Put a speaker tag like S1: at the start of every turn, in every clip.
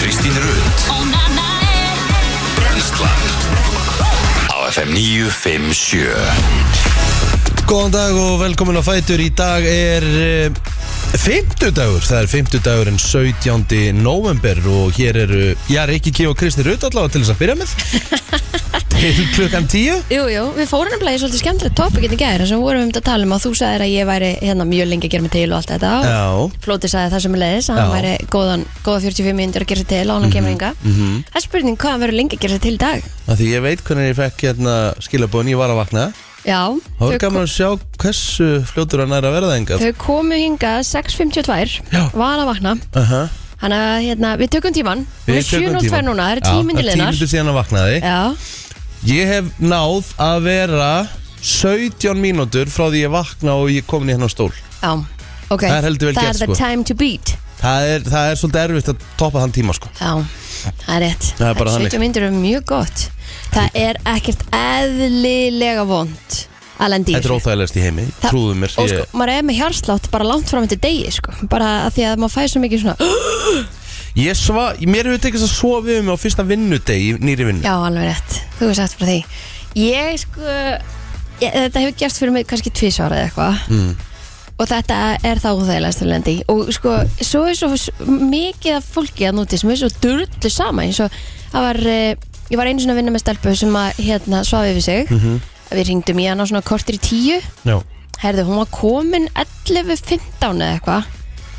S1: Kristín Rund Brenslan Á FM 957
S2: Góðan dag og velkomin á Fætur Í dag er Fymtudagur, það er fymtudagurinn 17. november og hér eru, já, Rikki K og Kristi Rutt allavega til þess að byrja með til klukkan 10
S3: Jú, jú, við fórum nefnilega í svolítið skemmtilegt topikinn í gæri sem vorum við um þetta að tala um að þú sagðir að ég væri hérna mjög lengi að gera mig til og allt þetta og
S2: Já,
S3: Flóti sagði það sem er leiðis að hann
S2: Já.
S3: væri góðan, góða 45 minnir að gera sig til og hann kemur hinga
S2: mhm.
S3: Það er spurning hvað hann verður lengi að gera sig til í dag
S2: af því ég veit hvernig ég fekk hérna skilabóðin, ég var að vakna
S3: Já,
S2: Það voru gaman að sjá hversu fljótur hann er að verða enga
S3: þau komu hinga 6.52
S2: Já.
S3: var að vakna
S2: uh -huh.
S3: Þannig að hérna, við tökum tíman Hún er 7.02 núna, það eru tíminni liðnar
S2: Tímindi síðan að vaknaði
S3: Já,
S2: Ég hef náð að vera 17 mínútur frá því ég vakna og ég komin í hennar stól
S3: já, ok
S2: Það er heldur vel
S3: Það
S2: gert,
S3: er the
S2: sko.
S3: time to beat
S2: Það er, það er svolítið erfitt að toppa þann tíma sko
S3: Já, það er rétt
S2: Það er bara þannig.
S3: 70 myndir eru mjög gott Það er ekkert eðlilega vond að lendi í
S2: Þetta er
S3: þessu.
S2: óþægilegast í heimi,
S3: Það-
S2: trúðu mér
S3: Og sko,
S2: ég,
S3: maður er með hjarslátt bara langt fram eftir degi sko. bara að því að maður fæði svo mikið svona
S2: ég sva, Mér hefur tekist að sofa um á fyrsta vinnudeg í nýri vinnu
S3: Já, alveg rétt, þú hefur sagt frá því Ég sko ég, Þetta hefur gerst fyrir mig kannski tvísvara eða eitthvað
S2: mm.
S3: og þetta er þá óþægilegast að lendi í. og sko, svo er svo s- mikið af fólki að núti sem er svo durðlu sama eins og það var eh, ég var einu svona að vinna með stelpu sem að hérna svaf yfir sig
S2: Mhm.
S3: við ringdum í hana svona kortir í tíu
S2: Já,
S3: herðu, hún var komin 11.15 eða eitthvað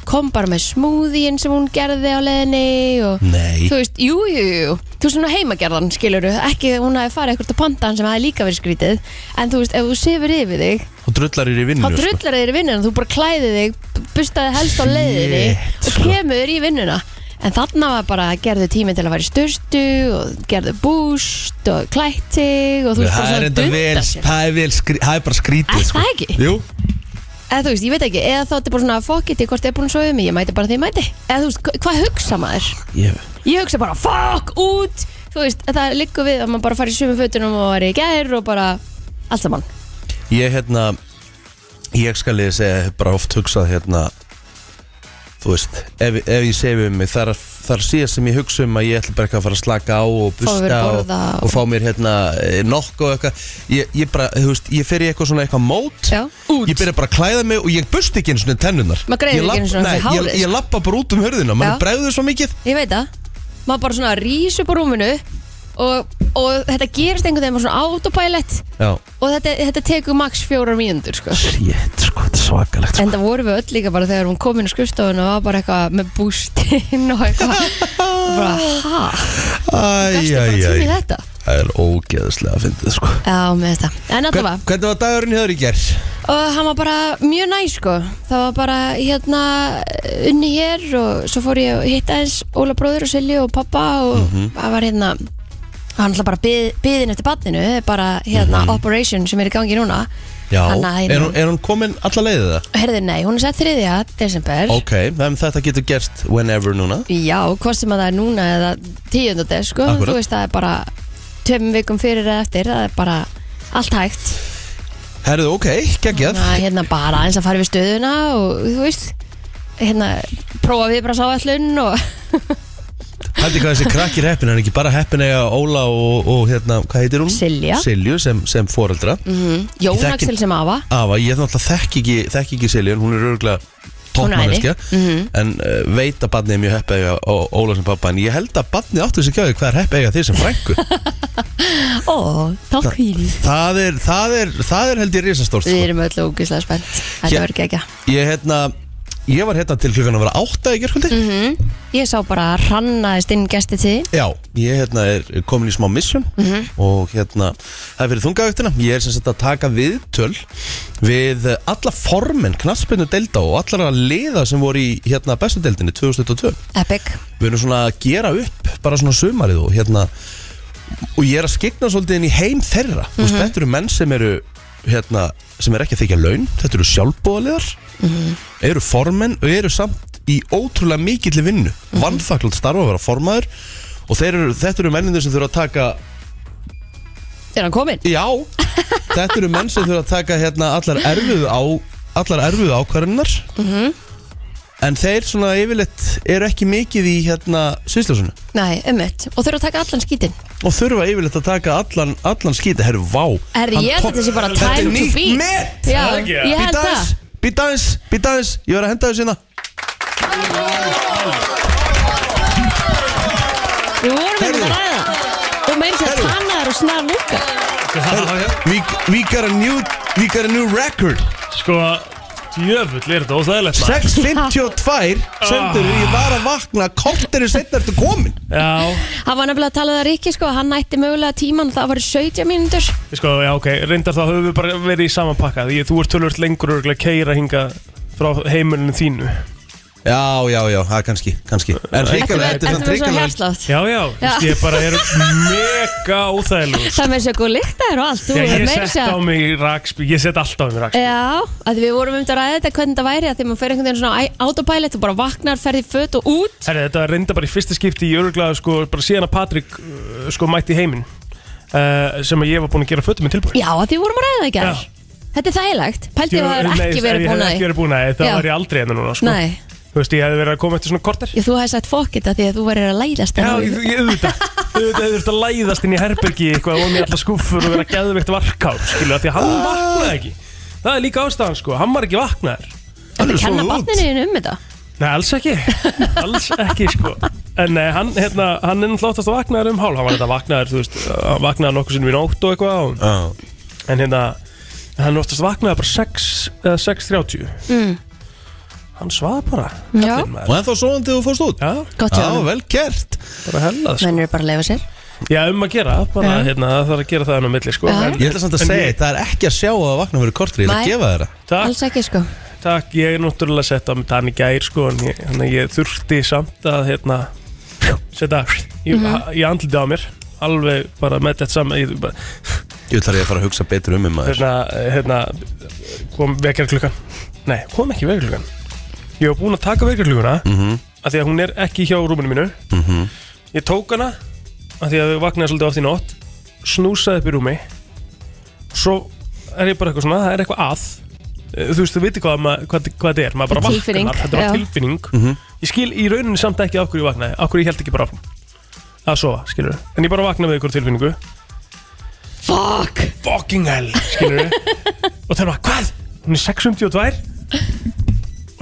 S3: kom bara með smúðin sem hún gerði á leðinni og
S2: nei
S3: þú veist, jú, jú, jú, jú. þú veist, svona heimagerðan, skilur ekki að hún hafi farið eitthvað til pandan sem hafi líka verið skrítið en þú veist, ef þú sefur yfir þig
S2: Og drullar í vinnu sko.
S3: þá drullar þér í vinnuna, þú bara klæðir þig bustaði helst á leiðinni
S2: Shit,
S3: og
S2: sko.
S3: kemur í vinnuna en þarna var bara gerðu tími til að vera í sturtu og gerðu búst og klætt sig og þú veist
S2: Það
S3: bara
S2: er
S3: svona
S2: enda
S3: dunda
S2: vel,
S3: sér.
S2: það er vel skri, það er bara skrítið
S3: Er
S2: sko.
S3: það ekki?
S2: Jú,
S3: eða þú veist, ég veit ekki, eða þá þetta bara svona fokkiti hvort þið er búin að sofa mig, ég mæti bara því ég mæti eða þú veist, hva- hvað hugsa maður?
S2: ég,
S3: ég hugsa bara fokk út þú veist, það liggur við að maður bara fari í sömu fötunum og var í gær og bara allt saman
S2: ég hérna Ég skal ég segja, ég hef bara oft hugsað hérna Þú veist, ef, ef ég sefi um mig Þar, þar síðast sem ég hugsa um að ég ætla bara eitthvað að fara að slaka á og
S3: mér
S2: busta og,
S3: borða og-
S2: og fá mér hérna eh, nokk og eitthvað ég, ég bara, þú veist, ég fer í eitthvað svona eitthvað mót
S3: Já, út.
S2: Ég byrja bara að klæða mig og ég busti ekki einu svona tennunar
S3: Maður greiðir ekki einu sinni fyrir hárið, sko.
S2: Ég, ég lappa bara út um hörðina,
S3: Já.
S2: maður bregður svo mikið
S3: Ég veit það Maður bara svona rís upp á rúminu og, og þetta gerist einhvern veginn maður svona autopilot
S2: Já,
S3: og þetta, þetta tekur max fjórar mínúndur sko.
S2: shit, sko, þetta er svakalegt
S3: En það vorum við öll líka bara þegar hún kom inn á skrifstofun og var bara eitthvað með bústinn og eitthvað og bara, ha, gæstu bara tími í
S2: Æjæjæj,
S3: þetta
S2: það er ógeðslega að fyndið sko
S3: Já, með þetta En
S2: Hvern-
S3: allavega,
S2: Hvernig var dagurinn hjá þér í gerð?
S3: og hann var bara mjög næ sko það var bara hérna unni hér og svo fór ég að hitta eins Óla bróður og Silju og pappa og það var hérna hann ætla bara byð, byðin eftir barninu bara hérna operation sem er í gangi núna
S2: Já,
S3: Hann að
S2: er
S3: hérna.
S2: hún, er hún komin alla leiðið það?
S3: herði nei, hún er sett 3. desember
S2: Ok, þannig þetta getur gerst whenever núna
S3: já, hvort sem að það er núna eða 10. des sko,
S2: Akkúrat.
S3: þú veist það er bara tveim vikum fyrir eða eftir það er bara allt hægt
S2: Herðu, ok, geggjað
S3: Þannig að hérna bara eins að fara við stöðuna og þú veist hérna prófa við bara sáallun og
S2: Haldi hvað þessi krakkir heppin, hann er ekki bara heppin eiga Óla og, og hérna, hvað heitir hún?
S3: Silja.
S2: Silju sem, sem foreldra Ég
S3: Jón
S2: þekki-
S3: Axel sem afa
S2: Afa, ég náttúrulega þekki ekki, þekki ekki Silju en hún er örgulega
S3: Hún er Mm. æði.
S2: toppmanneskja En uh, veit að badnið er mjög hepp eiga Ó- Óla sem pappa En ég held að badnið áttu þessi gjáði hvað er hepp eiga þér sem frængu
S3: Mhm. Ó, takk fyrir
S2: það, er, það, er, það er held ég risastórt
S3: Við
S2: sko.
S3: erum öll ógislega spennt Þetta
S2: Hér-
S3: verður ekki ekki
S2: Ég hérna, ég var hérna til klukkan að vera átta í gerkvöldi
S3: Mhm.
S2: Mhm.
S3: Ég sá bara að rannaðist inn gesti til þín.
S2: Já, ég hérna er komin í smá mission og hérna, það er fyrir þungavöktina ég er sem sagt að taka viðtöl við eh, alla formen knaspinu delta og allara liða sem voru í hérna bestu deildinni 2022
S3: Epic
S2: við erum svona að gera upp bara svona sumarið og hérna og ég er að skegna svolítið inn í heim þeirra þú veist, þetta eru menn sem eru hérna, sem er ekki að þykja laun þetta eru sjálfbóðaliðar eru formenn og eru samt í ótrúlega mikilli vinnu mm starfa að vera formaður og þeir eru, þetta eru mennindir sem þurfa að taka
S3: Er hann kominn?
S2: já, þetta eru menn sem þurfa að taka hérna allar erfuðu á allar erfuðu ákvarðinnar En þeir svona yfirleitt eru ekki mikið í hérna sviðsljósunum
S3: Nei, ummitt, og þurfa að taka allan skítinn
S2: og þurfa yfirleitt að taka allan, allan skíti Herru, vá
S3: Herri,
S2: hann
S3: ég held
S2: tók-
S3: að þetta sé bara
S2: Þetta er
S3: time to
S2: nýtt
S3: beat
S2: met!
S3: Já,
S4: Það er ekki, ja.
S3: ég held
S2: Býta aðeins,
S3: það
S2: býta aðeins, býta aðeins Ég var að henda þessu hérna
S3: Við vorum ekki
S2: Heyrðu.
S3: að ræða það. Þú meins að
S2: Heyrðu.
S3: tannaðar og snar lúka
S2: we, we, got a new, we got a new record
S4: Sko, djöfull er þetta óslæðilegt
S2: 6.52 sendur Ég var að vakna, kortir er setna eftir komin
S4: Já,
S3: Hann var nefnilega að tala það Rikki sko, hann nætti mögulega tíman og það var 17 mínútur
S4: sko, já, ok Reyndar þá höfum við bara verið í saman pakka Því þú ert tölvöld lengur og keira hinga frá heimilinu þínu
S2: Já, já, já, það er kannski, kannski En hrikalega, þetta er samt
S3: með svo
S2: hrikalega
S3: hjarslátt
S4: Já, já, þú veist, ég bara er mega óþægilegur
S3: Það með svo góð lykt að er og allt þú
S4: Já,
S3: er
S4: ég
S3: meira
S4: set á
S3: að-
S4: mig rakspík, ég set alltaf á mig rakspík
S3: Já, að við vorum um þetta að ræða þetta hvernig þetta væri að því maður fer einhvern veginn svona á- autopilot og bara vaknar, ferði föt og út
S4: Herri, þetta reynda bara í fyrsta skipti í öruglega sko, bara síðan að Patrik uh, sko, mætti í heiminn uh, sem að ég var búinn að gera fötum með tilbúin
S3: Já, að því vorum að ræða það ekki
S4: Já.
S3: Þetta er þægilegt, pælti að það
S4: Nei,
S3: er ekki
S4: ef
S3: verið
S4: ég
S3: búin
S4: hefði
S3: að
S4: ekki
S3: því
S4: verið búin að því, þá
S3: Já.
S4: var ég aldrei hérna núna sko.
S3: Nei,
S4: Þú veist, ég hefði verið að koma eftir svona korter Já,
S3: ég, þú hefði sagt fokkitt að því að þú verið að læðast að
S4: ég,
S3: því.
S4: ég auðvitað Auðvitað hefði þurft að læðast inn í herbergi eitthvað og mér alla skúffur og vera geðveikt varkár skilur, því að hann
S3: Ah.
S4: vaknaði ekki Það er líka ástæðan, sko, hann var ekki vaknaður
S3: Þetta
S2: er svo
S3: kenna
S2: út.
S3: barninu þínu um þetta
S4: Nei, alls ekki, alls ekki, sko En nei, hann, hérna, hann er náttúrulega oftast vaknaður um hálf Hann var þetta vaknaður, þú veist, hann vaknaði nokkuð sinnum í nótt og eitthvað og,
S2: Já,
S4: en hérna hann oftast vaknaði bara 6 eða 6.30
S3: Mm.
S4: hann svað bara
S3: Já.
S4: kallinn maður.
S2: Og ennþá svoðan þegar þú fórst út
S4: já,
S3: Gott hjá
S2: Já,
S3: hann,
S2: vel gert
S4: bara hellað sko.
S3: menn eru bara að leifa sér
S4: já, um að gera, bara
S3: Já.
S4: hérna, það þarf að gera það hann á milli sko.
S3: Já.
S4: En-
S2: Ég ætla samt að
S4: en
S2: segja,
S4: ég-
S2: það er ekki að sjá að það vakna fyrir kortir Ég ætla
S3: Nei.
S2: að gefa þér það
S4: takk,
S3: Alls ekki sko
S4: takk, ég er náttúrulega sett á mig tann í gær sko, en ég, hann, ég þurfti samt að hérna, setja ég, mm ég andliti á mér alveg bara með þetta saman ég, bara,
S2: Ég ætla að ég að fara að hugsa betur um um maður
S4: hérna, hérna, kom vekjarklukkan nei, kom ekki vekjarklukkan ég var búinn að taka vekjarklukuna
S2: Mhm.
S4: af því að hún er ekki hjá rúminu mínu
S2: Mhm.
S4: ég tók hana af því að við vaknaði svolítið oft í nótt snúsaði upp í rúmi svo er ég bara eitthvað svona það er eitthvað að Eh, þú veist, þú veitir hvað, ma- hvað, hvað þetta er maður bara
S3: Tilfinning,
S4: vaknar, þetta var
S3: já.
S4: tilfinning
S2: Mhm.
S4: ég skil í rauninni samt ekki af hverju ég vaknaði af hverju ég held ekki bara áfram að sofa, skilur en ég bara vaknaði með ykkur tilfinningu
S3: Fuck
S4: fucking hell skilur og það er bara, hvað? hún er 602 og,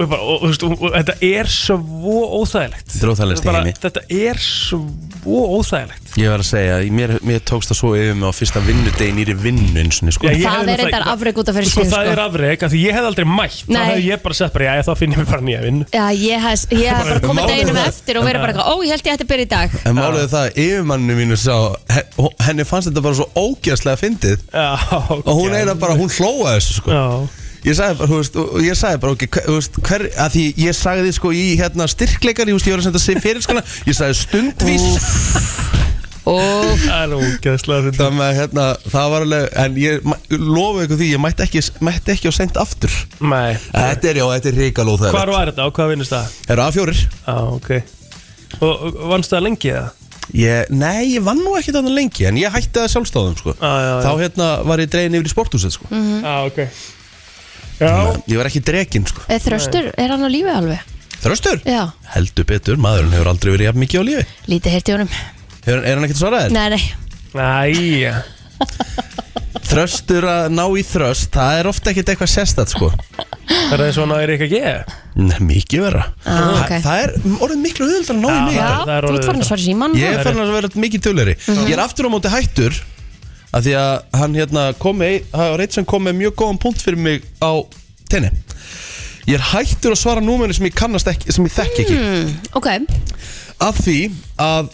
S4: ég bara, og, og, þú veist, og, og þetta er svo óþægilegt
S2: Þetta er óþægilegast í
S4: Bara,
S2: heimi.
S4: þetta er svo óþægilegt
S2: Ég var að segja, mér, mér tókst það svo yfir mig á fyrsta vinnudegi nýri vinnu eins og sko.
S4: Já,
S3: Það
S4: ég- hefði
S3: er reyndar
S4: náttúrulega-
S3: afreg út af fyrir
S4: sko,
S3: sig
S4: það er
S3: sko
S4: afreg, af því ég hef aldrei mætt þá
S3: Nei.
S4: hef ég bara sett bara, já, þá finn ég mér bara nýja vinn
S3: Já, ég hef ég hef bara komið
S2: Málið er
S3: deginum
S2: það-
S3: eftir og verið bara eitthvað, ó, ég held ég ætti að byrja í dag
S2: En máliði það að yfirmanninu mínu sá he- Henni fannst þetta bara svo ógjastlega fyndið Og hún eiginlega bara, hún hlóa þessu sko.
S4: já,
S2: Ég sagði bara, þú veist, og- og ég sagði bara okay, hver, þú veist, hver, að Því ég sagði sko í hérna styrkleikar Ég, veist, ég var að senda sig fyrir skona Ég sagði stundvís
S3: Og
S4: það er ógeðslega fyndið.
S2: Það, með, hérna, það var alveg En ég lofa ykkur því, ég mætti ekki, mætti ekki á sent aftur
S4: nei,
S2: Þetta er já, þetta er ríkalóð það
S4: hvar var þetta og hvað vinnist það?
S2: Það eru A4
S4: já, Ah, ok og, og vannst það lengi eða?
S2: Ég, nei, ég vann nú ekkert þannig lengi En ég hætti að sjálfstáðum sko.
S4: Já, já, já.
S2: Þá hérna var ég dregin yfir í sporthúsið sko.
S3: Mhm. Mm.
S4: já, Ah, ok já,
S2: Ég var ekki dregin sko.
S3: er þröstur, er hann á lífi alveg?
S2: Þröstur?
S3: Já,
S2: Heldur betur, maðurinn hefur aldrei verið jafn mikið á lífi
S3: lítið hirti honum
S2: hefur, Er hann ekkert svaraðið?
S3: Nei, nei,
S4: næja
S2: Þröstur að ná í þröst Það er ofta ekkert eitthvað sérstætt sko.
S4: það er svona að er ekki að gera
S2: Nei, Mikið vera
S3: Ah, ok.
S2: það, það er orðið miklu auðvöldar að ná í
S4: Já,
S2: mig
S3: já,
S4: það er
S3: þú ert
S4: orðið
S3: farin að
S4: þetta.
S3: svara síman
S2: Ég
S4: Mhm.
S2: er farin að vera mikið tölulegri Ég er aftur á móti hættur að Því að hann hérna kom með Það var eitt sem kom með mjög góðan punkt fyrir mig á tenni Ég er hættur að svara númenni sem ég kannast ekki Sem ég þekk ekki
S4: Mm.
S3: Ok,
S2: Af því að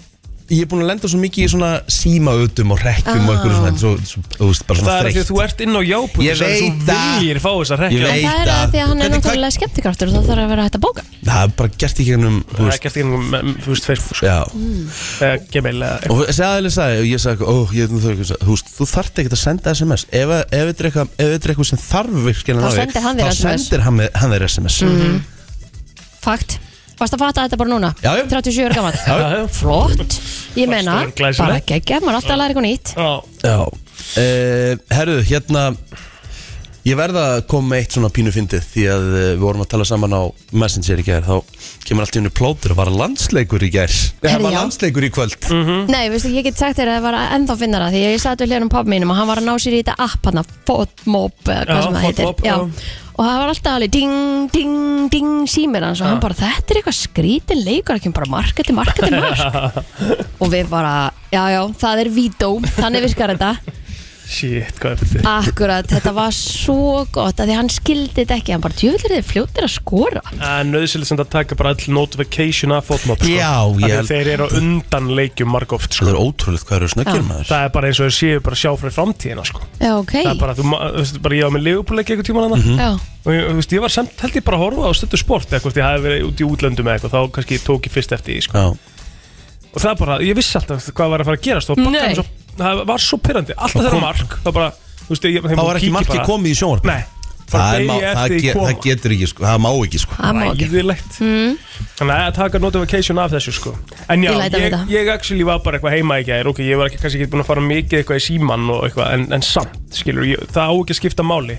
S2: ég er búin að lenda svo mikið í svona símaötum og rekkjum og eitthvað svona, svo, svo, þú veist, bara svona
S4: Það er af því að
S2: þreytt
S4: þú ert inn á jápunni
S2: Ég veit
S4: Þú
S2: það.
S4: viljir fá þess að
S2: Ég
S4: rekja
S2: veit.
S3: en það
S2: Eitt
S3: er að
S2: að-
S3: því að hann er
S2: Hvernig-
S3: náttúrulega skemmtikraftur og þá þarf að vera hægt að bóka
S2: Það er bara gert ekki hennum, þú
S4: Það er
S2: veist
S4: ekki eftir einhverjum, þú veist, Facebook sko,
S2: Já,
S4: eða Gmail eða
S2: og þessi aðeins sagði, og ég sagði, ó, ég, þú, þú, þú, veist, þú þarft ekkert að senda SMS Ef, að- ef þetta er eitthvað- ef þetta er eitthvað sem þarf virkilega
S3: Þá
S2: að ná í,
S3: sendir hann þér
S2: Þá
S3: SMS.
S2: sendir hann, hann þér SMS
S3: Mhm. Fakt, varst að fatta þetta bara núna
S2: Já, já.
S3: 37 ára gaman
S4: Já, já.
S3: Flott, ég meina,
S4: Fastur, glæsilegt.
S3: bara geggjað, maður er alltaf að læra eitthvað nýtt
S4: Já,
S2: Já, uh, herru, hérna Eh, Ég verða að koma með eitt svona pínu fyndið því að eh, við vorum að tala saman á Messenger í gær þá kemur allt í hennu plótur að vara landsleikur í gær Það
S3: Herri,
S2: var
S3: já. Mm.
S2: landsleikur í kvöld
S4: Mm.
S3: Nei, veistu, ég get sagt þér að það var ennþá finnara því ég satt við hljörnum pappa mínum og hann var að ná sér í þetta app hann að Fotmob eða hvað
S4: Já,
S3: sem það heitir
S4: Fotmop,
S3: já.
S4: já.
S3: og það var alltaf alveg ding, ding, ding símir hans og hann bara þetta er eitthvað skrítin leikur ekki bara marketi, marketi, mark og við bara, já, já, það er vító þannig virkar þetta
S4: Shit, hvað er þetta?
S3: akkurat, þetta var svo gott að því hann skildi þetta ekki hann bara, djöfull er þið fljótir að skora
S4: Það er nöðsilegt sem að taka bara all notification af fótmop sko.
S2: Já,
S4: Af því
S2: ég
S4: að
S2: held
S4: Þeir eru á undan leikjum margóft
S2: Það er
S4: sko.
S2: ótrúlegt hvað eru snöggir maður
S4: Það er bara eins og þau séu bara að sjá frá framtíðina sko.
S3: já, ok,
S4: Það er bara, þú ma- þú veist, bara ég á með leifupúleik eitthvað tíma hana
S2: Mhm.
S3: já,
S4: og ég, þú veist, ég var samt, held ég bara að horfa á stöldu sport eða hvort ég hafi verið út í útlöndum eða eitthvað þá kannski tók ég fyrst eftir því sko.
S2: Já,
S4: og það bara, ég vissi alltaf hvað var að fara að gerast og
S3: Nei.
S4: bara, svo, það var svo pyrrandi, alltaf þeirra mark þá bara, þú veist, ég,
S2: Það var ekki marki komið í sjónvarp
S4: Nei,
S2: Það, er má,
S4: degi
S2: það,
S4: eftir
S2: ge, það getur ekki, sko, það má ekki sko.
S3: það má ekki
S4: Ræðilegt Þannig að taka notification af þessu sko En já,
S3: Ég læt af
S4: ég, ég,
S3: þetta.
S4: actually var bara eitthvað heima í gær Ok, ég var ekki, kannski ekki búin að fara mikið eitthvað í símann og eitthvað En, en samt, skilur, ég, það á ekki að skipta máli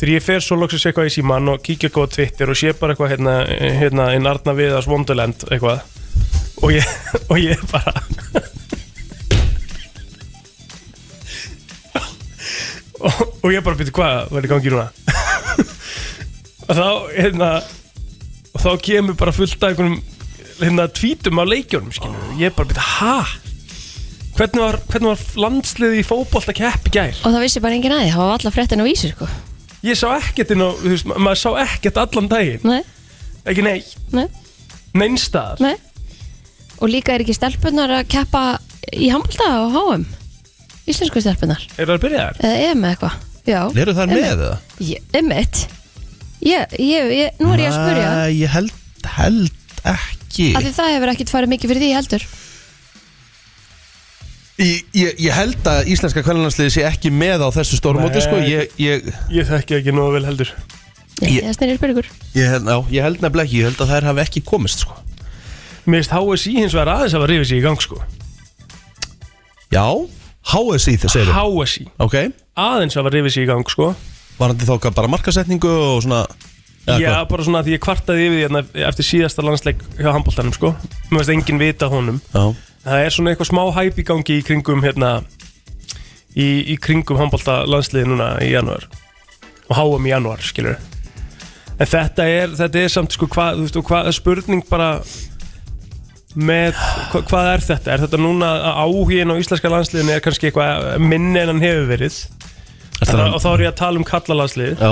S4: Þegar ég fer svo loksins eitthvað í símann og kíkja eitthvað á Twitter og sé bara eitthvað hérna, hérna, inn Arna Viðars Wonderland eitthvað Og ég, og ég bara og, og ég bara byrja hvað var í gangi núna og þá hérna og þá kemur bara fullt af einhvernum hérna tvítum á leikjónum skilur og ég bara byrja ha hvernig var, hvernig var landsliði í fótbolta kepp í gær
S3: og það vissi bara enginn aðið, það var alla fréttin á vísi sko.
S4: ég sá ekkert inn á þú veist ma- maður sá ekkert allan daginn
S3: nei,
S4: ekki nei
S3: nei
S4: neinstaðar
S3: Nei Og líka er ekki stelpunar að keppa í handbólta og HM Íslensku stelpunar
S4: er það að byrja þar
S3: Eða EM eða eitthvað Já,
S2: Eru þær með það?
S3: Ég- einmitt ég, ég, ég, Nú er ég að spurja
S2: Nei, ég held, held ekki
S3: Af því það hefur ekkit farið mikið fyrir því heldur
S2: Ég, ég, ég held að íslenska kvennalandsliði sé ekki með á þessu stórmóti
S4: Nei.
S2: sko. ég, ég,
S4: ég þekki ekki nógu vel heldur
S3: Nei,
S2: Ég-
S3: Það snýr spurningur
S2: ég, held- já, ég held nefnilega ekki, ég held að þær hafi ekki komist sko.
S4: mér finnst HSI hins vegar aðeins að var rífið sér í gang sko
S2: Já, HSI þeir segir
S4: HSI
S2: Ok,
S4: aðeins að var rífið sér í gang sko
S2: varandi þá hvað, bara markasetningu og svona eða
S4: Já,
S2: hvað?
S4: bara svona að ég kvartaði yfir því hérna eftir síðasta landsleik hjá handbóltanum sko Mér veist engin vita af honum
S2: já.
S4: Það er svona eitthvað smá hæp í gangi í kringum hérna í, í kringum handbólta landsliði núna í januar og háum í januar, skilur En þetta er, þetta er samt sko hvað, þú veist, og hvað spurning bara með, hva, hvað er þetta? Er þetta núna að áhugin á íslenska landsliðinu er kannski eitthvað minni en hann hefur verið
S2: Þannig,
S4: og þá er ég að tala um kallalandsliðið
S2: já.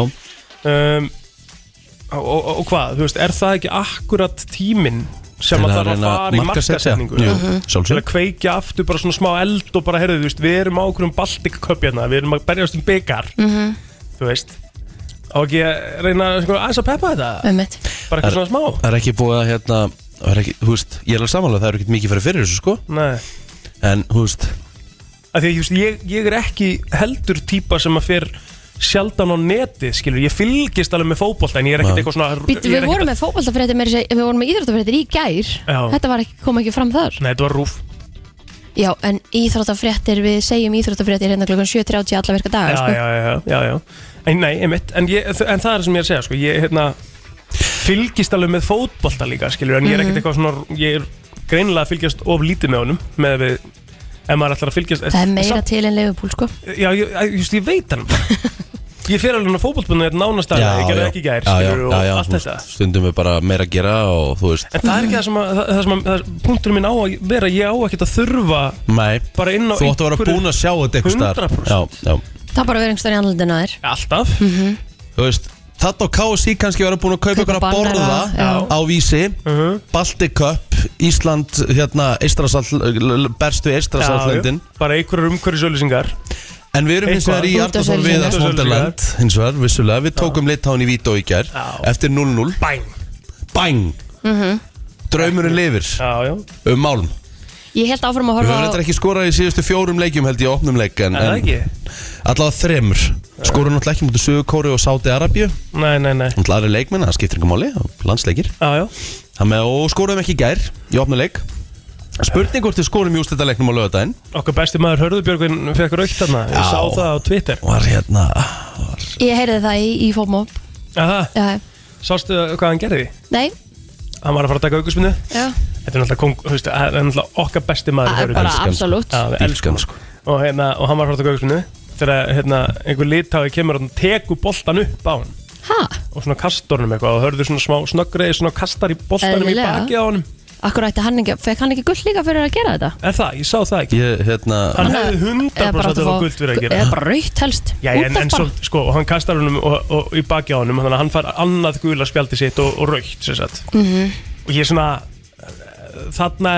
S4: um, og, og, og hvað, þú veist, er það ekki akkurat tíminn sem að
S2: Til
S4: þarf að
S2: reyna
S4: fara í
S2: markasetja.
S4: markasetningu
S2: Jú,
S3: Mhm.
S4: til að
S2: Sjálfsög
S4: kveikja aftur bara svona smá eld og bara, heyrðu, þú veist, við erum á okkur um Baltic Cup hérna, við erum að berjast um byggar
S3: Mhm.
S4: þú veist og ekki að reyna sko, aðeins að peppa þetta
S3: Einmitt
S4: bara eitthvað svona smá
S2: Það er ekki búið að hérna það er ekki, þú veist, Ég er alveg samanlega, það eru ekkert mikið fyrir fyrir þessu sko
S4: Nei.
S2: En, þú veist,
S4: Af því að þú veist, ég, ég er ekki heldur típa sem að fer sjaldan á netið, skilur, ég fylgist alveg með fótbolta en ég er ekkert
S2: Nei.
S4: eitthvað svona
S3: Býttu, við
S4: ég er ekkert-
S3: vorum með fótbóltafréttir meira að segja- Við vorum með íþróttafréttir í gær
S4: Já.
S3: Þetta var ekki, kom ekki fram þar
S4: Nei, þetta var rúf
S3: Já, en íþróttafréttir, við segjum íþróttafréttir hérna klukkan 7.30 alla virka daga
S4: já,
S3: sko.
S4: já, já, já, já. En, nei, einmitt, en, ég, en það er sem ég er að segja sko, ég hérna, fylgist alveg með fótbolta líka skilur, en ég er
S2: Mhm.
S4: ekkert eitthvað svona ég er greinilega að fylgjast of lítið með honum með að við ef maður ætlar að fylgjast
S3: Það er meira
S4: samt-
S3: til en leifupúl sko.
S4: já, ég, ég- just, ég veit hann ég fer alveg fótboltbunni þetta nánast að ég gerði ekki í gær
S2: já, já,
S4: skilur, og
S2: já, já,
S4: allt
S2: þú
S4: þetta
S2: veist, Stundum við bara meira að gera og þú veist
S4: en það er ekki það sem, að, það, það sem að, það, punkturinn minn á að vera ég á ekkert að þurfa
S2: Nei,
S4: bara inn á
S2: þú átt að vera
S4: einhverju-
S2: búin að sjá þetta eitthvað staðar.
S4: 100%.
S2: Já, já
S3: Það er bara verið einhverstað í andlutina þér
S4: alltaf
S2: þú veist Þetta og KSI kannski vera búin að kaupa
S3: Kaupa
S2: ykkur að
S3: bannera,
S2: borða
S3: já.
S2: á vísi
S4: Uh-huh.
S2: Baltic Cup, Ísland, hérna, Eistrasall, berstu Eistrasallöndin
S4: já, bara einhverjur umhverjusauðlýsingar
S2: En við erum hins vegar í
S3: Eitthvað.
S2: Arnarsson
S3: Útvarpsauglýsingar.
S2: Viðars Wonderland Hins vegar, vissulega, við tókum Litauen í Vító í gær
S4: Já.
S2: Eftir 0-0,
S4: bæn
S2: bang Draumurinn lifir
S4: já, já
S2: um málum
S3: Ég held áfram að
S2: Við
S3: horfa
S2: höfum reyndar ekki skorað í síðustu fjórum leikjum held ég opnum leik En,
S4: Er það
S2: en
S4: ekki?
S2: allavega þremur Skorum náttúrulega ekki mútið Suðu Kóri og Sáti Arabíu
S4: Nei, nei, nei
S2: Náttúrulega aðri leikmenn, það skiptir ykkur máli Landsleikir
S4: Já, já
S2: Þannig að og skoruðum ekki í gær í opna leik Spurning hvort við skorum í úrslitaleiknum á lögadaginn
S4: Okkar besti maður Hörðubjörgvin fekk raukt þarna Ég
S2: Já.
S4: sá það á Twitter
S2: Var hérna var
S3: Ég heyrði það í, í FOMOP
S4: Aha,
S3: Já,
S4: sástu hvað hann gerði?
S3: nei,
S4: Hann var að fara að taka aukuspinnu
S3: já,
S4: Þetta er náttúrulega, kong, þú veist, hann er náttúrulega okkar besti maður
S3: A-
S4: í
S3: bara
S4: Evrópu.
S2: Elskan, sko.
S3: absolutt
S4: Já, við elskum
S2: Dýrkan
S4: hann.
S2: sko
S4: og, hérna, og hann var að fara að taka aukuspinnu Þegar hérna, einhver litáði kemur og tekur boltan upp á hann
S3: Ha,
S4: og svona kastornum eitthvað og hörðu svona smá snöggriði svona kastar í boltanum í
S3: Eðlilega.
S4: bakið á honum
S3: akkur ætti hann ekki Fekk hann ekki gull líka fyrir að gera þetta?
S4: Er það? Ég sá það ekki
S2: Ég, hérna
S4: Hann
S3: Hann
S4: hefði
S3: Eða bara átti
S4: 100% að
S3: að
S4: það
S3: fá-
S4: guld fyrir að gera
S3: Eða bara rautt helst
S4: Já,
S3: Út
S4: en,
S3: af
S4: en
S3: bara.
S4: svo, sko, og hann kastar honum og, og, í baki á honum þannig að hann fær annað gula spjaldi sitt og, og raukt sem sagt
S3: Mhm.
S4: -hmm. og ég er svona eh, þarna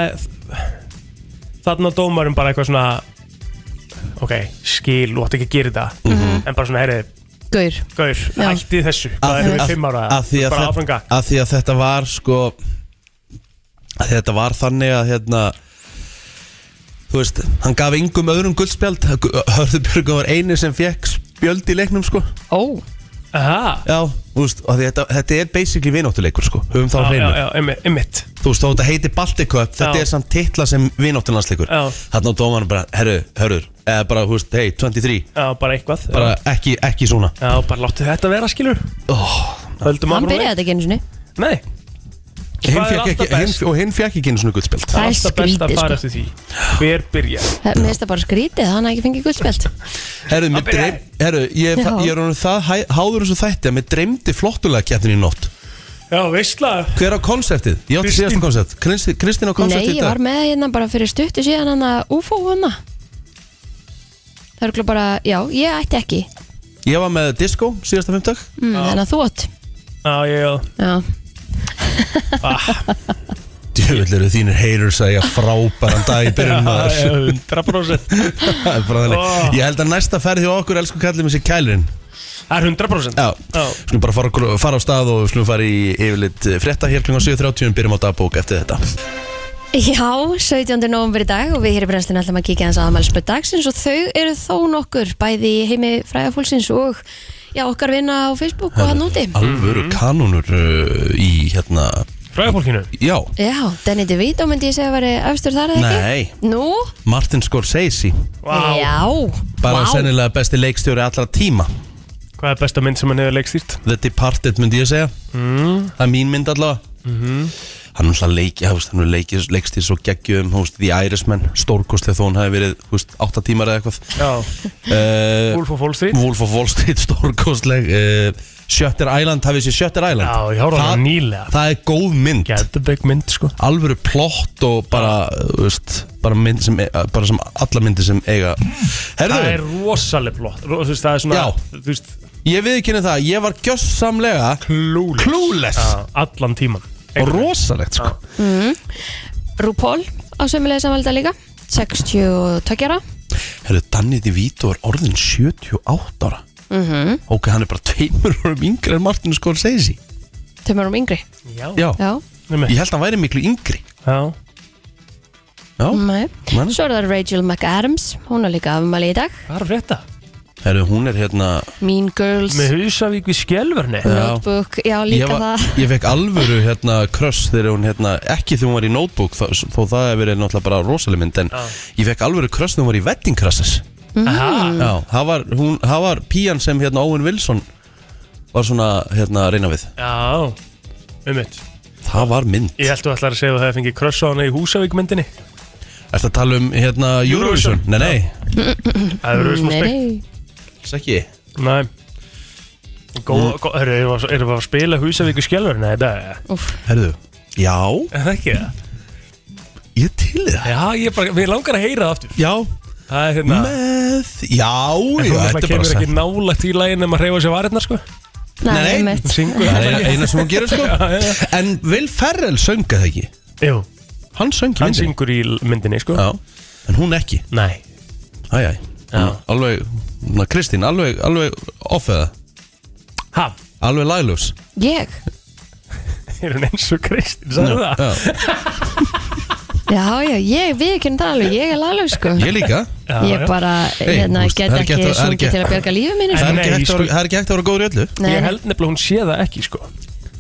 S4: þarna dómarum bara eitthvað svona ok, skil, þú átt ekki að gera þetta en bara svona, herri,
S3: Gaur
S4: gaur,
S3: Já.
S4: hætti þessu
S2: Mhm.
S4: hvað
S2: Af-
S4: erum við
S2: af-
S4: fimm ára,
S2: af því að
S4: bara
S2: þe-
S4: áfram gakk
S2: af því að þetta var sko að þetta var þannig að hérna þú veist, hann gaf yngum öðrum guldspjald Hörður Björgum var eini sem fekk spjöld í leiknum sko
S3: Ó,
S4: Aha,
S2: já, þú veist, og því þetta, þetta er basically vináttuleikur sko, höfum þá
S4: já, já,
S2: hreinu
S4: já, einmitt- einmitt
S2: þú veist, þó þetta heitir Baltic Cup, þetta
S4: Já.
S2: er samt titla sem vináttulandsleikur,
S4: Já.
S2: þannig að dómarinn bara herru, hörður, eða bara, þú veist, hey, 23
S4: já, bara eitthvað
S2: bara ekki, ekki svona
S4: Já, bara láttu þetta vera, skilur
S2: oh,
S4: Höldum
S3: hann
S4: áfram leik.
S3: byrjaði þetta ekki einu sinni
S4: Nei,
S2: hinn
S4: Hvað er
S2: fékk
S4: alltaf
S2: ekki, hinn,
S4: best?
S2: og hinn fekk ekki einu svona guldspjald
S3: Það er
S4: alltaf best að
S3: skrítið,
S4: fara
S3: sko.
S4: eftir því Hver byrja?
S3: Það- Mér finnst það bara skrítið að hann hafi ekki fengið guldspjald
S2: Herru, mér
S4: byrjar.
S2: dreym, herru ég,
S3: Já.
S2: ég er honum það hæ- háður þessu þætti að mér dreymdi flottulega keppnin í nótt
S4: Já, veistla
S2: Hver á konceptið? Ég átti
S4: Kristín.
S2: síðasta koncept Kristín, Kristín á
S3: Nei,
S2: konceptið í
S3: ég var
S2: dag
S3: með hérna bara fyrir stuttu síðan hann að UFO hana hérna. Það er bara, já, ég ætti ekki
S2: Ég var með disco síðasta fimmtag
S3: mm, En að þú átt
S4: Já, já, já
S3: Já,
S4: Ah,
S2: Djöfull eru þínir haters að ég frábæran dag í byrjun
S4: já, já,
S2: maður
S4: 100%
S2: Það er bara þannig.
S4: Ó.
S2: Ég held að næsta ferð hjá okkur elsku kallið með sér kælirinn
S4: Það er 100%
S2: Já,
S4: Já.
S2: skulum bara fara, fara á stað og skulum fara í yfirleitt frétta hér kl. 7.30 og byrjum á dagbók eftir þetta
S4: Mhm.
S3: já 17. november í dag og við hér í brennslinu ætlum að kíkja hans aðamælspöld dagsins og þau eru þó nokkur bæði í heimi fræðafólksins og já, okkar vinna á Facebook og hann úti
S2: Alvöru kanónur uh, í hérna
S4: Fræða fólkinu
S2: Já,
S3: Já, Danny DeVito myndi ég segja að veri efstur þar eða ekki
S2: nei
S3: Nú?
S2: Martin Scorsese
S4: Vá,
S3: Já,
S2: bara
S3: Vá.
S2: sennilega besti leikstjóri allra tíma
S4: hvað er besta mynd sem hann hefur leikstýrt?
S2: The Departed myndi ég segja
S4: Mm. Mhm.
S2: það er mín mynd allavega hann er náttúrulega leik, já, veist, hann er leik, leikstýr svo geggjum, þú veist, The Irishman stórkostlega þó hann hafi verið, þú veist, 8 tímar eða eitthvað
S4: Já,
S2: uh,
S4: Wolf of Wall Street
S2: Wolf of Wall Street stórkostleg uh, Shutter Island, hafið sér Shutter Island
S4: Já, ég horfði á
S2: það,
S4: hana nýlega
S2: það er góð mynd
S4: Gæðbeg mynd, sko
S2: alvöru plott og bara, þú veist, bara mynd sem, e- bara sem alla myndir sem eiga Herðu,
S4: Það er rosaleg blott Ro- Þú veist, það er svona
S2: Já.
S4: Þú veist,
S2: ég viðkynni það, ég var gjössamlega
S4: klúles
S2: clueless
S4: Allan tíman
S2: og rosalegt sko.
S3: RuPaul á sömulega samalda líka 62 ára
S2: Herru, Danny DeVito er orðin 78 ára Ok, hann er bara tveimur árum yngri en Martin Scorsese
S3: Tömur um yngri
S4: Já,
S2: Já,
S3: Já,
S2: ég
S4: Einmitt.
S2: held að hann væri miklu yngri
S4: já.
S2: Já,
S3: nei
S2: menn
S3: Svo er það Rachel McAdams, hún er líka afmæli í dag
S4: Hvað er að frétta?
S2: Herru, hún er hérna
S3: Mean Girls,
S4: Með Húsavík við Skelverni
S2: Já.
S3: Notebook, já
S2: Ég,
S3: líka
S2: var,
S3: það
S2: ég fekk alvöru hérna kröss þegar hún hérna, ekki þegar hún var í notebook þó, þó það hefur verið náttúrulega bara rosaleg mynd en
S4: Já.
S2: ég fekk alvöru kröss þegar hún var í Wedding Crashes
S4: Aha.
S3: Mm.
S2: Já, það var, hún, það var pían sem hérna Owen Wilson var svona hérna að reyna við
S4: Já, ummitt
S2: Það var mynd
S4: Ég held þú ætlar að segja að það hefði fengið kröss á hana í Húsavík myndinni
S2: Ertu að tala um hérna
S4: Eurovision?
S2: Eurovision? Nei, nei,
S4: Það eru smá
S3: Nei,
S4: spekt
S3: nei.
S2: Alls ekki
S4: Nei Góða, mm. eru erum við að- erum við að spila Húsavík við Skelverni þetta?
S3: Úff.
S2: Herðu Já,
S4: Er það ekki það?
S2: ég til í það
S4: Já, ég bara, við langar að heyra það aftur
S2: Já,
S4: Það er hérna
S2: með Já,
S4: En
S2: já,
S4: Hún
S2: þetta
S4: alltaf
S2: er bara
S4: kemur ekki
S2: sætt
S4: nálægt í lægin um að reyfa sér varirnar sko
S3: Nei,
S2: nei.
S3: einmitt.
S4: Syngur
S2: Það
S4: það
S2: er
S4: ekki
S2: eina sem hún gerir sko En Will Ferrell sönga það ekki
S4: Jú,
S2: Hann söng í
S4: hann
S2: myndinni
S4: syngur í l- myndinni sko
S2: Já, en hún ekki
S4: Nei
S2: Æ, æ
S4: Já.
S2: Alveg, na, Kristín, alveg, alveg offeða
S4: Ha,
S2: Alveg lagljós
S3: Ég?
S4: er hún eins og Kristín, sagði það?
S2: Já,
S3: Já, já, ég, við kynum það alveg, ég er laglaug sko
S2: Ég líka
S4: Já,
S3: Ég
S4: já.
S3: bara,
S2: Hey,
S3: hérna,
S2: þú veist,
S3: get
S2: það er
S3: ekki
S2: ekki hægt að- það er
S3: sungið
S2: ekki-
S3: til að bjarga lífið mínu
S2: Það
S3: sko.
S2: er
S4: Nei,
S2: ekki hægt að
S4: sko-
S2: vera- það er ekki hægt að vera góður í öllu
S3: Nei,
S4: Ég held nefnilega hún sé það ekki sko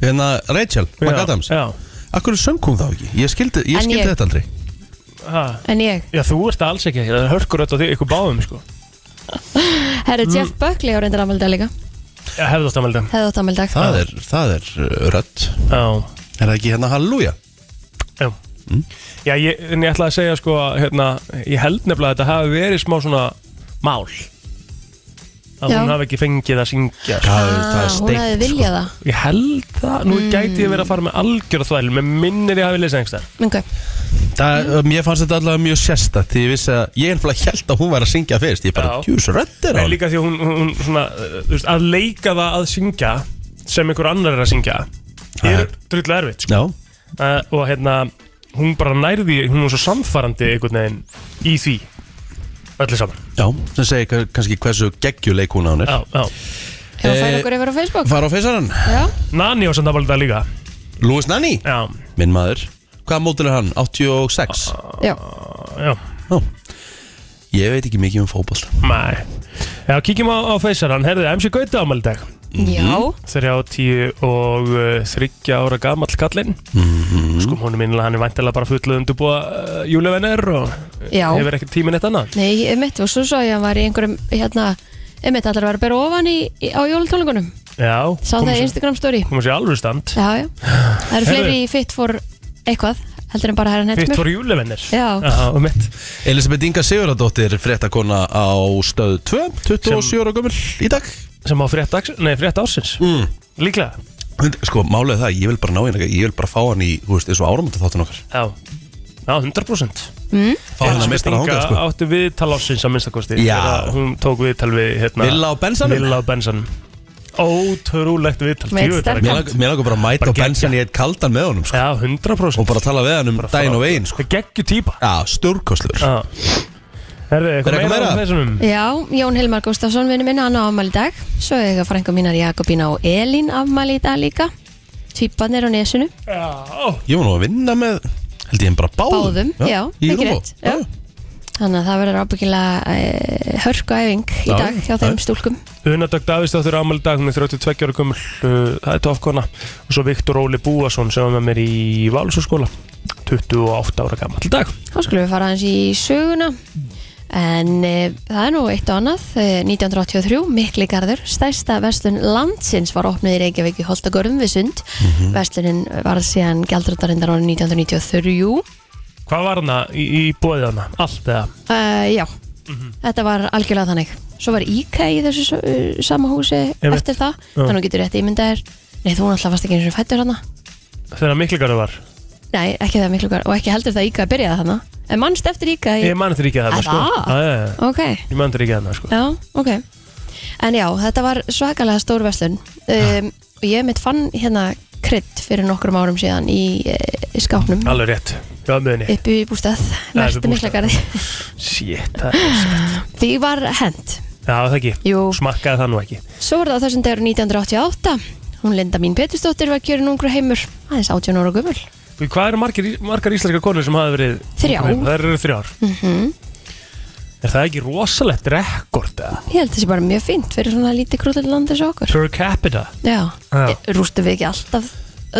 S2: Hérna, Rachel, McAdams
S4: Já,
S2: Akkur söng hún þá ekki? Ég skildi, ég
S3: En
S2: skildi
S3: ég-
S2: þetta aldrei
S4: ha
S3: En ég,
S4: Já, þú ert alls ekki, það er hörkur öll á þig, ykkur báðum sko
S2: Mm.
S3: herri Jeff Buckley á reyndar afmæli í dag líka
S4: hefði átt ammaldið
S3: hefði átt ammæli dag
S2: Það er, það er uh, rödd
S4: Já,
S2: Er það ekki hérna halleluja?
S4: já Já, ég, en ég ætla að segja sko að, hérna, ég held nefnilega að þetta hafi verið smá svona mál að
S3: Já.
S4: hún hafi ekki fengið að syngja sko.
S2: Það, það er
S3: Ah, hún hefði
S2: steikt sko.
S3: viljað það
S4: Ég held það, nú gæti ég verið að fara með algjör þvæl, með minnir ég hafi lesið einhverstað
S2: sko.
S3: okay.
S2: það, Mér fannst þetta allavega mjög sérstætt Því ég vissi að Ég held að, held að hún væri að syngja fyrst Ég bara,
S4: Já.
S2: djús, rödd er á
S4: Nei,
S2: henni.
S4: líka því að hún, hún svona, uh, þú veist, að leika það að syngja sem einhver annar er að syngja
S2: Það
S4: er
S2: er-
S4: drullu erfitt sko.
S2: Já,
S4: uh, og hérna, hún bara nærði hún er svo samfarandi einhvern veginn í því öllu saman
S2: já Sem segir kann- kannski hversu geggjuleik hún á hann er
S4: já, já.
S3: Ef hún færi
S2: Eh,
S3: okkur yfir á Facebook
S2: Fara á feysarann
S3: Já,
S4: Nani á samt að valda líka
S2: Louis Nanny
S4: já,
S2: Minn maður Hvaða mótil er hann? 86
S3: já,
S4: já,
S2: Já Ég veit ekki mikið um fótboll
S4: mæ já, kíkjum á, á feysarann, herðið, MC Gauta ámæli dag
S2: Mhm.
S3: já
S4: 30 og uh, 30 ára gamall kallinn sko hún er minnilega, hann er væntilega bara fullið undurbúa uh, júlevenner og
S3: Já.
S4: hefur ekkert tíminn eitt annað
S3: Nei, einmitt, og svo svo ég að hann var í einhverjum hérna, einmitt, allar var að bera ofan í, í, á jólutónlingunum,
S4: Já,
S3: sá það í Instagram story
S4: komum sér alveg stand
S3: Já, já, það eru fleiri í fit for eitthvað, heldur en bara herra
S4: Fitt
S3: netmur
S4: voru júlevennir
S3: Já.
S4: og mitt
S2: Elisabeth Inga Sigurðardóttir Frettakona á stöð 2 27 ára gömul í dag
S4: Sem á frétt, dags, nei, frétt ársins
S2: mm.
S4: Líklega
S2: Sko, málið er það, ég vil bara ná hérna Ég vil bara fá hann í, þú veist, eins og áramönda þáttan okkar
S4: Já, Já 100%
S2: Fá hann að mista
S4: Stinga
S2: þángað, sko
S4: átti viðtal ársins að minnstakosti
S2: Já.
S4: Þegar Hún tók viðtal við hérna,
S2: Villa á Bensanum?
S4: Villa á bensanum Ótrúlegt viðtal
S3: Með
S4: djöfull var það
S2: Mér
S3: sterkan.
S4: gott.
S2: langar- Mér langar bara að mæta
S4: Bara
S2: á bensin
S4: geggja.
S2: í eitt kaldan með honum, sko
S4: Já,
S2: Og
S4: 100%
S2: bara tala við hann um daginn og veginn, sko
S4: Það geggju típa
S2: Já, stórkostlur
S4: Já Herðu,
S2: Er eitthvað
S4: eitthvað meira
S2: meira?
S4: á þessunum?
S3: Já, Jón Hilmar Gustafsson, vinnu minna, hann á afmæli í dag Svo eiga frængu mínar Jakobína og Elín afmæli í dag líka Tvíparnir á nesunu,
S4: Já
S2: Ég var nú að vinna með, held ég, bara báðum
S3: báðum, já,
S2: í
S3: ekki
S2: Rúbó.
S3: rétt já. Þannig að það verður ábyggilega e, hörkuæfing í
S2: Já,
S3: dag hjá
S2: já.
S3: þeim stúlkum
S4: Unadögg Davíðsdóttir ámæli dag, hún er 32 ára gömul, uh, það er toppkona og svo Viktor Óli Búason sem var með mér í Válusúskóla, 28 ára gammal dag.
S3: Þá skulum við fara aðeins í söguna En e, það er nú eitt og annað e, 1983, Mikli Garður stærsta verslun landsins var opnuð í Reykjavík í Holtagörðum við Sund mm
S4: Mhm.
S3: Verslunin varð síðan gjaldratarindar árið 1993
S4: Hvað var hana í, í bóðið hana? Allt eða?
S3: uh, Já,
S4: Mhm.
S3: þetta var algjörlega þannig Svo var Íka í þessu s- uh, sama húsi
S4: Einmitt.
S3: eftir það
S4: Já.
S3: Þannig að getur rétt ímyndaðir Nei, þú náttúrulega varst ekki eins og fættur hana
S4: Þegar mikligarðu var?
S3: Nei, ekki það Mikli Garður og ekki heldur það Íka byrjaði þarna En mannst eftir Íka í...
S4: Ég man þetta ekki að
S3: Er
S4: það, sko.
S3: það?
S4: Já, já, já.
S3: Ok
S4: Ég man þetta ekki að það, sko.
S3: Já, ok En já, þetta var svakalega stór verslun um, og ég mitt fann hérna krydd fyrir nokkrum árum síðan í, eh, í skápnum
S4: Alveg rétt. Já, með henni.
S3: upp í bústað,
S4: Já,
S3: næstu
S4: upp í bústað.
S3: miklagarði
S4: Shit, það er sætt.
S3: Því var hent
S4: Já, það ekki.
S3: Jú.
S4: Smakkaði það nú ekki.
S3: Svo var það á þessum dagur 1988 Hún Linda mín Petursdóttir var kjörin ungra heimur aðeins 18 ára gömul
S4: Þú, Hvað eru margar, margar íslenska konur sem hafa verið?
S3: Þrjár. Mhm.
S4: Það eru þrjár. Er það ekki rosalegt rekord, eða?
S3: Ég held þessi bara mjög fínt fyrir svona lítið krúllið land þessu okkur
S4: Per capita?
S3: Já,
S4: Já.
S3: já. rústum við ekki alltaf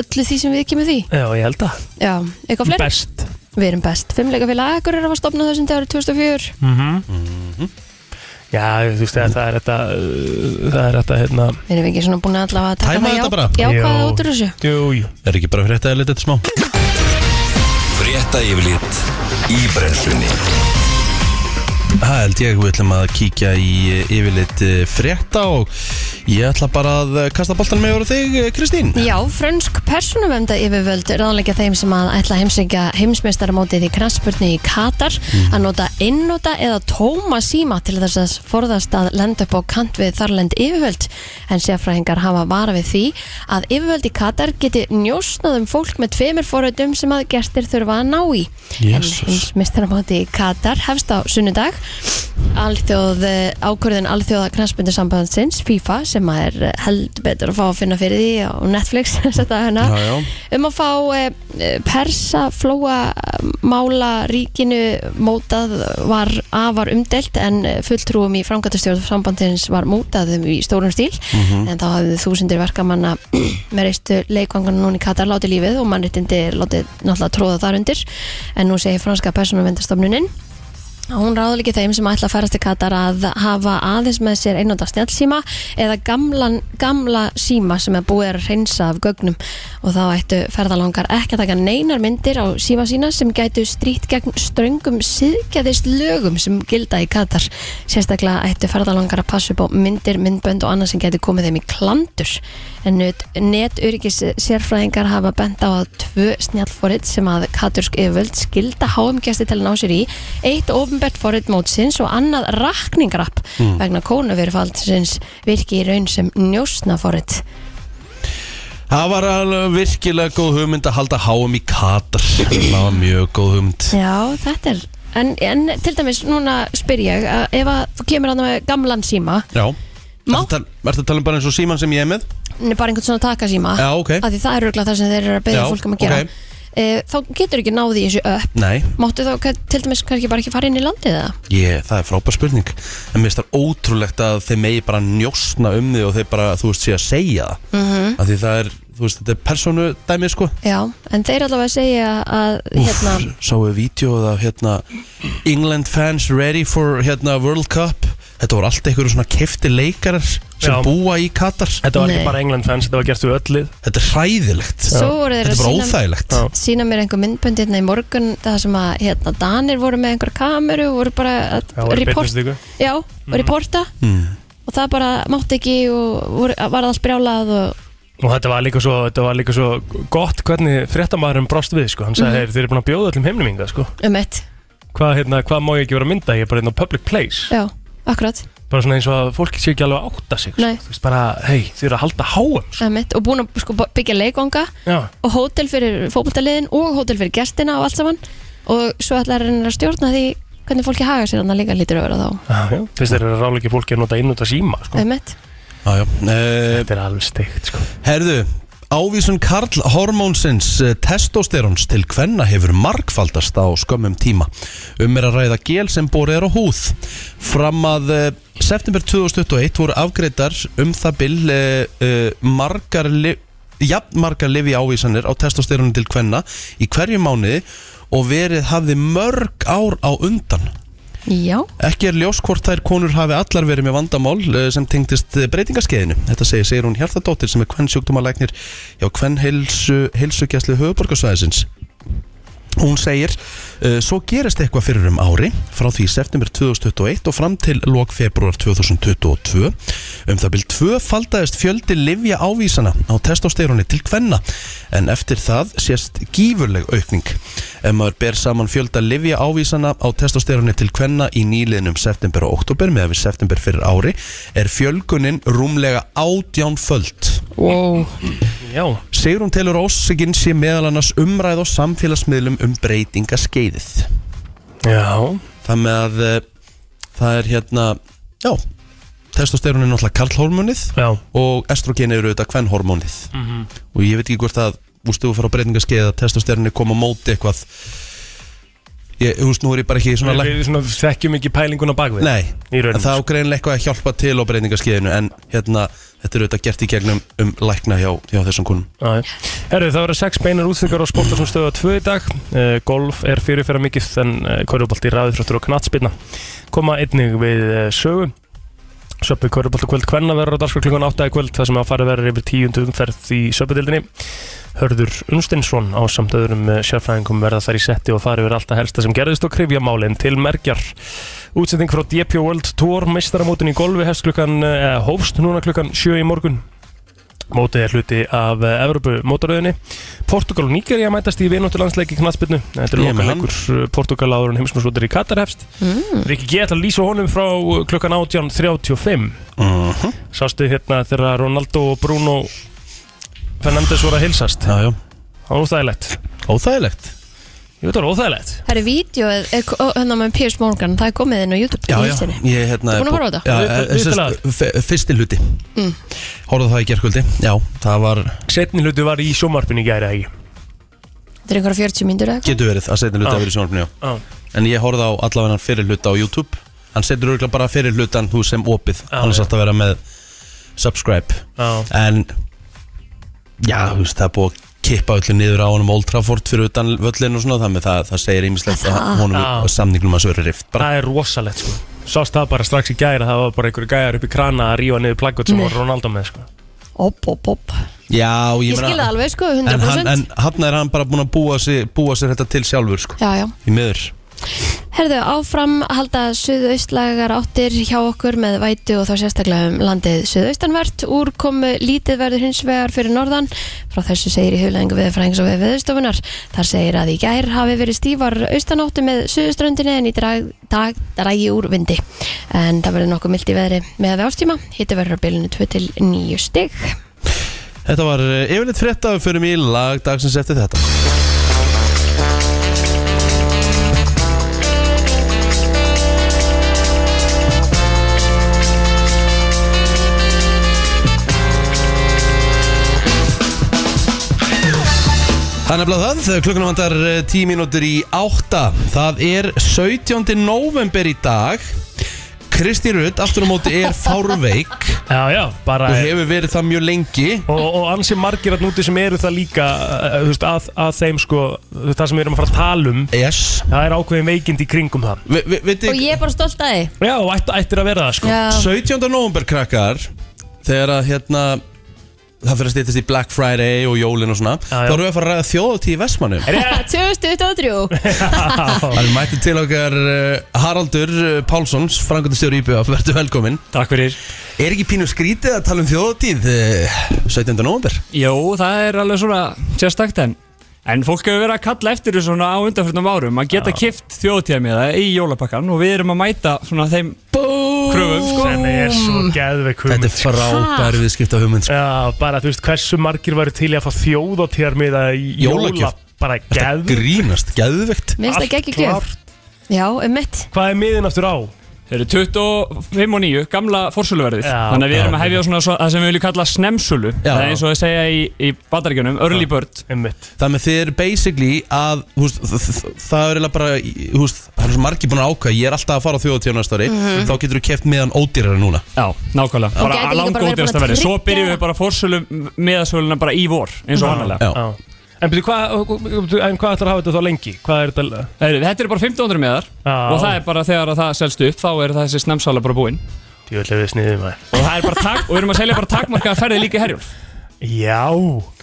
S3: öllu því sem við kemur því
S4: Já, ég held það.
S3: Já, eitthvað fleiri?
S4: Best.
S3: Við erum best Fimmleikafélag Akureyra var stopnað þessum dagur 2004
S4: Já, þú veist að það er þetta uh, það er þetta hérna
S3: Erum við ekki svona búin að allavega að taka
S2: Tæma
S3: það
S2: þetta
S3: já-
S2: bara?
S3: jákvæða
S4: Jú.
S3: út úr þessu?
S4: Jú, jú
S2: Er ekki bara frétta eða litið smá?
S1: Frétta yfirlit í brennslunni
S2: Það held ég, við ætlum að kíkja í eh, yfirlit eh, frétta og ég ætla bara að eh, kasta boltan með voru þig, eh, Kristín
S3: Já, frönsk persónumvenda yfirvöld ráðleika þeim sem að ætla að heimsækja heimsmeistaramótið í kransbjörni í Katar að nota innota eða tóma síma til þess að forðast að lenda upp á kant við þarlend yfirvöld en sérfræðingar hafa vara við því að yfirvöld í Katar geti njósnað um fólk með tveimur forrautum sem að gestir þurfa að ná í
S2: Jesus.
S3: En heimsmeistaramóti í Katar hefst á sunnudag Alþjóð, eh, ákvörðun Alþjóða knastbundusambandsins, FIFA sem að er eh, held betur að fá að finna fyrir því á Netflix þetta hana,
S2: Já, já.
S3: um að fá eh, persa flóa mála ríkinu mótað var afar umdelt en eh, fulltrúum í framkvæmtastjórn sambandsins var mótaðum í stórum stíl en þá hafðu þúsundir verkamanna með reistu leikvangan núna í Katar látið lífið og mannréttindi er látið náttúrulega tróða þar undir en nú segir franska persónumvendastofnunin Hún ráður líki þeim sem ætla að ferast til Katar að hafa aðeins með sér einnóta snjálsíma eða gamlan, gamla síma sem er búið að reynsa af gögnum og þá ættu ferðalangar ekki að taka neinar myndir á síma sína sem gætu strýtt gegn ströngum síðgæðist lögum sem gilda í Katar. Sérstaklega ættu ferðalangar að passa upp á myndir, myndbönd og annað sem gætu komið þeim í klandur. En neturyggis sérfræðingar hafa bent á að tvö snjálfórit sem að katursk yfirvöld skilda háumgæsti til að ná sér í eitt ofnbært forrið mótsins og annað rakningrapp
S2: Hmm.
S3: vegna kónuverfaldsins virki í raun sem njósna forrið
S2: Það var alveg virkilega góð hugmynd að halda háum í katar Það var mjög góð hugmynd
S3: Já, þetta er En, en til dæmis núna spyr ég að ef að þú kemur að það með gamlan síma
S2: Já
S3: Má-
S2: Ertu að tala- ertu að tala um bara eins og síman sem ég er með?
S3: en bara einhvern svona takasíma
S2: Já, ok.
S3: Ah, að því það er örgulega það sem þeir eru að beða
S2: Já,
S3: fólk um að gera
S2: ok.
S3: e, þá getur ekki náði í þessu upp
S2: Nei
S3: máttu þá ka- til dæmis kannski bara ekki fara inn í landið eða?
S2: Ég, það er frábær spurning En mér finnst það ótrúlegt að þeir megi bara njósna um þig og þeir bara, þú veist, sé að segja það mm -hmm. Því það er, þú veist, þetta er persónu dæmið, sko
S3: Já, en þeir allavega segja að hérna,
S2: Úff, Sáu við vídjóð af, hérna, England fans ready for, hérna, World Cup Þetta voru allt einhverju svona kefti leikarar sem
S4: Já.
S2: búa í Katar
S4: Þetta var
S3: Nei.
S4: ekki bara England fans, þetta var gert við öll lið
S2: Þetta er hræðilegt
S3: svo voru þeir
S2: Þetta
S3: að
S2: er bara
S3: sýna-
S2: óþægilegt
S4: Já.
S3: sína mér einhver myndbönd hérna í morgun það sem að hérna, Danir voru með einhver kameru og voru bara að
S4: Já, voru í beinni Mhm.
S3: report-
S4: sendingu.
S3: já, mm. reporta
S2: mm.
S3: og það bara mátti ekki og voru, var allt brjálað og
S4: Og þetta var líka svo, þetta var líka svo gott hvernig fréttamaðurinn brost við sko. Hann
S3: Mhm.
S4: sagði, mm. þeir eru búin að bjóða öllum heimnum yngar sko.
S3: um eitt
S4: hvað, hérna, hvað má ég ekki vera að mynda, ég er bara hérna á public place
S3: já, akkurat,
S4: Bara svona eins og að fólki sé ekki alveg að átta sig sko.
S3: Nei.
S4: Þú veist bara, hei, þeir eru að halda háum sko.
S3: um eitt og búin að sko, byggja leikvanga
S4: Já,
S3: og hótel fyrir fótboltaliðin og hótel fyrir gestina og allt saman og svo ætlar hann að stjórna því hvernig fólki haga sér hann líka lítur öfra þá
S4: já, já. Þess þeir eru að ráleiki fólki að nota inn út að síma sko.
S3: um eitt
S2: Já, já. Eh,
S4: Þetta er alveg steikt sko.
S2: Herðu, ávísun Karl hormónsins eh, testosteróns til hvenna hefur markfaldast á skömmum tíma um er að ræða gél sem borið er á húð fram að eh, september 2021 voru afgreitar um það bil eh, eh, margar li- jafn margar lifi ávísanir á testosterónu til hvenna í hverju mánuði og verið hafði mörg ár á undan
S3: já,
S2: Ekki er ljós hvort þær konur hafi allar verið með vandamál eh, sem tengdist eh, breytingaskeiðinu. Þetta segir Sigrún Hjartadóttir sem er hvern sjúkdómalæknir hjá hvern heilsu, heilsugjæslu höfuborgarsvæðisins. Hún segir, eh, svo gerist eitthvað fyrir um ári frá því september 2021 og fram til lok februar 2022 um það vil tvöfaldaðist fjöldi livja ávísana á testosteróni til hvenna en eftir það sést gífurleg aukning. Ef maður ber saman fjölda livja ávísana á testosteróni til hvenna í nýliðnum september og oktober með að við september fyrir ári er fjölgunin rúmlega átjánföld.
S3: wow
S4: Já,
S2: Sigrún telur óseginn sé meðal annars umræð og samfélagsmiðlum um breytingaskeiðið.
S4: já
S2: Það með að eh, það er hérna, já, testosterón er náttúrulega karlhormónið
S4: Já,
S2: og estrogen eru auðvitað kvennhormónið. Og ég veit ekki hvort að, ústu, þú fyrir á breytingaskeiðið að testosterónið kom á móti eitthvað. Ég, þú veist, nú er ég bara ekki svona
S4: við,
S2: læk...
S4: við svona þekkjum ekki pælinguna bakvið
S2: Nei,
S4: Í rauninni,
S2: en það á greinlega eitthvað að hjálpa til á breytingaskeiðinu en hérna, þetta er auðvitað gert í gegnum um lækna hjá, hjá þessum konum.
S4: Herru, það verða sex beinar útstökar á sportarsum stöðu að tvö í dag uh, Golf er fyrirferða mikið en uh, korfubolti ræðifröttur og knatsbyrna koma einnig við uh, sögu Söppi korfubolti kvöld kvenna verður á dagskrá klukkan 8 í kvöld það sem að fara verður yfir tíundu umferð í söpudildinni Hörður Unstinsson á samt öðrum eh, sérfræðingum verða þar í setti og fara yfir alltaf helsta sem gerðist og krifja málin til merkjar Útsending frá DP World Tour meistaramótin í golfi hefst klukkan eh, hófst núna klukkan 7 í morgun Mótið er hluti af eh, Evrópu mótaröðinni Portugal og Nígeria mætast í vinóttulandsleiki knatsbyrnu Þetta er
S2: Ég er með
S4: lokal leikur Portugal áður en heimsmjössvotir í Katar hefst mm. Rikki G ætla að lýsa honum frá eh, klukkan 18.35
S2: Uh
S4: Sástu hérna þegar Ronaldo og Bruno Fernandes voru að hilsast
S2: Já, já.
S4: Það var óþægilegt
S2: Óþægilegt.
S4: Ég veit að það var óþægilegt
S3: Það eru vídeo, hérna með Piers Morgan, það er komið inn á YouTube
S2: Já,
S3: í
S2: já,
S3: hilsinni.
S2: ég hérna
S3: Þú búin að horfa á þetta? Mm.
S2: Já,
S4: Við-
S2: eh,
S4: við-
S2: sem
S4: viðtalið?
S2: sagt, f- fyrsti hluti Horfðu það í gerkvöldi Já, það var,
S4: Setni hluti var í sjómarpinu í gæri, ekki?
S3: Þetta er einhverja 40 mínútur eða eitthvað.
S2: getur verið að setja hluti
S4: Já.
S2: að vera í sjónarfinu, já
S4: Já.
S2: En ég horfði á allavega hann fyrir hluta á YouTube Hann setur örgulega bara fyrir hlutan þú sem opið
S4: Já,
S2: Hann er
S4: já.
S2: satt að vera með subscribe
S4: Já.
S2: En, já, þú veist, það er búið að kippa öllu niður á honum Old Trafford fyrir utan völlin og svona þannig það, það segir ýmislegt að honum
S4: Já.
S2: og samningnum að svöru rift bara
S4: Það er rosalegt sko Sást það bara strax í gæra Það var bara einhverju gæjar upp í krana að rífa niður plaggut sem
S3: Nei.
S4: var Ronaldo með sko
S3: Opp, opp, opp
S2: Já, ég,
S3: Ég
S2: meina-
S3: skil það alveg sko,
S2: en, hann,
S3: 100%
S2: en hann er hann bara búin að búa, sig, búa sér þetta til sjálfur sko,
S3: Já, já
S2: í miður
S3: Herðu, áfram halda suðaustlægar áttir hjá okkur með vætu og þá sérstaklega um landið suðaustanvert. Úrkomu lítið verður hins vegar fyrir norðan. Frá þessu segir í hugleðingu viðfræðings og við viðstofunar. Þar segir að í gær hafi verið stífar austanáttu með suðauströndinni en í drag, dag dragi úr vindi. En það verður nokkuð mildi veðri með að við ástíma. Hittu verður á bylunu 2 til 9 stig.
S2: Þetta var eh, yfirleitt frétta og við förum í lag dagsins eftir þetta Það er nefnilega það, þegar klukkan vandar 10 mínútur í átta Það er 17. november í dag Kristi Rutt, aftur á móti, er fárveik
S4: Já, já, bara
S2: og hefur verið það mjög lengi
S4: og, og ansi margir að núti sem eru það líka uh, uh, þú veist, að, að þeim sko þú veist, það sem við erum að fara að tala um
S2: Yes
S4: það er ákveðin veikind í kringum það
S2: Ve- ve- Veitir,
S3: Og ég er bara stolt að þið.
S4: já, og ætti, ættir að vera það sko
S3: Já.
S2: 17. november krakkar þegar að hérna það fyrir að stýttast í Black Friday og jólin og svona
S4: Já, já.
S2: þá erum við að fara að ræða þjóðatíð í Vestmannum
S4: Rétt.
S3: 2023.
S2: Það er mættið til okkar eh, Haraldur eh, Pálssons, frangundastjóri IBF, verður velkominn.
S5: Takk fyrir.
S2: Er ekki pínu skrítið að tala um þjóðatíð eh, 17. november?
S5: Jó, það er alveg svona sérstakt en En fólk hefur verið að kalla eftir þessu svona á undanfjörnum árum að geta kift þjóðtíðamiða í jólapakkan og við erum að mæta svona þeim kröfum sko.
S4: sem er svo geðveik
S2: Þetta
S4: hugmynd
S2: er frábær viðskipta hugmynd sko.
S4: já, bara þú veist, hversu margir væru til í að fá þjóðatíðar með það í
S2: Jólagjöf.
S4: jóla bara
S2: Þetta
S4: geðveik
S2: grínast, geðvegt
S3: Mér finnst það ekki gjöf. Já, um mitt.
S4: hvað er miðin aftur á?
S5: Þeir eru 25 og 9, gamla fórsöluverðið
S4: Já,
S5: Þannig að við erum
S4: já.
S5: að hefja svona svo, það sem við viljum kalla snemsölu
S2: Já.
S5: Það er eins og að segja í, í bandaríkjunum, early bird
S4: Einmitt.
S2: Það með þið eru basically að húst, það er eiginlega bara í- þú veist, það er svo margir búin að ákvæða, ég er alltaf að fara á þjóðatíðanastari mm -hmm. þá getur þú keft meðan ódýrari núna
S5: Já, nákvæmlega,
S3: gæti líka
S5: bara að
S3: bara verið
S5: langóttjast
S3: búin að
S5: að verði Svo
S3: tryggja-
S5: byrjum við bara fórsölu meðasöluna bara í vor, eins og annarlega
S2: Já.
S4: Já. en betur, hvað en hvað ætlar að hafa þetta þá lengi? hvað er þetta?
S5: Heyrðu, Þetta eru bara 1500 meðar
S4: Já.
S5: og það er bara þegar að það selst upp þá er þessi snemsala bara búinn
S4: djúlega við sniðum að
S5: og það er bara tak, og við erum að selja bara takmarkaða ferði líka í herjólf
S4: já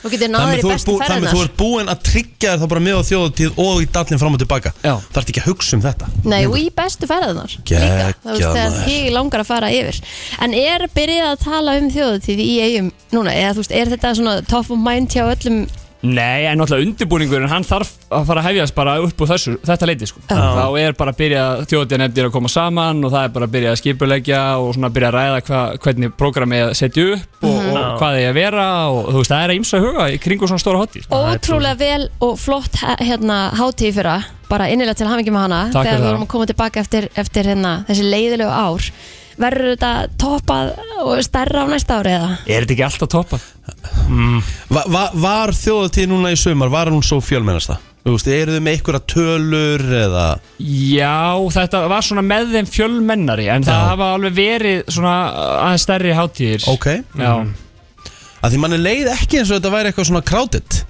S3: Þú getur náður
S2: Þannig
S3: í
S2: þú, ert
S3: bestu
S2: bú, þannig þú
S3: ferðinar.
S2: ert búin að tryggja þér þá bara með á þjóðatíð og í dallin fram og tilbaka
S5: Já.
S2: Það ert ekki að hugsa um þetta
S3: Nei, og í bestu ferðarnar
S2: Geggjað,
S3: líka, þú veist, þegar
S2: maður.
S3: þig langar að fara yfir En er byrjað að tala um þjóðutíð í eigum núna, eða þú veist, er þetta svona top of mind hjá öllum
S5: Nei, en náttúrulega undirbúningurinn hann þarf að fara að hefjast bara upp úr þessu, þetta leiti sko. Þá er bara að byrja þjóðið nefndir að koma saman og það er bara að byrja að skipulegja og svona að byrja að ræða hva, hvernig prógramið er að setja upp
S2: Mhm.
S5: og, og hvað er að vera og þú veist, það er að ymsa huga í kringu svona stóra sko. hotið.
S3: ótrúlega vel og flott he- hérna hátíð í fyrra, bara innilega til hafingi með hana
S5: Takk
S3: þegar
S5: fyrir
S3: við
S5: það.
S3: vorum að koma tilbaka eftir, eftir hérna, þessi leiðilegu ár Verður þetta toppað og stærra á næsta ári eða?
S5: Er þetta ekki alltaf toppað?
S2: va, va, Var þjóðatíð núna í sumar, var hún svo fjölmennasta? Þú veist, eru þið með einhverja tölur eða
S5: Já, þetta var svona með þeim fjölmennari en það
S2: Já.
S5: hafa alveg verið svona aðeins stærri hátíðir
S2: Ok, Mhm.
S5: Já,
S2: að því manni leið ekki eins og þetta væri eitthvað svona crowded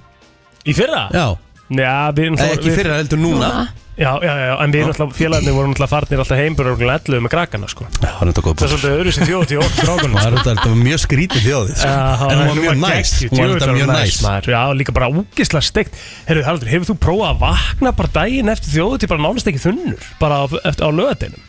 S4: Í fyrra?
S2: Já,
S4: Já, við erum
S2: Eða ekki fyrir að heldur núna
S4: Já, já, já, en við erum alltaf, félagarnir vorum alltaf farnir alltaf heimbur og elluðu með krakkana, sko
S2: Já, Það er þetta góð
S4: Það er
S2: búr
S4: svolítið öðru sem þjóð til okkur strákunum
S2: Það er þetta- þetta var mjög skrítið þjóðið sko. En hún var mjög næs Hún var þetta mjög næs
S4: maður. Já, líka bara úkislega steikt Herru, Haraldur, hefur þú prófað að vakna bara daginn eftir þjóðu til bara nánast ekki þunnur bara á, eftir, á lögadeinum?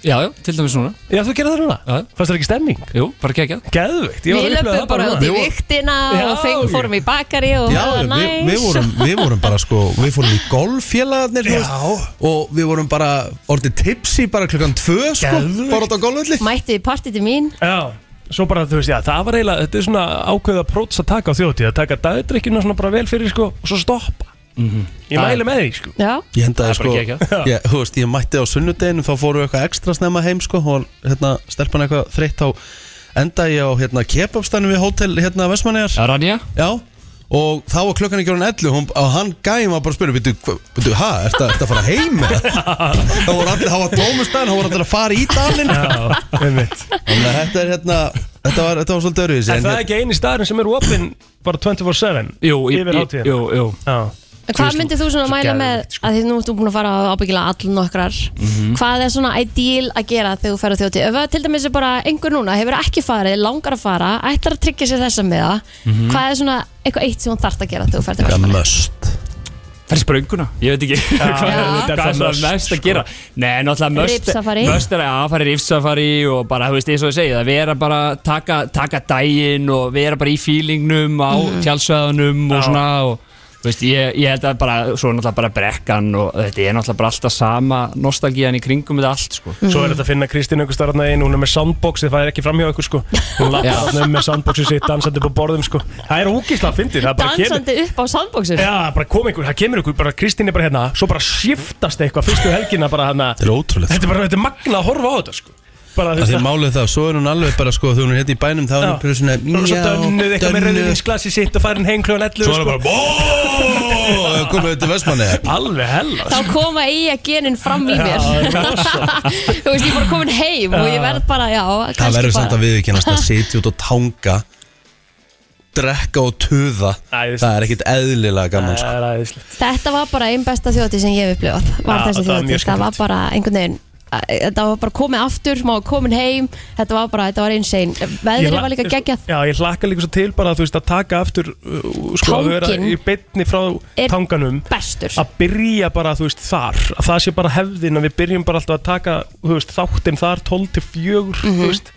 S5: já, já til dæmis svona
S4: Já, þú gerir það núna?
S5: Já.
S4: Fannst það ekki stemming?
S5: Jú, bara geggjað
S4: Geðveikt, ég var
S3: Við
S4: að upplifa
S3: löpum
S4: það
S3: bara út í
S4: núna.
S3: viktina
S4: Já,
S3: og feng,
S4: ég-
S3: fórum í bakari og
S2: Já,
S3: það var
S2: við,
S3: næs
S2: við, vorum, við vorum bara sko Við fórum í golffélagarnir þú veist, Og við vorum bara orðið tipsi Bara klukkan tvö sko
S4: Geðveikt.
S2: Bara út á golfvelli
S3: Mættu í partí til mín
S4: Já, svo bara, þú veist, já, það var eiginlega Þetta er svona ákveða próts að taka á þjóðtíð að taka dagdrykkinu svona bara vel fyrir, sko og svo stoppa Ég
S5: Mhm. Það-
S4: mæli með því, sko
S3: Já,
S2: Ég hendaði
S5: Það er
S2: sko
S5: bara geggjað.
S2: ég, þú veist, ég mætti á sunnudeginu Þá fórum við eitthvað ekstra snemma heim sko Og hérna, stelpan eitthvað þreytt á Endaði ég á hérna kebabstænum við hótel Hérna Vestmannegar
S5: Já, Ranja
S2: Já Og þá var klukkan ekki orðin 11 hún, og hann gæði maður bara að spyrja Býtu, býtu, hæ, ertu ertu að fara heim? eða?" Þá voru allir, þá var tómustan Þá voru allir að fara í dalinn
S4: Já, einmitt
S2: Þannig að þetta er hérna Þetta var, þetta var svolítið hérna- öruvísi
S4: En það er ekki eini staðurinn sem er opinn bara 24-7
S5: Jú, ég,
S4: Yfir
S5: ég,
S4: hátíðina.
S5: jú, jú
S4: Já,
S3: En Hvað myndir þú svona
S4: svo
S3: mæla með
S4: geðveikt, sko.
S3: að því nú ert þú búin að fara á ábyggilega all nokkrar Hvað er svona ideal að gera þegar þú ferð á þjóti Ef að til dæmis er bara einhver núna hefur ekki farið, langar að fara ætlar að tryggja sér þessa með það Hvað er svona eitthvað eitt sem hún þarf að gera þegar þú ferð til
S2: Það
S3: Vestmannaeyja?
S2: möst
S5: Fær sprönguna, ég veit ekki hvað
S4: Já.
S5: hvað
S4: Þetta er
S5: er
S4: það
S5: það
S4: must,
S5: mest að
S4: sko.
S5: gera Nei, náttúrulega must
S3: Rifsafari.
S5: Must er að fara í rifsafari og bara, þú veist, eins og ég segi það vera bara, taka, taka daginn og vera bara í fílingnum á mm.
S4: Já.
S5: og svona og, þú veist, ég, ég held að bara, svo er náttúrulega bara brekkan og þetta er náttúrulega bara alltaf sama nostalgían í kringum þetta allt, sko
S4: Svo er þetta að finna Kristín einhver starfna einn, hún er með soundboxið, það er ekki framhjá ykkur sko Hún lappa
S5: Já.
S4: þarna um með soundboxið sitt, dansandi upp á borðum sko Það er ógislega fyndið, það bara kemur
S3: Dansandi upp á sandbóksum
S4: Já, bara kom einhver, það kemur ykkur, bara Kristín er bara hérna Svo bara shiftast eitthvað fyrstu helgina bara hérna
S2: Þetta er ótrúlegt
S4: Þetta er bara, þetta er magna að horfa á þetta sko Bara
S2: Það er
S4: þetta
S2: málið það, svo er hún alveg bara sko Þegar hún er hérna í bænum þá er hún bara svona
S4: Og svo dönnuð eitthvað sko. með
S2: dönnuð.
S4: rauðinsglasi sitt og farin heim sko. kljóðan 11
S2: Svo er hún bara Bóóóó Komið þetta vestmanni
S4: Alveg hella
S3: Þá koma eiga genin fram í mér Þú veist, ég er bara komin heim og ég verð bara, já,
S2: Það
S3: kannski
S2: verður samt
S3: bara
S2: að viðkennast að sitja út og tanga Drekka og tuða
S4: Æðislegt.
S2: Það er ekkit eðlilega gaman sko
S4: Það er aðeinslegt
S3: Þetta var bara einn besta þjóti sem ég hef upplifað var þessi
S4: Já, þetta var
S3: þjóti, það
S4: mjög
S3: var
S4: skemmtilegt.
S3: bara einhvern veginn að- Þetta var bara komið aftur, maður var komin heim Þetta var bara, þetta var insane
S4: Ég
S3: Veðrið
S4: la-
S3: var líka geggjað
S4: Já, ég hlakka líka svo til bara þú veist að taka aftur uh, sko, að vera
S3: Tanginn
S4: í beinni frá
S3: er-
S4: tanganum
S3: bestur
S4: að byrja bara þú veist þar að það sé bara hefðin að við byrjum bara alltaf að taka þú veist þáttinn þar 12 til 4
S3: Mhm.
S4: þú veist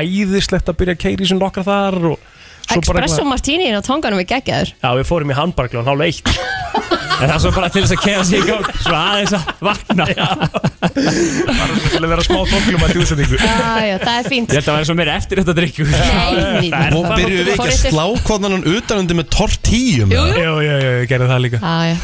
S4: æðislegt að byrja að keiri sem nokkra þar og svo bara
S3: Espresso martini inn á tanganum er geggjaður
S4: Já, við fórum í handbarklón, hálf eitt
S5: En það er svo bara til þess að keða sig í gang Svo aðeins að vakna
S4: til að vera smá þoklum að djúðsendingu
S3: ah, já, Það er fínt
S5: Ég held að það væri svo meira eftir þetta drikku
S3: Nei,
S2: Og byrjuðu við ekki að slá kvotnanan utanundi með tortíum
S3: Jú, jú.
S4: Jú, jú, jú, ég gerði það líka
S3: Ah, já.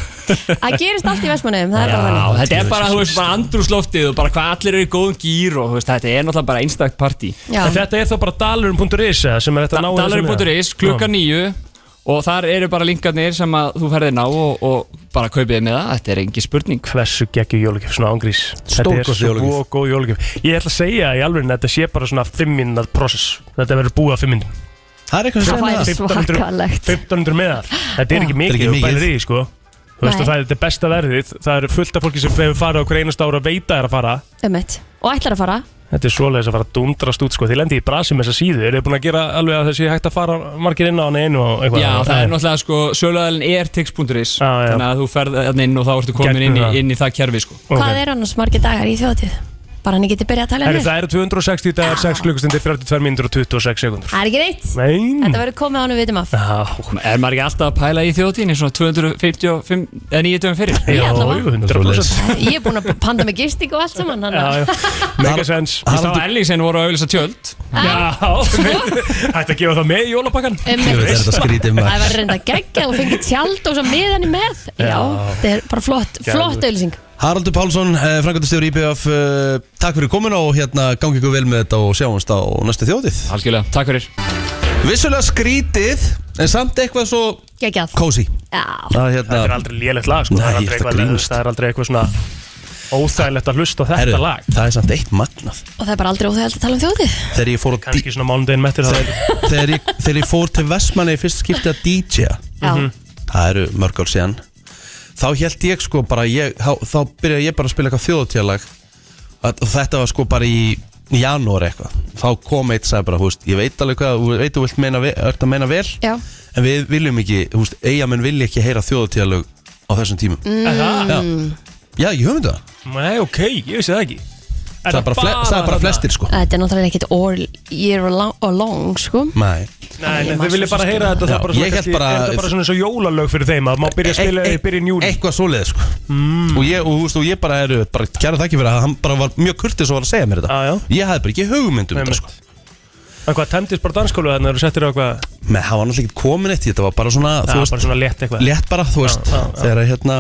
S3: Það gerist allt í Vestmannaeyjum, það er bara
S5: Já,
S3: þannig
S5: þetta er bara, þú veist, bara andrúsloftið og bara hvað allir eru í góðum gýr og þú veist, þetta er náttúrulega bara einstaktt partí
S3: Já.
S4: En þetta er þá bara dalurum.is eða, sem er þetta náið
S5: Dalari.is, klukka nýju og þar eru bara linkarnir sem að þú ferðir ná og, og bara kaupið með það, þetta er engin spurning
S4: Hversu geggju jólugjöf, svona ángrís Þetta er
S2: Stórkostleg jólagjöf.
S4: svo góð jólugjöf Ég ætla að segja í alveg að þetta sé bara svona 5 minnað process Þetta verður búið á 5 minnum
S2: Það er eitthvað sem
S3: Það væri
S4: 1500
S3: svakalegt
S4: 1500 meðal Þetta er ekki mikið,
S2: Þetta er
S4: þú
S2: ekki
S4: bælir
S2: mikið.
S4: í því, sko Þú veist
S3: Nei.
S4: að það er þetta er besta verðið Það er fullt af fólki sem hefur farið á hver einasta ára veita er að fara
S3: Einmitt. Og ætlar að fara
S4: Þetta er svoleiðis að fara að dundrast út sko Þið lendi í brasi með þessa síðu Eru þið búin að gera alveg að þessi hægt að fara margir inn á hann einu og eitthvað Eh,
S5: Já, það er náttúrulega sko, söluðalinn er tix.is
S4: Já, já.
S5: þannig að þú ferð þarna inn og þá ertu komin
S4: Gegnum
S5: inn í,
S4: það.
S5: inn í það kerfi sko.
S4: Ok.
S3: Hvað er annars margir dagar í þjótið? Bara hann ég geti byrjað að tala
S4: Herri,
S3: henni
S4: Það eru 260 dagar, 6 klukkustundir, 32 mínútur og 26 sekundur
S3: Það er ekki neitt
S4: Nein
S3: Þetta verður komið ánum vitum af
S4: Já,
S5: Er maður ekki alltaf að pæla í þjóðtíðinni svona 255 eða 90 fyrir?
S3: Ég ætla að
S4: jú, 100%
S3: Ég er búin að panda með gisting og allt saman hann að-
S4: Já, já. Mega sens
S5: Ég sá að Ellingsen voru að auðvisa tjöld
S4: Já, hætti að gefa það með í jólapakkan
S2: Ég veit
S3: Einmitt.
S2: að þetta skrítið
S3: Það
S2: maður
S3: var reynda geggja og fengið tjald og svo miðan í með Já, þetta er bara flott, flott auðlýsing
S2: Haraldur Pálsson, frangatistjóri IPF eh, Takk fyrir komin og hérna gangi ykkur vel með þetta og sjáumst á næstu þjóðið
S5: Algjörlega, takk fyrir
S2: Vissulega skrítið en samt eitthvað svo
S3: Geggjað
S2: kósi
S3: Já,
S2: Það er
S4: Það er
S2: hérna
S4: aldrei lélegt lag sko.
S2: Nei,
S4: það, er aldrei
S2: þetta
S4: eitthvað-
S2: grínast.
S4: það er aldrei eitthvað svona óþægilegt að hlusta á þetta
S2: Herru,
S4: lag
S2: það er samt eitt magnað
S3: og það er bara aldrei óþægald að tala um þjótið
S2: Þegar ég fór, á dí-
S4: Kanski svona mánudegin mettir það
S2: þegar ég, þegar ég fór til Vestmanni fyrst skipti að DJ-a
S3: Já,
S2: það eru mörg ár síðan þá held ég sko bara ég, þá, þá byrjaði ég bara að spila eitthvað þjóðutíðalag og þetta var sko bara í í janúar eitthvað, þá kom eitt sagði bara, húst, ég veit alveg hvað, þú veit þú vilt meina, ve- ert að meina vel,
S3: Já.
S2: en við viljum ekki, húst, eigamenn vilja ekki heyra þjóðutíðalag á þessum tímum
S4: mm.
S2: já, ég höfum þetta,
S4: Nei, ok, ég vissi það ekki Er
S2: það er bara, fle það er bara
S4: þarna?
S2: flestir sko
S3: þetta er náttúrulega ekkit all year long, or long sko
S2: Nei.
S4: Nei, nei,
S3: Ég
S4: þau
S3: man
S4: vilja
S3: svo
S4: bara
S3: sem
S4: heyra
S2: Já,
S4: þetta það er bara svona
S2: ég hélt
S4: kannski-
S2: bara-
S4: er Þetta bara svona svo jólalög fyrir þeim að má byrja að spila í Mm. byrjun júni
S2: eitthvað svoleið sko. og, ég, og, húst, og ég bara eru bara kæra þakki fyrir að hann bara var mjög kurtis og var að segja mér þetta
S4: Já, já.
S2: ég hafði bara ekki hugmyndum
S4: Nei,
S2: þetta sko.
S4: mitt. En hvað, tæmdist bara danskólu þannig að þú settir á eitthvað
S2: Nei, það var náttúrulega ekki komin eitt í þetta var bara svona,
S4: Já,
S2: þú
S4: bara
S2: veist,
S4: svona létt eitthvað
S2: létt bara, þú veist
S4: já, já.
S2: þegar að, hérna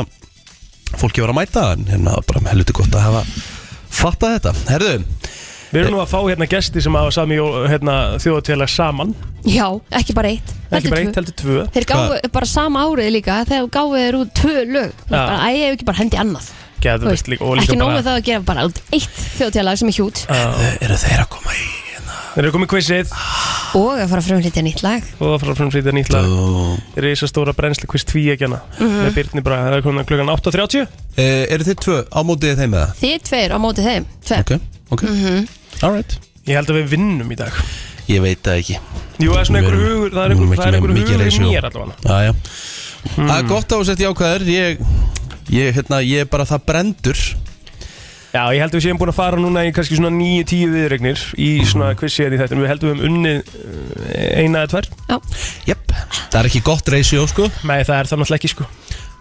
S2: fólki var að mæta en hérna var bara með helviti gott að hafa fattað þetta, herðu
S4: Við erum nú að fá hérna gesti sem hafa sami jó- hérna, þjóðatélag saman
S3: Já, ekki bara eitt
S4: Ekki
S3: heldur tvö.
S4: bara eitt, heldur tvö
S3: Þeir gáðu bara sama ærið líka þegar gáðu þeir út tvö lög Það
S4: Já.
S3: er bara, æ, ég hef ekki bara hendi annað Þú
S4: Geðveikt
S3: veist,
S4: líka- og líka
S3: Ekki nógu
S4: bara-
S3: það að gera bara út eitt þjóðtjálag sem er hjút
S2: eru þeir að koma í
S4: Þeir eru komið quizið
S3: og að fara að frumlítja nýtt lag
S4: og það fara frum frýtið nýtt lag Rísastóra brennsli hvist tvíegjana hérna.
S3: Mhm.
S4: með Byrni Braga, það er komin að klukkan 8.30
S2: Eh, Eru þið tvö á mótið þeim eða?
S3: Þið tveir á móti þeim, tveir
S2: Ok, ok Alright
S4: Ég held að við vinnum í dag
S2: Ég veit það ekki
S4: Jú, það er svona
S2: Við
S4: einhver
S2: erum-
S4: hugur, það er
S2: við erum
S4: einhver,
S2: ekki
S4: það er
S2: með
S4: einhver
S2: mikið
S4: hugur í
S2: reisjó.
S4: mér allavega
S2: Jæja Það er gott á að setja ákvæður Ég, ég, hérna, ég er bara það brendur
S4: Já, ég held að við séum búin að fara núna í kannski svona 9-10 viðregnir í svona
S2: Mhm.
S4: quizzið í þetta við heldum við um unnið eh, eina eða tvær
S3: Já,
S2: Jep Það er ekki gott reisjó sko
S4: Nei, það er það náttúrulega ekki sko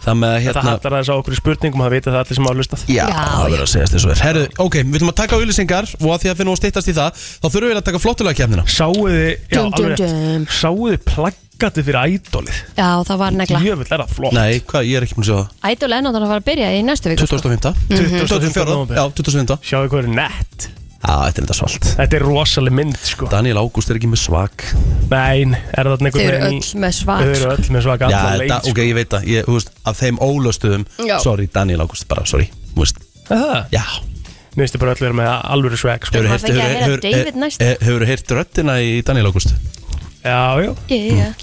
S2: Það með að,
S4: Það
S2: hérna
S4: hallar aðeins á okkur í spurningum, það veit að það allir sem hafa hlustað
S2: Já,
S3: Já,
S2: það verður að segjast eins og er Herðu, ok, við ætlum að taka auðlýsingar og að því að fyrir nú að stýttast í það þá þurfum við að taka flottulagakefnina
S4: Sáuði, já,
S3: Dum, dum,
S4: alveg
S3: dum.
S4: rétt. Sáuði plaggati fyrir ædolið
S3: já það var negla
S4: Jöfull er það flott
S2: Nei, hvað, ég er ekki búin að sjá það
S3: Ædol er náttúrulega að fara að byrja í næstu viku sko.
S2: 2005
S4: 24.
S2: 2004, já, 2005
S4: Sjáðu hvað er nett
S2: Já, þetta er þetta svalt
S4: Þetta er rosaleg mynd sko
S2: Daniel Ágúst er ekki með svak
S4: Nein, er það
S3: Þau
S4: einhvern
S3: eru
S4: veginn í-
S3: öll með
S4: Þau
S3: svak
S4: eru öll með
S2: Já,
S4: svaka allan sko.
S2: da,
S4: leit
S2: ok, ég veit það ég, þú veist, Af þeim ólöstuðum
S3: Já.
S2: Sorry, Daniel Ágúst, bara, sorry þú veist,
S4: Mér
S2: Já
S4: finnst þið bara öll vera með alvöru sveg sko.
S2: Hefurðu heyrt-
S3: Maður fengi að heyra
S2: hefurðu-
S3: David
S2: hefurðu-
S3: næst.
S2: eh, Hefurðu heyrt röddina í Daniel Ágúst?
S4: Já, já
S3: Yeah.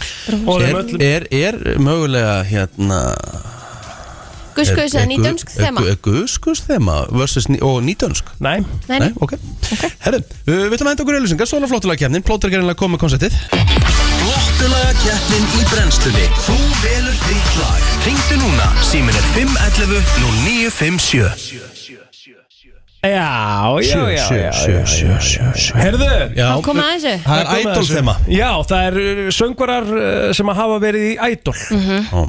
S4: Og
S2: Er,
S4: þeim öllum
S2: er, er mögulega hérna er-
S3: Guskus
S4: Eh,
S3: eða
S2: er gu-
S3: nýdönsk
S2: er
S3: þema
S2: gu- er Guskus þema versus ní- og nýdönsk
S4: eh, Nei,
S3: Nei, nei,
S2: Nei, ok, okay. Herru, uh, við ætlum að henda okkur auðlýsingar Svona flottulega kemnin, plótur er einlega komið með konceptið
S1: Flottulaga keppnin í brennstunni Þú velur þitt lag Ringdu núna, símin er 511 0957
S4: já, já, já, já, já, já.
S2: sjö, sjö, sjö
S4: Herðu
S2: Já,
S3: þá koma að
S2: það
S3: þessu
S2: er
S4: komið að
S2: ædol
S4: þessu.
S2: þema
S4: Já, það eru söngvarar eh, sem að hafa verið í ædol
S2: Ó,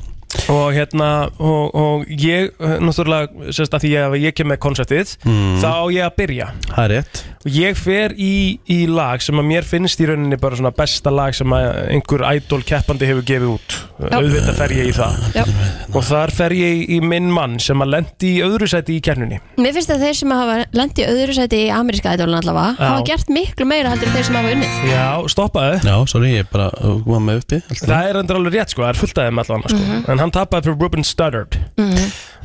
S4: og hérna og, og ég, eh, náttúrulega sérst að því að ég kem með konceptið
S2: Mm.
S4: þá á ég að byrja
S2: Það er rétt
S4: og ég fer í, í lag sem að mér finnst í rauninni bara svona besta lag sem að einhver ædol keppandi hefur gefið út auðvitað fer ég í það
S3: Já.
S4: og þar fer ég í minn mann sem að lendi í öðru sæti í kernunni
S3: Mér finnst að þeir sem hafa lendi í öðru sæti í ameríska ædólun allavega hafa gert miklu meira heldur en þeir sem hafa unnið
S4: Já, stoppaðu
S2: Já, sorry, ég bara uh, kom með uppi Þetta
S4: Það er endur alveg rétt sko, það er fullt af þeim allan sko.
S3: Mhm.
S4: En hann tapaði fyrir Ruben Studdard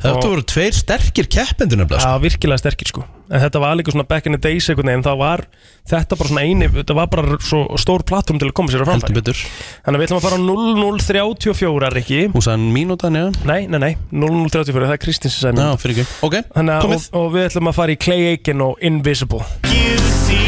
S2: voru tveir sterkir keppendur nefnilega
S4: Það var virkilega sterkir sko En þetta var líka svona back in the days einhvern veginn Það var þetta bara svona eini Þetta var bara svo stór plattform til að koma sér að
S2: sko. Heldur
S4: framfæri
S2: betur
S4: Þannig að við ætlum að fara á 0034 Rikki
S2: Hún sagði mínúta neðan
S4: Nei, nei, nei, 0034, það er Kristins sem sagði
S2: Já,
S4: mér
S2: fyrir ekki Ok,
S4: Þannig að og,
S2: komið
S4: og við ætlum að fara í Clay Aiken og Invisible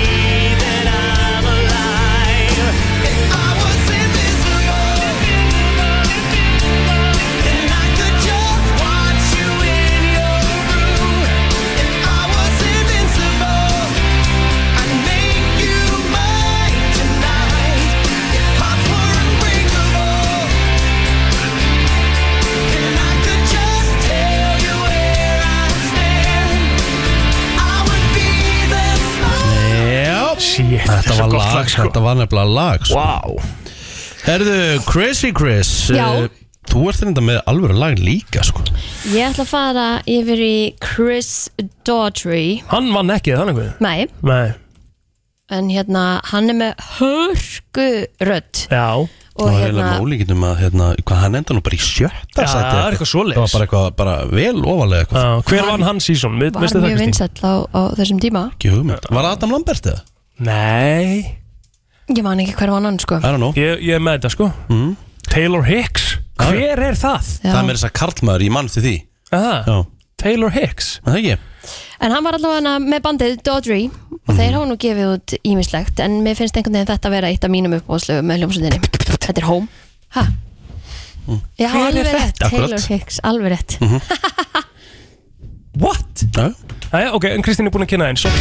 S4: Shit,
S2: Þetta
S4: svo
S2: var
S4: gott
S2: lag,
S4: sko.
S2: þetta var nefnilega lag sko.
S4: Vá
S2: Herðu, Crazy Chris
S3: Já.
S2: eh, Þú ert þetta með alvöru lag líka sko.
S3: Ég ætla að fara yfir í Chris Daughtry
S4: Hann vann ekki þannig við
S3: Nei,
S4: Nei,
S3: en hérna hann er með hörgu rödd
S4: já
S3: og
S2: Það var
S3: hérna
S2: eiginlega mólíkindum að hérna, hvað, hann enda nú bara í sjötta
S4: Já,
S2: sæti
S4: það er eitthvað svoleiðis.
S2: Það var bara, eitthvað, bara vel ofalega eitthvað
S4: Já, Hver vann hann sísón?
S3: var mjög vinsall á, á þessum tíma
S2: Ekki hugmynd Var Adam Lambert eða?
S4: Nei
S3: Ég man ekki hver var hann sko
S2: I don't know
S4: Ég, ég er með þetta sko
S2: Mhm.
S4: Taylor Hicks Hver er það?
S3: Já.
S2: Það er meira þess að karlmaður, ég mann til því
S4: Aha,
S2: Já,
S4: Taylor Hicks
S2: það ekki
S3: En hann var allavega með bandið Daughtry og
S4: Mhm.
S3: þeir hafa nú gefið út ímislegt en mér finnst einhvern veginn þetta að vera eitt af mínum uppbóðslögu með hljómsundinni. Þetta er Home. Ha? Já,
S4: Hver er
S3: alveg
S4: þetta?
S3: rétt. Taylor
S2: Akkurat.
S3: Hicks, alveg rétt.
S4: Mhm. What?
S2: Já,
S4: Æja, ok, en Kristín er búin að kynna einn Sorry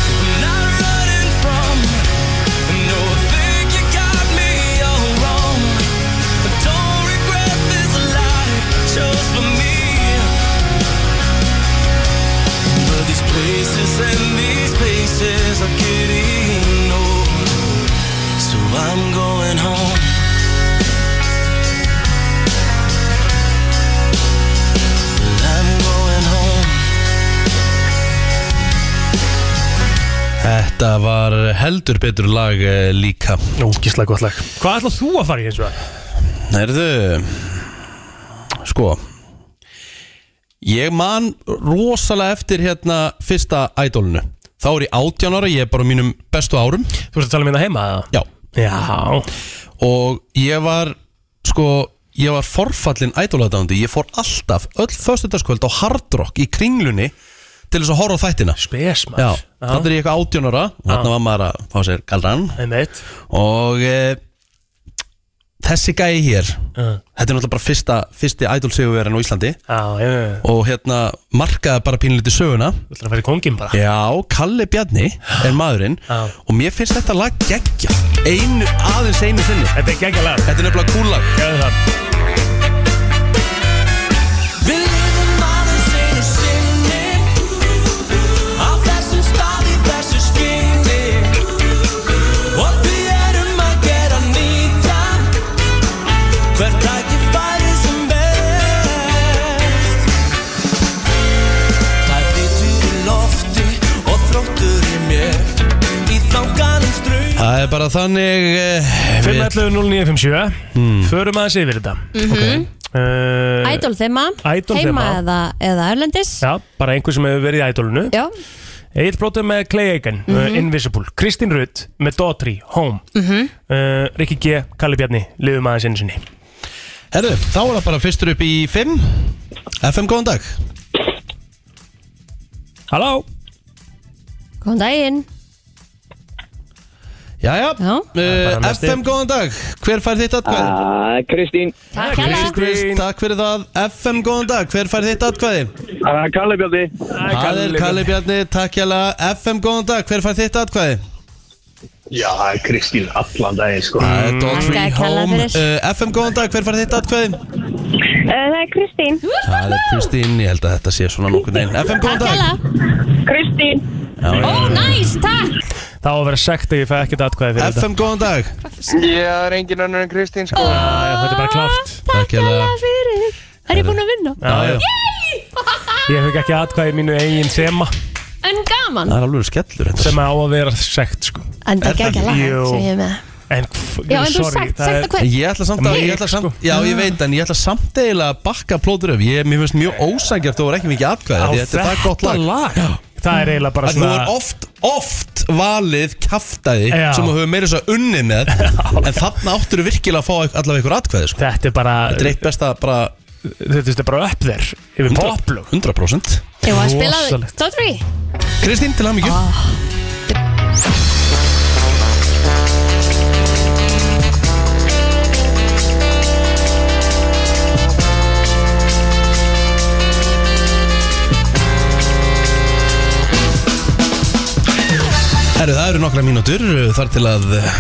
S1: Places and these places are getting old. So I'm going home. I'm going home.
S2: Þetta var heldur betur lag eh, líka
S4: Ógíslega gott lag Hvað ætlað þú að fara í eins og það?
S2: Herðu Sko Ég man rosalega eftir hérna fyrsta ædólinu Þá er ég átján ára, ég er bara á mínum bestu árum
S4: Þú ert að tala um hérna heima eða?
S2: Já
S4: Já,
S2: og ég var sko, ég var forfallin ædolaðdándi, ég fór alltaf öll föstudagskvöld á hardrock í kringlunni til þess að horfa á þættina
S4: spes
S2: Já,
S4: maður
S2: þannig er ég eitthvað átjón ára og þarna var maður að fá sér galran
S4: Einmitt
S2: og e, þessi gæi hér
S4: Já,
S2: þetta er náttúrulega bara fyrsta, fyrsti idol sigurverðin á Íslandi
S4: já, já, já.
S2: og hérna markaði bara pínlítið söguna
S4: Þú ætlar að fara í kongin bara
S2: Já, Kalli Bjarni er maðurinn
S4: Já.
S2: og mér finnst þetta lag geggja einu, aðeins einu sinni
S4: Þetta er geggjalag
S2: Þetta er nefnilega kúlag
S4: Gjöðu það
S6: Við lifum aðeins einu sinni Á þessum stað í þessu skyni Og við erum að gera nýta Hvert tækifæri sem best Það er vitur í lofti og þróttur í mér Í þanganum ströng
S2: Það er bara þannig eh, við- Mm.
S4: 511-0957 Förum aðeins yfir þetta okay.
S3: Idol þema,
S4: Idol
S3: heima
S4: þema.
S3: eða, eða erlendis
S4: Já, bara einhver sem hefur verið í ædolunu
S3: Já,
S4: Egil Brótið með Clay Egan,
S3: Mhm.
S4: uh, Invisible Kristín Rutt með Daughtry, Home uh, Rikki G, Kalli Bjarni Lifum aðeins einu sinni
S2: Herðu, þá er það bara fyrstur upp í 5 FM, góðan dag
S4: Halló
S3: góðan daginn
S2: Jæja,
S3: Já.
S2: Eh,
S4: bara næsti.
S2: FM, góðan dag Hver fær þitt atkvæði?
S7: Ah, Kristín
S3: Takk hella
S4: Kristín.
S2: Chris, takk fyrir það FM, góðan dag, hver fær þitt atkvæði?
S7: ah, Kalle Bjarni
S2: Það er Kalli Bjarni, takk hjá FM, góðan dag, hver fær þitt atkvæði?
S8: Já, það er Kristín allan daginn sko
S2: Það er Daughtry
S3: Þakkaði kærlega
S2: Home
S3: fyrir.
S2: Eh, FM, góðan dag, hver fær þitt atkvæði?
S9: Það er Kristín.
S2: Það er Kristín, ég held að þetta sé svona nokkuð einn FM, góðan
S3: Takk
S2: dag
S3: hella
S9: Kristín.
S3: Ó, næs, takk
S4: Það á að vera sagt að ég fæ ekkert atkvæði fyrir þetta
S2: FM, góðan dag
S4: Já, Þetta er bara klárt
S2: Takk
S3: Takk
S2: hella.
S3: hella fyrir Er ég búin að vinna?
S4: Já, já. Ég hef ekki atkvæði mínu eigin sema
S3: En gaman
S2: Það er alveg skellur þetta.
S4: sem á að vera sagt sko
S3: En
S2: Er
S3: það
S2: það
S3: geggja lag
S4: ekki?
S3: sem ég er með
S4: En, f-
S3: Já, en þú
S4: sorry,
S3: sagt,
S4: það
S3: sagt
S4: er-
S3: að hvern
S2: Ég ætla samt að, ég ætla samt, já ég veit en ég ætla samt eiginlega að bakka plótur öf Ég, mér finnst mjög ósangjart og var ekki mikið atkvæði
S4: Á
S2: því Þetta er það gott lag
S4: Það er eiginlega bara
S2: Að þú
S4: svona
S2: er oft, oft valið kaftaði
S4: Já.
S2: sem þú hefur meira svo unnið með en þarna áttur þú virkilega að fá eit- allavega ykkur atkvæði sko.
S4: Þetta er bara
S2: Þetta er eitt besta bara
S4: Þetta er bara upp þér Yfir
S2: 100%,
S4: poplug
S2: 100%.
S3: Ég var að spila
S4: Rosalegt.
S3: Top 3
S2: Kristín, til hann mikið Herru, það eru nokkra mínútur uh, þar til að, uh,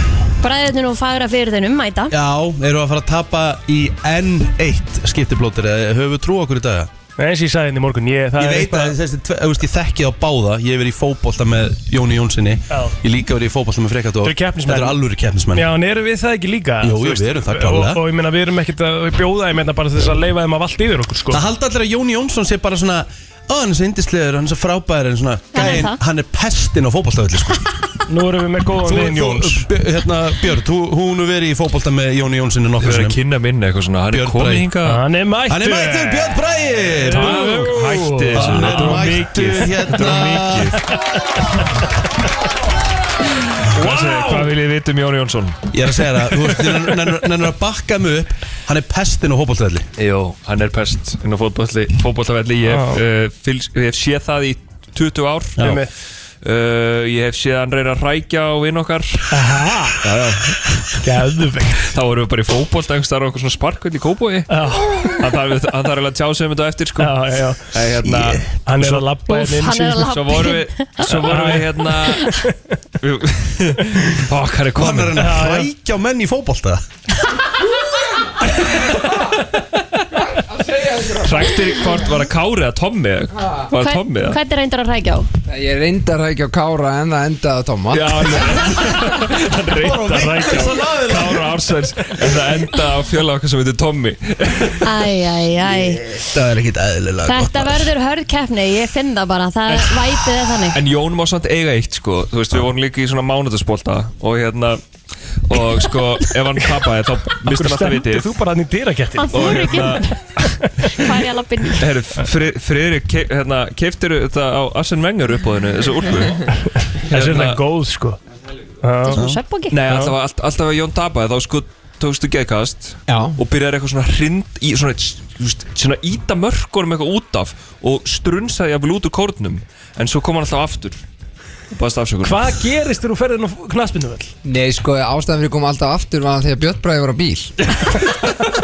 S3: Bræðinu og fagra fyrir þennum mæta
S2: já, eru að fara að tapa í N1 skiptiblótir eða höfum við trú okkur í dag?
S4: Eins og ég sagði henni í morgun Ég, það
S2: Ég
S4: er
S2: veit
S4: eitthvað-
S2: að þessi, tve- þú veist, ég þekki þá báða Ég hef verið í fótbolta með Jóni Jónssoni
S4: Já.
S2: Ég líka verið í fótbolta með Frekató
S4: Þetta eru keppnismenn.
S2: Þetta eru alvöru keppnismenn
S4: Já, en eru við það ekki líka?
S2: Jú,
S4: Þú
S2: jú,
S4: veist,
S2: við erum það
S4: og-
S2: klárlega.
S4: Og ég meina, við erum ekkert að bjóða þeim hérna bara til þess að leifa þeim að valda yfir okkur, sko
S2: Það halda allir að Jóni Jónsson sé bara svona Ó, hann er svo indislegur, hann er svo frábær En svona,
S3: Hann er
S2: gæinn,
S3: það.
S2: hann er pestin á fótboltavelli sko.
S4: Nú erum við með góðan
S2: Þú-
S4: vin Jóns
S2: þú- B- Hérna, Björn, þú, hún er verið í fótbolta með Jóni Jónssoni
S10: Ég
S2: nokkur
S10: verður að
S2: sinum
S10: kynna minna eitthvað svona, hann
S2: Björn
S10: er komið
S2: Bragi.
S10: hingað
S4: Hann er mættur
S2: Hann er mættur, Björn Bræðir
S10: Takk, hætti þessu,
S2: Hann
S10: þetta
S2: er
S10: var
S2: mættur
S10: mikið Þetta var
S2: hérna
S10: mikið Hvað segir- Hvað vil ég vita um Jón Jónsson?
S2: Ég er að segja það, þú veist, ég nennir- nennir að bakka mig upp Hann er pestin á fótboltavelli
S10: Jó, hann er pest inn á fótbolli, fótbollavelli Ég hef, uh, fylgst- ég hef séð það í 20 ár uh, Ég hef séð hann reyna að rækja á vinn okkar Þá
S4: Gæðvegt
S10: erum við bara í fótbolt Engstar okkur svona sparkvöld í kóbói
S4: Já,
S10: Hann þarf hann þarf eiginlega að tjá sig um þetta á eftir sko
S4: já, já
S10: Æ, hérna,
S4: Hann er að labba
S3: Úff,
S4: hérna inn
S3: hann er að labba
S10: Svo vorum við, svo vorum við hérna Fokk, hann er
S2: Hann er
S10: komin
S2: hann að hrækja á menn í fótbolta
S10: Hræktir hvort var að Kári eða Tommi Var það Tommi eða?
S3: Hvernig reyndir að rækja á?
S11: Ég reyndar ekki á Kára en það endaði á Tóma
S10: Já, hann hann reyndi að hrækja á Kára Ársæns En það enda á fjöla okkar sem heitir Tommi
S3: Æ, æ, æ
S2: Það er ekkit eðlilega
S3: Þetta verður hörð keppni, ég finn það bara Það væpið er þannig
S10: En Jón má samt eiga eitt sko Þú veist, við vorum líka í svona mánudagsbólta Og hérna Og sko, ef hann tapaði þá misti hann alltaf
S4: Stendur
S10: vitið
S4: þú bara hann í dýrakettin
S3: Hann
S10: Og
S3: fór ekki
S10: hérna,
S3: Hvað er ég að lappin?
S10: herru, Fri- Friðrik, keyp- hérna, keiftiru þetta á Arsene Wenger uppáðinu, þessu úrku
S2: Hérna-
S4: Þessi er það góð sko
S3: er svona svefnpoki.
S10: Nei, alltaf, alltaf, alltaf að Jón tapaði þá sko tókstu geðkast Já. og byrjaði eitthvað svona hrind í svona, just, svona íta mörkunum eitthvað út af og strunsaði jafnvel út úr kórnum en svo kom hann alltaf aftur og baðast afsökunar
S4: Hvað gerist þegar þú ferðin á knaspinu vel?
S11: Nei, sko, ástæðan fyrir að koma alltaf aftur var því að Björn Bræði var á bíl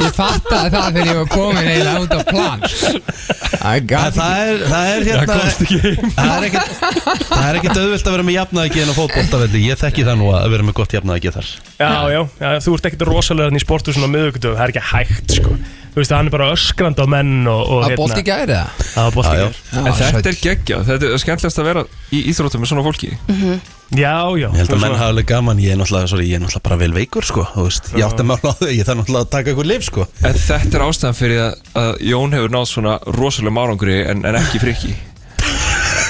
S11: Ég fattaði það fyrir ég var komin eiginlega út á plan
S2: Það, það er, það er hérna Það er ekkert Það er ekkert auðvilt að vera með jafnaðegi en á fótboltavelli Ég þekki það nú að vera með gott jafnaðegi þar
S4: Já, já, já, þú ert ekkert rosalega hérna í sportu svona miðugtöf, það er ekki hægt sko Þú veist að hann er bara öskrand á menn og, og hérna.
S11: Það var bolti í gær, eða?
S4: Það var bolti
S11: Já, já.
S4: gæri
S10: En þetta er geggja, þetta er skemmtilegast að vera í íþróttum með svona fólki
S4: Já, já
S2: Ég held að menn hafa alveg gaman, ég er náttúrulega, sorry, ég er náttúrulega bara vel veikur sko, þú veist, ég átti að mála á þau, ég þarf náttúrulega að taka eitthvað lif sko
S10: En þetta er ástæðan fyrir að, að Jón hefur náð svona rosalega márangri en, en ekki frikki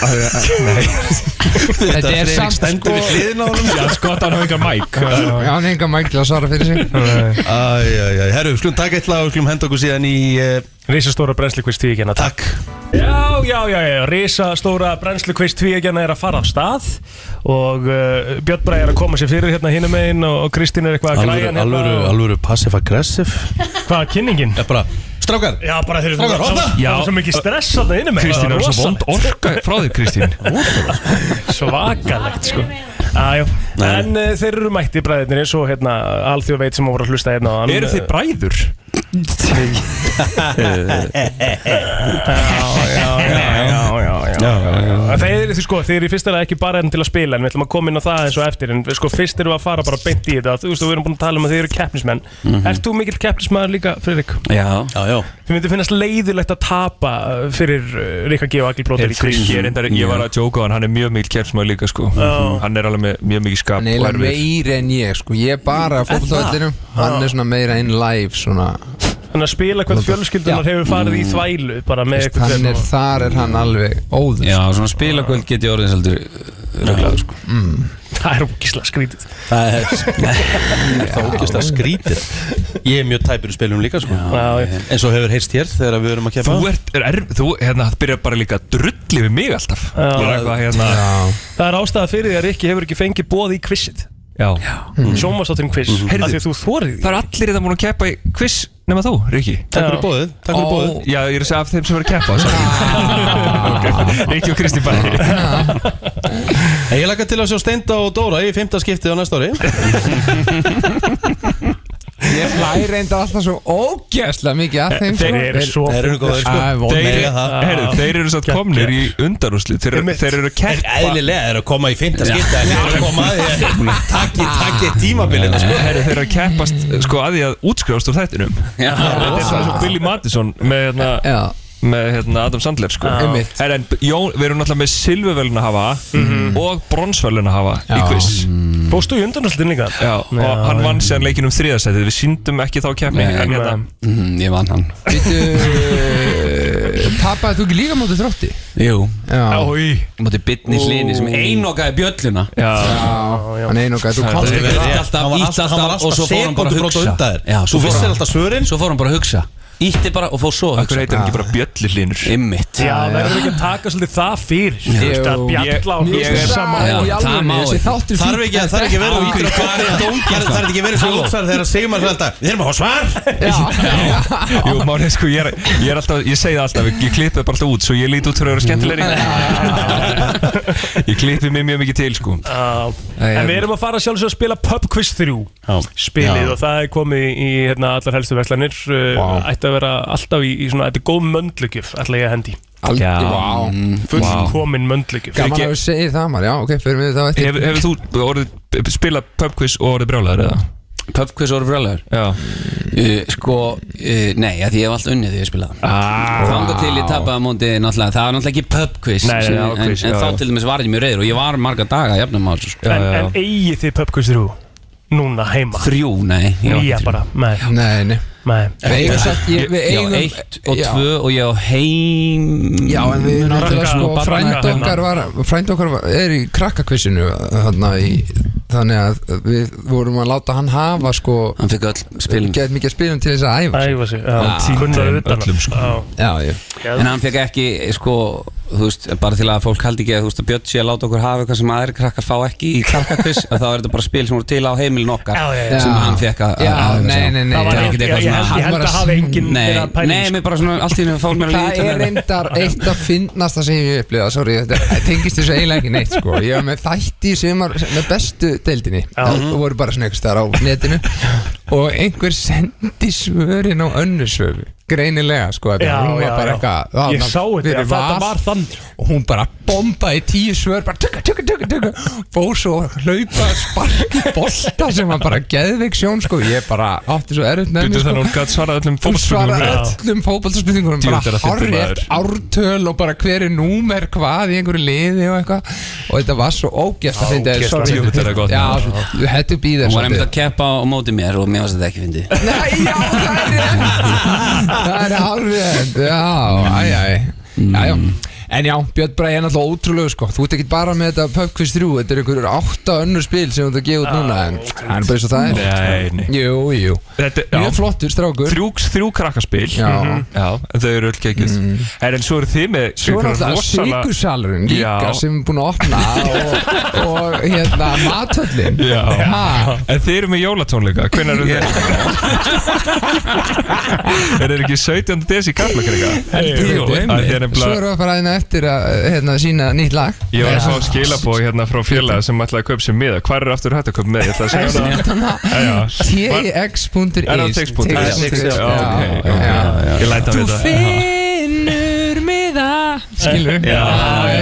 S10: Af því að- Nei
S11: Þetta er samt
S2: stendur við hliðina á honum
S10: Já, sko, hann hefur engan mæk
S11: Já, hann enga mækla að svara fyrir sig
S2: Æjæjæj, herru, skulum taka eitt lag og skulum henda okkur síðan í eh,
S4: Rísastóra brennslikvist tíu hérna,
S2: takk
S4: Já, já, já, já, risa stóra brennslukvist tvíegjana er að fara af stað og uh, Björn Bræði er að koma sér fyrir hérna hinum einn og, og Kristín er eitthvað að
S2: Alvöru,
S4: græja hérna
S2: alvöru, alvöru passive aggressive
S4: og, Hvað, kynningin?
S2: Já, bara, strákar
S4: Já, bara þeir
S2: Strákar,
S4: það,
S2: hoppa!
S4: það, það var svo mikið stress þarna hinum einn
S10: Kristín,
S4: það
S10: það
S4: var
S10: er svo vond
S4: rosalegt.
S10: orka frá þér, Kristín
S4: Svakalegt, sko Æjó, en uh, þeir eru mætti bræðinir eins og hérna alþjóð veit sem voru að hlusta hérna á hann
S10: Eru þið bræður?
S4: Þeir eru sko, þeir eru í fyrsta lega ekki bara enn til að spila en við ætlum að koma inn á það eins og eftir en sko fyrst erum við að fara bara beint í þetta þú veist og við erum búin að tala um að þeir eru keppnismenn
S10: Mhm.
S4: Ert þú mikill keppnismæður líka, Fredrik?
S10: Já,
S2: já, já.
S4: Þið myndi finnast leiðilegt að tapa uh, fyrir uh, Rikka G og Agli Blóter
S10: Ég, er reyndar, ég var að djóka á hann, hann er mjög mikil kjærfsmaður líka sko
S4: Já.
S10: Hann er alveg með mjög mikið skap
S11: Hann er
S10: og
S11: eiginlega
S10: erfiður.
S11: meiri en ég, sko Ég er bara að fótboltavellinum Hann er svona meira in live, svona
S4: Þannig að spila hvað fjölskyldunar hefur farið í þvælu bara með
S11: Veist, hann er, Þar er hann alveg óður
S12: Já, svona spilakvöld get ég orðið svolítið röglaður sko
S11: mm.
S4: Það er ógislega skrítið
S2: Það er það ógist að skrítið Ég er mjög tæpur í spilum líka sko En svo hefur heyrst hér þegar við erum að keppa
S10: Þú ert, er erf, þú hérna, byrjar bara líka að drulli við mig alltaf
S4: Já.
S10: Ég er eitthvað hérna
S4: Það er ástæða fyrir því að Rikki hefur ekki fengið bóð í quizið
S10: Já,
S4: mm. Sjómasátturinn quiz mm
S10: Heyrðu,
S4: -hmm. Því að þú þórið
S10: Það er allir þetta múin að keppa í quiz nema þú, Ríkki
S4: Takk fyrir Já. boðið,
S2: takk fyrir
S10: Ó,
S2: boðið.
S10: Já, ég er að segja af þeim sem verður að keppa sorry. Ok, Ríkki og Kristi bæði
S2: En Ég laka til að sjá Steinda og Dóra í fymta skiptið á næsta ári
S11: Ég hlæ reynda alltaf svo ógæslega mikið að þeim sko.
S10: Þeir eru svo
S2: Þeir eru góðir, sko.
S11: Æ, von
S10: Þeir,
S11: meira það.
S10: heyrðu, þeir eru satt komnir í undanúsli Þeir, eru- þeir eru að keppa
S2: Eðlilega þeir eru að koma í fymta skiptið en Þeir eru að koma að því Takki, takki tímabilið sko.
S10: Heyrðu, Þeir eru að keppast sko, að því að útskrifast úr þættinum
S12: Já.
S10: Þetta er svona svo Billy Madison með, hérna, með hérna, Adam Sandler sko.
S11: Já. Einmitt.
S10: Heyrðu, en, Jón, Við erum náttúrulega með silfurvelun að hafa og bronsvelun að hafa í quiz
S4: Bóstu í undanúslutin líka?
S10: Já, og hann vann sér leikin um þriðasætið Við síndum ekki þá keppni
S12: Nei.
S10: en hérna
S12: mm, Ég vann hann
S11: Býtu, Pappaði þú ekki líka mótið þrótti?
S12: Jú
S11: Já.
S12: Mátti bitni
S11: Ó.
S12: hlini sem einokaði bjölluna
S10: Já,
S11: já. Hann einokaði, þú
S12: Það
S11: komst
S12: er
S11: ekki
S12: rétt.
S11: að
S12: alltaf,
S2: Hann var
S12: ítt
S2: alltaf- hann var
S12: alltaf og
S2: alltaf
S12: svo fór hann bara að
S2: sekúndubrot á
S12: hugsa
S2: undan þér.
S12: Já, svo
S2: Þú
S12: fór
S2: vissir
S12: hann-
S2: alltaf svörin.
S12: Svo fór hann bara að hugsa Ítti bara og fór svo að hugsa
S10: Akkur heitir hann ekki bara bjölli hlinur
S12: Ymmit
S4: Já, verður ekki að taka svolítið það fyrir Þú veist að bjalla og
S12: Ég- ég er- Já, það má ekki.
S2: Þarf ekki að það er ekki verið
S12: Á,
S2: útræð Það er það er ekki verið svo útræð þegar að segja maður þetta Við erum að hafa svar
S10: Jú, málið sko, ég er, ég er alltaf, ég segi það alltaf, ég, ég klippi það bara alltaf út Svo ég lít út fyrir að vera skemmtilegri Ég klippi mig mjög mikið til sko
S4: Já, en við erum að fara sjálfsög að spila Pub Quiz 3 spilið
S10: Já.
S4: og það er komið í hérna, allar helstu verslanir wow. ætti að vera alltaf í, í svona, þetta er góð möndlugjöf ætla ég að hendi
S11: Aldrei, vá.
S4: fullkomin möndlugjöf
S11: Gaman að þú segir það maður, já, ok, fyrir mig þá eftir
S10: Hefur hef þú orðið, spilað pubquiz og orðið brjálæður eða?
S12: Pubquiz og orðið brjálæður?
S10: Já
S12: uh, Sko, uh, nei, að því ég hef alltaf unnið því ég spilaði
S10: ah.
S12: Þanga til ég tapaði á móti náttúrulega Það var náttúrulega ekki pubquiz
S10: Nei, nei,
S12: sem-
S10: nei, á
S12: En,
S10: quiz,
S12: en
S10: já,
S12: þá
S10: já.
S12: til dæmis var ég mjög reyður Og ég var marga daga að jafna maður sko.
S4: en, en eigið þið Pub Quiz 3 núna heima
S12: Þrjú, nei ég var
S4: nýja
S12: ekki
S4: bara, nei
S11: Nei, nei
S4: Nei.
S11: Við eigum satt- ég- við
S12: Ég á
S11: eigum-
S12: eitt og
S11: já.
S12: tvö og ég á heim
S11: Já, en við erum
S12: Krakka-
S11: náttúrulega sko
S12: barna-
S11: frænd okkar var, frænd okkar var, er í krakkakvissinu þarna í þannig að við vorum að láta hann hafa sko
S12: Hann fikk öll spilum
S11: Gæt mikið spilum til þess að æfa
S4: Æfa sig, já, kunnar utan
S12: öllum,
S4: sko
S11: Já, já
S12: En hann fekk ekki sko þú veist, bara til að fólk haldi ekki að, þú veist, að Björn sé að láta okkur hafa eitthvað sem aðri krakkar fá ekki í krakkakviss að þá er þetta bara spil sem voru til á heimilin okkar
S11: Já, já, já.
S12: sem
S11: Já.
S12: hann fekk að
S11: Já,
S12: að- að-
S11: nei, nei, nei. Það var
S12: Það er ekkert
S11: ekkert-
S12: eitthvað
S11: ég- ég
S12: svona-
S11: held- ég held að hafi enginn
S12: Nei,
S11: verið að pæla í
S12: Nei,
S11: þessu.
S12: mér bara svona allt í henni fólk mér að
S11: Það
S12: líta
S11: er reyndar eitt að finnast það sem ég hef upplifað, sorry, þetta tengist þessu eiginlega ekki neitt sko Ég var með þætti sem var með bestu deildinni og voru bara svona einhvers þar á netinu og einhver sendi svörin á önnu svöfu greinilega sko,
S4: Já,
S11: já, hún var
S4: já, já.
S11: bara eitthvað það var
S4: Ég sá þetta,
S11: fyrir
S4: já, þetta
S11: Val
S4: var þann
S11: og hún bara bombaði tíu svör bara tukka, tukka, tukka, tukka fór svo að hlaupa sparki bolta sem var bara geðveik sjón sko, ég bara átti svo erfitt með
S10: Býttu
S11: mig, sko.
S10: þannig að hún gat svarað öllum
S11: Hún
S10: fótboltaspurningum.
S11: svaraði
S10: Já.
S11: öllum fótballspurningunum
S10: Djú, þetta er
S11: bara
S10: að fyndi
S11: horrið ártöl og bara hver er númer hvað í einhverju liði og eitthvað og þetta var svo ógjast að finna
S12: Ógeðslega fyndið, þetta er gott.
S11: Já, hættu býðir
S12: Hún var einmitt að keppa á móti mér og mér varst þetta ekki fyndi
S11: Eh, Það er hárið Já, æj, æj Já, já En já, Björn Bræði er náttúrulega ótrúlegu sko Þú ert ekki bara með þetta PubQuiz 3 Þetta er einhverjur átta önnur spil sem þú ert að gefa út núna En það er bara eins og það er
S10: Nei, nei
S11: Jú, jú
S10: Þetta,
S11: Mjög flottur strákur
S10: Þrjú, mhm. þrjú krakkaspil
S11: Já. Mm.
S10: já En þau eru öll kekjus En en svo eru þið með
S11: Svo er alltaf sykursalurinn líka sem er búin að opna og, og hérna matvöllin
S10: Já
S11: Ha.
S10: En þið eru með jólatónleika Hvernig eru þið? Er þeir ekki 17. des í Karlakreika? Jú, það er
S11: Svo
S10: nefnilega
S11: erum við að fara aðeina eftir að hérna, sína nýtt lag
S10: Ég var að fá skilabói hérna frá félaga sem ætlaði að kaupa sér miða Hvar er aftur hægt að kaupa miða? Ég ætla að segja það Já, já.
S11: TX.is
S10: Er það text.is?
S11: Já,
S10: ok, ok, já. Ég læta við það
S13: finnur miða
S11: Skilur
S10: Já,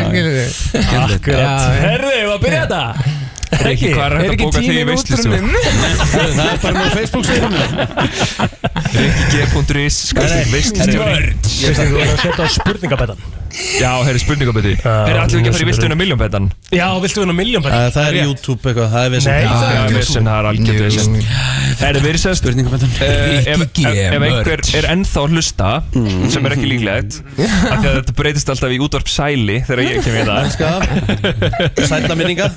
S11: skilur
S4: Akkurat
S11: Já, já.
S4: Herðu, ég var að byrja þetta Rikki,
S10: hvað er hægt að bóka þig í veistlustú?
S4: Það
S2: er bara með Facebook
S10: Rikki.is Skurðið veistlustjóri
S4: Ég veist að þú er að setja á spurningabettan
S10: Já, herri spurningaböti Herri, allir ekki að fara í um viltu unna miljónbettan
S4: Já, viltu vinna miljón
S2: Æ, Það er YouTube eitthvað, það er vesen
S10: Nei, það er vesen, það er algjörð vesen Herri, við erum sérst
S12: Spurningabötan
S4: eh,
S10: Ef ef einhver er ennþá að hlusta sem er ekki líklegt af því að þetta breytist alltaf í útvarp sæli þegar ég kem í
S2: Elska
S10: það
S2: Sætla minninga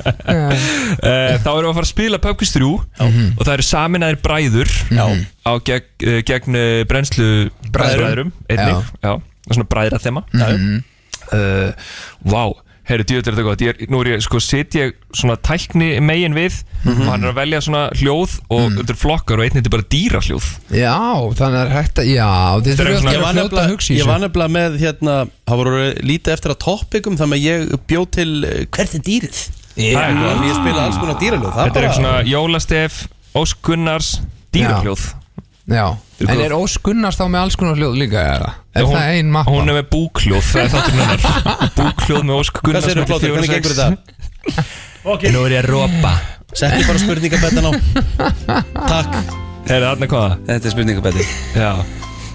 S10: Eh, Þá erum við að fara að spila Pöpkvist 3
S2: Mhm.
S10: og það eru saminæðir bræður Mhm. á gegn, eh, gegn eh, brennslu
S2: Bræðrum.
S10: bræðrum einnig,
S2: Já.
S10: já, og svona bræðra þema
S2: Mhm.
S10: uh, Vá, herri, djúður þetta gott ég er, Nú er ég, sko, set ég svona tækni megin við
S2: Mhm.
S10: og hann er að velja svona hljóð og þetta er flokkar og einnig þetta er bara dýra hljóð
S11: Já, þannig er hægt að Já, þið
S2: Ég
S11: þurfum að
S2: var
S11: fljóta að
S2: nefnilega-
S11: hugsa í
S2: ég var
S11: þessu
S2: nefnilega með hérna, það voru lítið eftir að toppikum þannig að ég bjó til eh, hvert er dýrið
S10: Já.
S2: Þannig að ég spila alls konar dýralöð
S10: Þetta er eitthvað svona jólastef, óskunnars, dýra hljóð
S11: Já,
S10: Þetta er
S11: en
S10: gott.
S11: er Ós Gunnars þá með alls konar hljóð líka eða? Er
S10: Hún-
S11: það ein mappa?
S10: Hún er með búkljóð, það er þáttur hennar Búkljóð með Ósk Gunnars
S2: segirðu, Plóter, hvernig gengur þetta?
S4: Ok,
S10: Nú er ég að rópa
S2: Setti bara spurningabettan á Takk
S10: Herri, þarna hvaða?
S12: Þetta er spurningabæti
S10: Já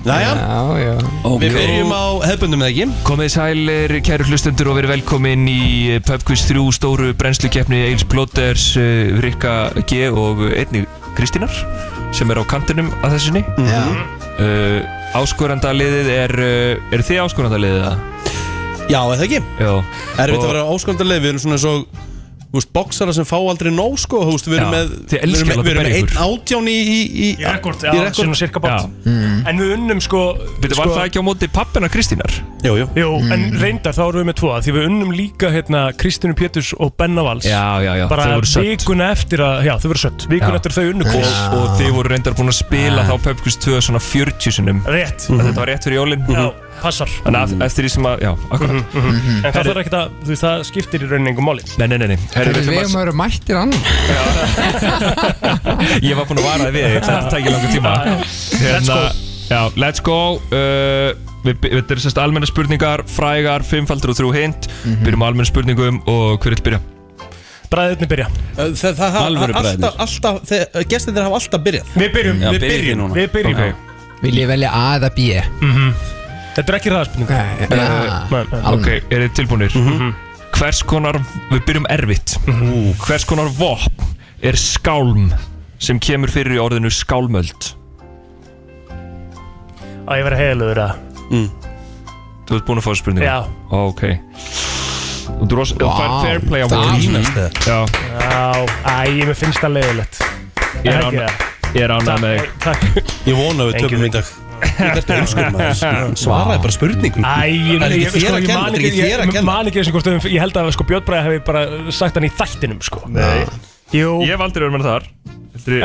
S2: Næja
S11: Já, já
S2: Við byrjum á hefbundum eða ekki
S10: Komið sælir, kæru hlustendur og verið velkomin í eh, PubQuiz 3 stóru brennslukeppni Eils Blóters, uh, Rikka G og einni Kristínar sem er á kantinum að þessinni
S11: Já.
S10: uh, Áskorandaliðið er, uh, er þið áskorandaliðið það?
S2: Já, eða ekki
S10: Já
S2: Erfitt
S10: Og-
S2: að vera ásköndarlega, við erum svona eins og Þú veist, boksara sem fá aldrei nóg sko Þú veist, við erum
S10: Já,
S2: með
S10: þið
S2: Við erum
S10: elskið að láta
S2: með- við erum með
S10: berja
S2: einn
S10: ykkur.
S2: átján í Í, í,
S4: Í rekord, já, svona cirka bát En við unnum sko
S10: Þetta var
S4: sko-
S10: það ekki á móti pappina Kristínar?
S2: Jú, jú
S4: Jú, en reyndar þá erum við með tvo Því við unnum líka hérna Kristínu Péturs og Benna Valls
S10: Já, já, já,
S4: Bara
S10: þau voru södd.
S4: vikuna eftir að, já þau voru sött
S10: Já.
S4: Vikuna eftir að þau unnu
S10: og,
S4: kvót
S10: Ah. og þið voru reyndar búin að spila þá Pöpkvist 2 svona 40 sinum
S4: Rétt
S10: mm -hmm. Þetta var rétt fyrir jólin
S4: Já, passar
S10: Þannig að eftir því sem að, já, akkurat
S4: En það þarf ekkert að, þú veist, það skiptir í rauninni engum máli
S10: Nei, nei, nei, nei. Herri, við
S11: Við hefum
S10: ætlum
S11: að vera mættir annan
S10: að, Ég var búin að vara þið við þig, Þetta tækir langan tíma
S4: Let's
S10: Hérna,
S4: go.
S10: Já, let's go uh, Við við- Þetta eru sérst almenna spurningar Frægar, fimmfaldur og þrjú hint Byrjum á almenna spurningum og hver vil byrja?
S4: Bræðirni byrja
S2: Það, það, það
S10: Alvöru bræðurnir.
S2: alltaf, alltaf, þeir, gestinir hafa alltaf byrjað
S4: Við byrjum,
S10: Já,
S4: við
S10: byrjið
S4: byrjum,
S10: núna.
S4: við byrjum
S10: Ok.
S11: Vil ég velja A eða B?
S4: Mhm. Þetta er ekki ræðarspurning
S10: Eh,
S11: Nei,
S4: nei, nei.
S10: Ok, er þið tilbúinir? Hvers konar, við byrjum erfitt Hvers konar vopn er skálm sem kemur fyrir í orðinu skálmöld?
S4: Á ég verið heilugur að
S10: Þú ert búin að fá þessu spurningu?
S4: Já.
S10: Ok Og þú rosa- þú fær fair play á
S2: Það
S10: voru
S2: ánast það
S10: Já,
S4: Já, æ, mér finnst það leiðilegt
S10: ég er
S4: Ekki
S10: ánægð-
S4: það.
S10: ég er ánægð með þig
S4: Takk
S2: Ég vona að við
S4: Thank you,
S2: töpum í dag Þetta er önskur maður Svaraði bara spurningum
S4: Æ, ég,
S2: Er ekki
S4: ég,
S2: þér
S4: sko,
S2: að
S4: ég
S2: kenna,
S4: man
S2: er
S4: ekki,
S2: ekki þér að
S4: ég
S2: kenna
S4: man ekki eins og hvort um- ég held að sko, Björn Bræði hefði bara sagt hann í þættinum sko. Nei Jú Ég hef aldrei verið með þar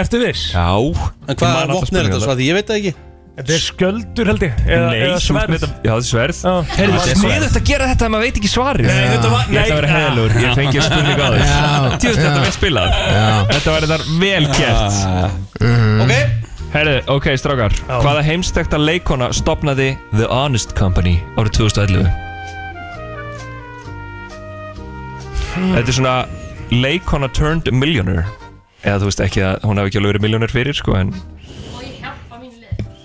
S4: Ertu viss?
S10: Já
S2: En hvaða vopn er þetta, Svati? Ég veit það ekki
S4: Þetta er sköldur held ég eða,
S10: Nei,
S4: eða
S10: þú ert
S4: sverð
S10: með þetta Já, þetta er sverð
S4: Heyrðu,
S10: Þetta er sverð.
S4: að gera þetta ef maður veit ekki svarið Nei, þetta var
S10: Ég ætla að vera heðalur, ég fengi að spurninga á þér
S4: Já.
S10: Tjóðst þetta
S4: Já.
S10: vel spilað Þetta var þetta vel gert Ok Herðu, ok, strákar Hvaða heimstekta leikona stopnaði The Honest Company árið 2011? Þetta er svona leikona turned millionaire Eða þú veist ekki að hún hefði ekki alveg verið millionaire fyrir sko en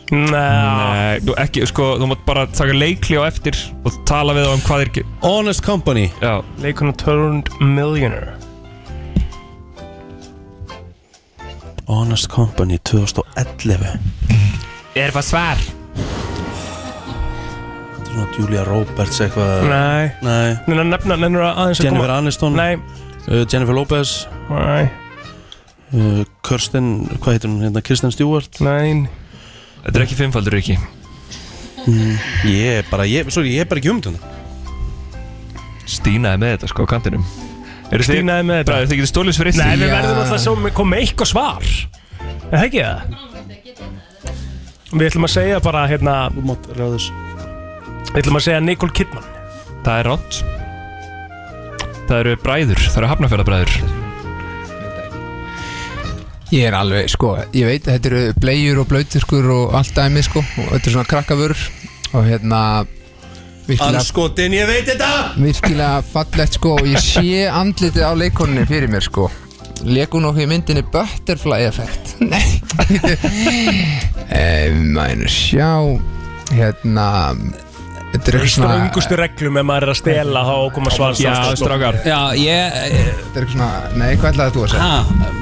S10: Nei, þú ekki, sko, þú mátt bara taka leikli á eftir og tala við þá um hvað er ekki
S2: Honest Company
S10: Já
S4: Leikona turned millionaire
S2: Honest Company 2011
S10: Er það svar?
S2: Þetta er svona Julia Roberts eitthvað
S4: Nei
S2: Nei
S4: Nenna nefna, nenna aðeins að
S2: Jennifer
S4: koma-
S2: Aniston
S4: Nei
S2: uh, Jennifer Lopez
S4: Nei
S2: uh, Kirsten, hvað heitir hún hérna, Kirsten Stewart
S4: Nein
S10: Þetta er ekki fimmfaldur ekki
S2: mm, Ég er bara, ég, sorry, ég er bara ekki um umt þetta
S10: Stínaði með þetta sko á kantinum Eru þið-
S4: Stínaði með þetta.
S10: Bræður, þið getur stólið svrið
S4: Nei, við verðum alltaf svo með koma með eitthvað svar Er það ekki það? Við ætlum að segja bara hérna
S2: Ráðus
S4: Við ætlum að segja Nicole Kidman
S10: Það er rátt Það eru bræður, það eru hafnafjörðabræður
S11: Ég er alveg, sko, ég veit að þetta eru blegjur og blöytiskur og allt dæmi, sko og þetta er svona krakkavörur og hérna virkilega
S2: Anskotin, ég veit þetta
S11: virkilega fallegt sko og ég sé andlitið á leikoninni fyrir mér sko Leku nokkuð í myndinni Butterfly Effect Nei Mænur sjá Hérna Þetta er
S4: Í
S11: eitthvað svona
S4: ströngustu reglum ef maður er að stela þá koma svar
S12: Já, ég Þetta
S11: er eitthvað svona, nei, hvað ætlaði þú að segja?
S12: Ha,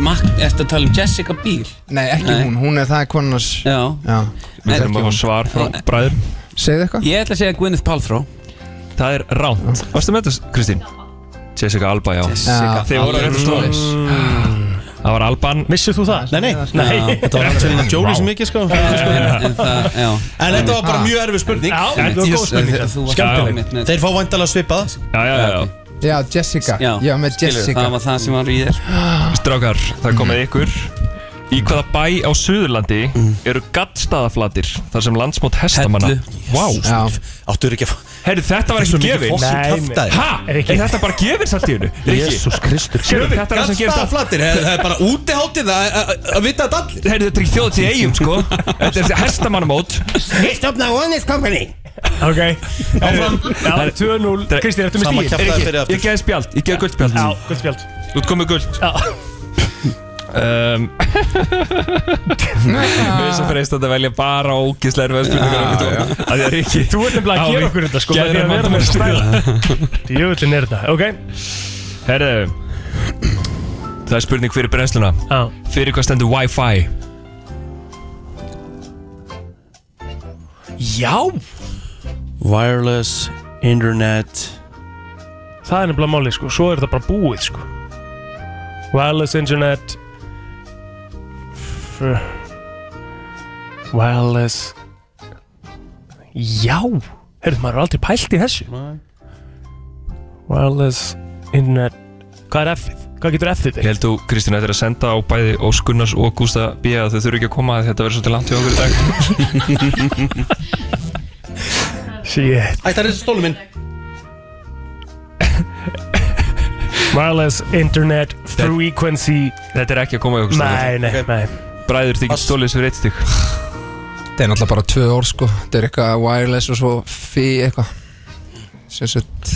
S12: Mark, ertu að tala um Jessica Biel?
S11: Nei, ekki hún, hún er það konunars
S12: Já,
S11: Já.
S10: Við þurfum að fá svar frá bræður
S11: Segðu eitthvað
S12: Ég ætla að segja Gwyneth Paltrow
S10: Það er rátt Varstu með þetta, Kristín? Jessica Alba, já
S12: Jessica
S10: Þið voru
S12: Alba.
S10: að réttu stólið Það var Alban
S4: Vissið þú það?
S2: Nei, nei,
S10: Já.
S2: þetta var Angelina Jolie sem ekki sko Ah. En þetta var bara
S10: Ha.
S2: mjög erfið spurning
S10: Já, þetta var góð spurning. Þú varst- Já, já.
S2: Þeir fá vandalega svipað
S10: Já, já, já, já.
S11: Já, Jessica Já, með Jessica
S12: var í þér
S10: Strákar, það komið ykkur Í hvaða bæ á Suðurlandi eru gattstaðaflatir þar sem landsmót hestamanna
S2: Hellu.
S10: Vá
S2: Áttur ekki að
S10: Herri, þetta var
S2: Svo
S10: ekki
S2: mikið
S10: gefin
S2: fossi kjaftaði.
S10: Ha? Er þetta bara gefin samt í hennu?
S2: Jésús Kristur
S10: Gefin, þetta er það sem gerist
S2: Gattstaða flatir, það er bara útiháttið það að- að- að vita þetta allir
S10: Herri, þetta er ekki þjóðatíð í eigum, sko Þetta er þessi hestamannamót
S2: Við stofna Honest Company
S4: Ok Áfram Já, 2-0 Kristín, ertu með
S10: Sama
S4: stíl?
S10: kjaftaði fyrir aftur. Ég geði spjald, ég geði guldspjald
S4: Já, gult spjald
S10: Þú ert komið guld
S4: Já
S10: um, Við sem freist að velja bara ógislega erfiða spurningar ja, ja. að því að Ríkki
S4: Þú ert nefnilega að gera okkur þetta sko með því
S10: Gerðir
S4: að vera
S10: mann
S4: með
S10: stræða
S4: stæla Jöfullin er þetta, ok
S10: Herðu Það er spurning fyrir brennsluna
S4: Já.
S10: Fyrir hvað stendur Wi-Fi? Já
S2: Wireless Internet
S4: Það er nefnilega máli sko, svo er þetta bara búið sko Wireless internet Fr- Wireless Já Herðu, maður er aldrei pælt í þessu Wireless internet Hvað er F-ið? Hvað getur F-ið
S10: Ég held þú, Kristín, þetta er að senda á bæði Óskunnars og Gústa B að þau þurfi ekki að koma að þetta verður svolítið langt hjá okkur í dag
S4: Shit
S2: Ættar þessi stólu minn
S4: Wireless internet frequency
S10: Þetta er ekki að koma í okkur
S4: Nei, nei, nei
S10: Bræður þykir stólið sem reitt stík
S11: Þetta er náttúrulega bara tvö orð sko Þetta er eitthvað wireless og svo fi eitthvað Sem sett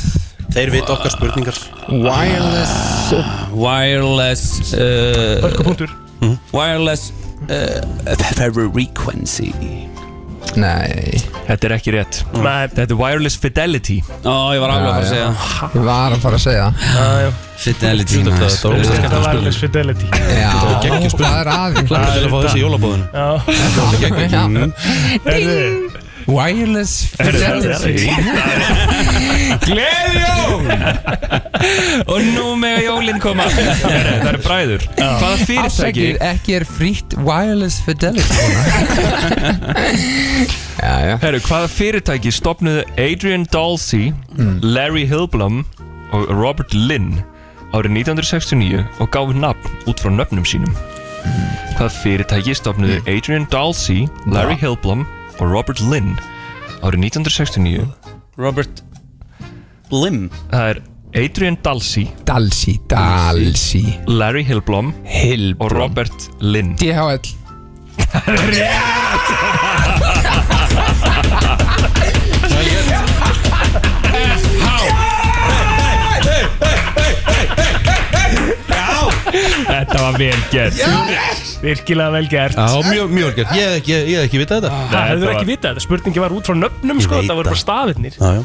S2: Þeir vita okkar spurningar
S11: Wireless
S12: Ah, Wireless uh,
S4: Hörkupunktur
S12: Wireless uh, Frequency
S11: Nei
S10: Þetta er ekki rétt
S4: Nei
S10: Þetta er Wireless Fidelity
S12: Ó, ég var alveg að fara að segja
S11: Ég var að fara að segja
S4: það já.
S12: Fidelity maður.
S4: Þetta var Wireless Fidelity
S11: Já,
S2: Þetta var geggjum
S11: hvað er
S2: spurning
S11: aðeins?
S2: Klakka til að fá þessi í jólabóðinu
S4: Já
S11: Wireless
S4: Gleðjó
S10: Og nú mega jólinn koma Það eru bræður Hvaða fyrirtæki
S11: Afsakið, ekki er frýtt wireless fidelity
S10: Herru, hvaða fyrirtæki stopnuðu Adrian Dalsey
S4: Hmm.
S10: Larry Hilblum og Robert Lynn árið 1969 og gáðu nafn út frá nöfnum sínum
S4: Hmm.
S10: Hvaða fyrirtæki stopnuðu Adrian Dalsey Larry Hilblum og Robert Lynn árið 1969 Robert Lim Það er Adrian Dalsey
S11: Dalsey, Dalsey
S10: Larry Hilblum, Hilblum. og Robert Lynn
S11: DHL
S4: Þetta var vel gert Virkilega vel gert
S2: Já, mjög, mjög gert Ég hef ekki, ég hef ekki vitað þetta
S4: Það hefur ekki vitað þetta, spurningi var út frá nöfnum sko,
S2: veit
S4: það voru bara stafirnir
S2: Já, já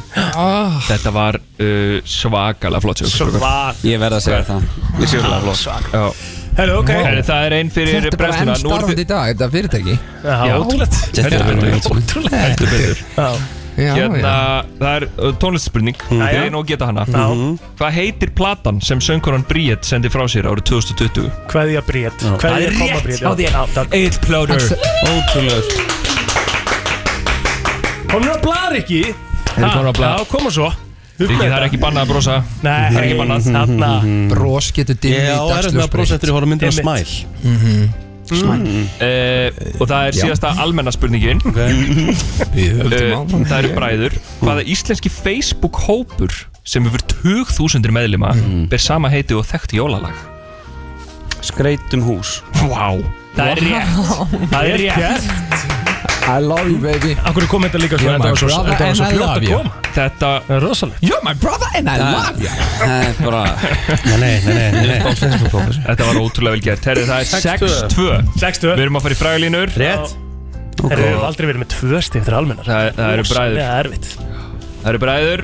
S11: Ah,
S10: Þetta var uh, svakalega flott sjók
S4: Svakalega.
S10: Ég verð að segja það Svakalega flott Já.
S4: Herru, ok.
S10: Herru, Það er einn fyrir
S11: Þetta er bara enn
S10: brennsluna Nú erum
S11: starfandi í dag, þetta fyrirtæki
S10: Já.
S4: ótrúlegt.
S10: Heldur betur. Heldur betur
S11: Já,
S10: Hérna,
S11: já.
S10: það er uh, tónlistspurning Þið
S4: já.
S10: er nú að geta hana
S4: Já.
S10: Hvað heitir platan sem söngkonan Bríett sendi frá sér árið 2020?
S4: Kveðja Bríett Kveðja koma Bríett, já.
S10: Það
S4: Já,
S10: er rétt á
S4: takk.
S10: þér Eitt plóður Ótrúlega
S4: Komur að blara ekki
S10: Eru komin á blað.
S4: Já, koma svo
S10: Riki, það er ekki bannað að brosa
S4: Nei,
S10: Það er ekki bannað
S4: Þarna
S11: Brós getur dimmi í
S2: Ég á erfitt með að brosa eftir að horfa á myndina
S4: Einmitt.
S2: Smile
S10: Eh, Og það er
S2: Já.
S10: síðasta almenna spurningin
S11: Við
S10: Eh,
S11: höldum áfram.
S10: Það eru bræður Hvaða íslenski Facebook hópur sem hefur tug þúsundir meðlima
S11: Mm.
S10: ber sama heiti og þekkt jólalag Skreitum hús Vá, það er rétt Það er rétt
S11: I love you baby
S4: Akkur kom þetta líka
S11: You're
S4: svona,
S11: my
S4: þetta var svo, þetta var
S11: brother and
S4: svo
S11: I
S4: fljótt
S11: love
S4: að
S11: you.
S4: koma
S10: Þetta
S4: Það er rosalega
S11: You're my brother and I love you
S12: Það er bara
S2: Nei, nei, nei, nei, nei.
S10: Þetta var ótrúlega vel gert Herri, það er 6-2
S4: 6-2
S10: Við erum að fara í frægulínur
S2: Rétt
S4: Herru, við höfum aldrei verið með tvö stig eftir almennar
S10: Það, það eru bræður
S4: Það er erfitt
S10: Það eru bræður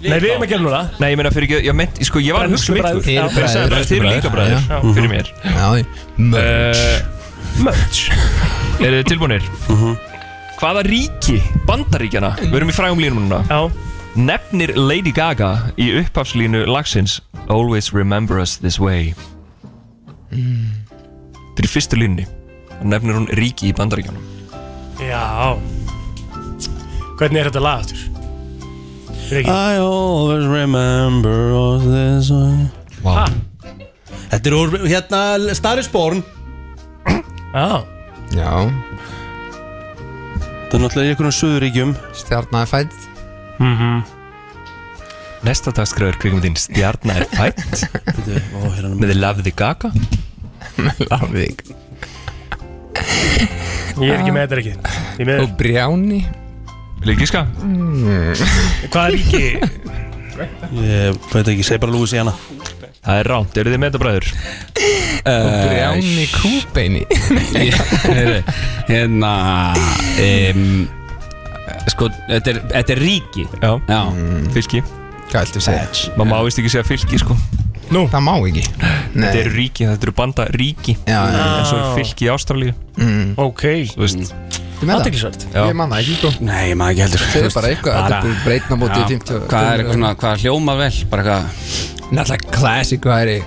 S4: Nei, við erum að gera núna
S10: Nei, ég meina fyrir ekki Ég, meinti- sko, ég var að hugsa um ykkur
S4: Bræður. Þið eru
S10: Þeir eru bræður
S11: bræður.
S10: Þeir
S4: Já.
S10: eru líka bræður Fyrir mér
S11: Já,
S10: Eh,
S4: Mörg
S10: Eru þið tilbúinir? Hvaða ríki bandaríkjana Við erum í frægum línum núna
S4: Já
S10: Nefnir Lady Gaga í upphafslínu lagsins Always remember us this way Þetta er í fyrstu línni og nefnir hún ríki í bandaríkjanum
S4: Já Hvernig er þetta lag aftur? Er ekki?
S2: I always remember all this way
S11: Vá.
S2: Þetta er úr, hérna, Starry Sporn
S4: Já
S11: Já,
S2: Það er náttúrulega í einhvern söðuríkjum
S11: stjarnar fætt
S10: Nesta dagskræður kvikmyndin Stjarnar er fætt
S2: Ó, hérna
S10: með Love the Gaga
S11: Lafvík
S4: Ég er ekki með þetta er ekki Ég með
S11: Og Brjáni
S10: Líkiska?
S4: Hvað er ríki?
S2: Ég veit ekki, segi bara Louisiana
S10: Það er ránt, eru þið með þetta bræður?
S11: Og Brjáni Kúbeini
S12: Heyrðu, Hérna um, Sko, þetta er, þetta er ríki
S10: Já,
S12: Já
S10: Mm. fylki
S11: Hvað ættu að segja?
S10: Má má vist ekki segja fylki sko
S4: Nú
S11: Það má ekki Nei.
S10: Þetta eru ríki, þetta eru banda ríki
S11: Já, já, já.
S10: En svo er fylki í Ástralíu
S11: Mm.
S4: Ok
S10: Þú veist
S11: Þið með það?
S4: Aðteklisvært
S10: Já.
S11: Ég manna ekki, sko
S12: Nei, ég maður ekki heldur
S11: Segðu bara eitthvað, þetta er búið breytna mótið
S12: Já,
S11: 50
S12: Hvað er eitthvað svona, hvað hljómar vel Bara eitthvað
S11: Náttúrulega classic væri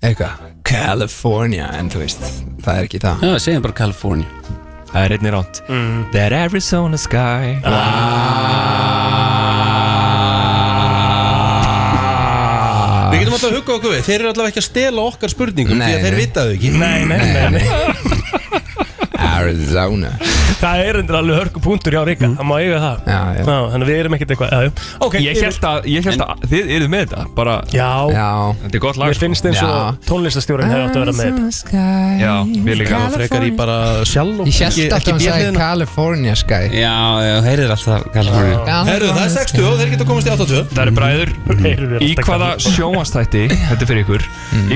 S11: eitthvað California, en þú veist Það er ekki það
S12: Já, segjum bara California
S10: Það er einnig ránt That Arizona sky
S2: Við getum alltaf að hugga okkur við Þeir eru alltaf ekki að stela okkar spurningum
S11: Nei,
S2: Því að þeir
S11: nei.
S2: vitaðu ekki
S4: Nei, nei, nei, nei.
S11: Arizona
S4: Það er endur alveg hörku punktur hjá Rika Það má eiga það
S11: Já, já.
S4: Þannig að við erum ekkert eitthvað já, já. Ok,
S10: Ég held að, ég held að Þið eruð með þetta Bara
S4: Já,
S11: Já
S10: Þetta er gott lag sko.
S4: mér finnst eins
S11: Já.
S4: og tónlistastjórin hefur átt að vera með þetta.
S11: sky
S10: Já, mér líka
S2: Það frekar í bara sjálf
S11: Ég hérst alltaf hann sagði
S2: björnliðina
S11: California sky
S12: Já, já, heyrir alltaf California
S2: Herru, það er 60 og þeir geta komast í 82
S10: Það eru bræður
S4: Heyrðu þér
S10: Í
S4: alltaf
S10: hvaða
S4: gamla.
S10: sjónastætti Þetta er fyrir ykkur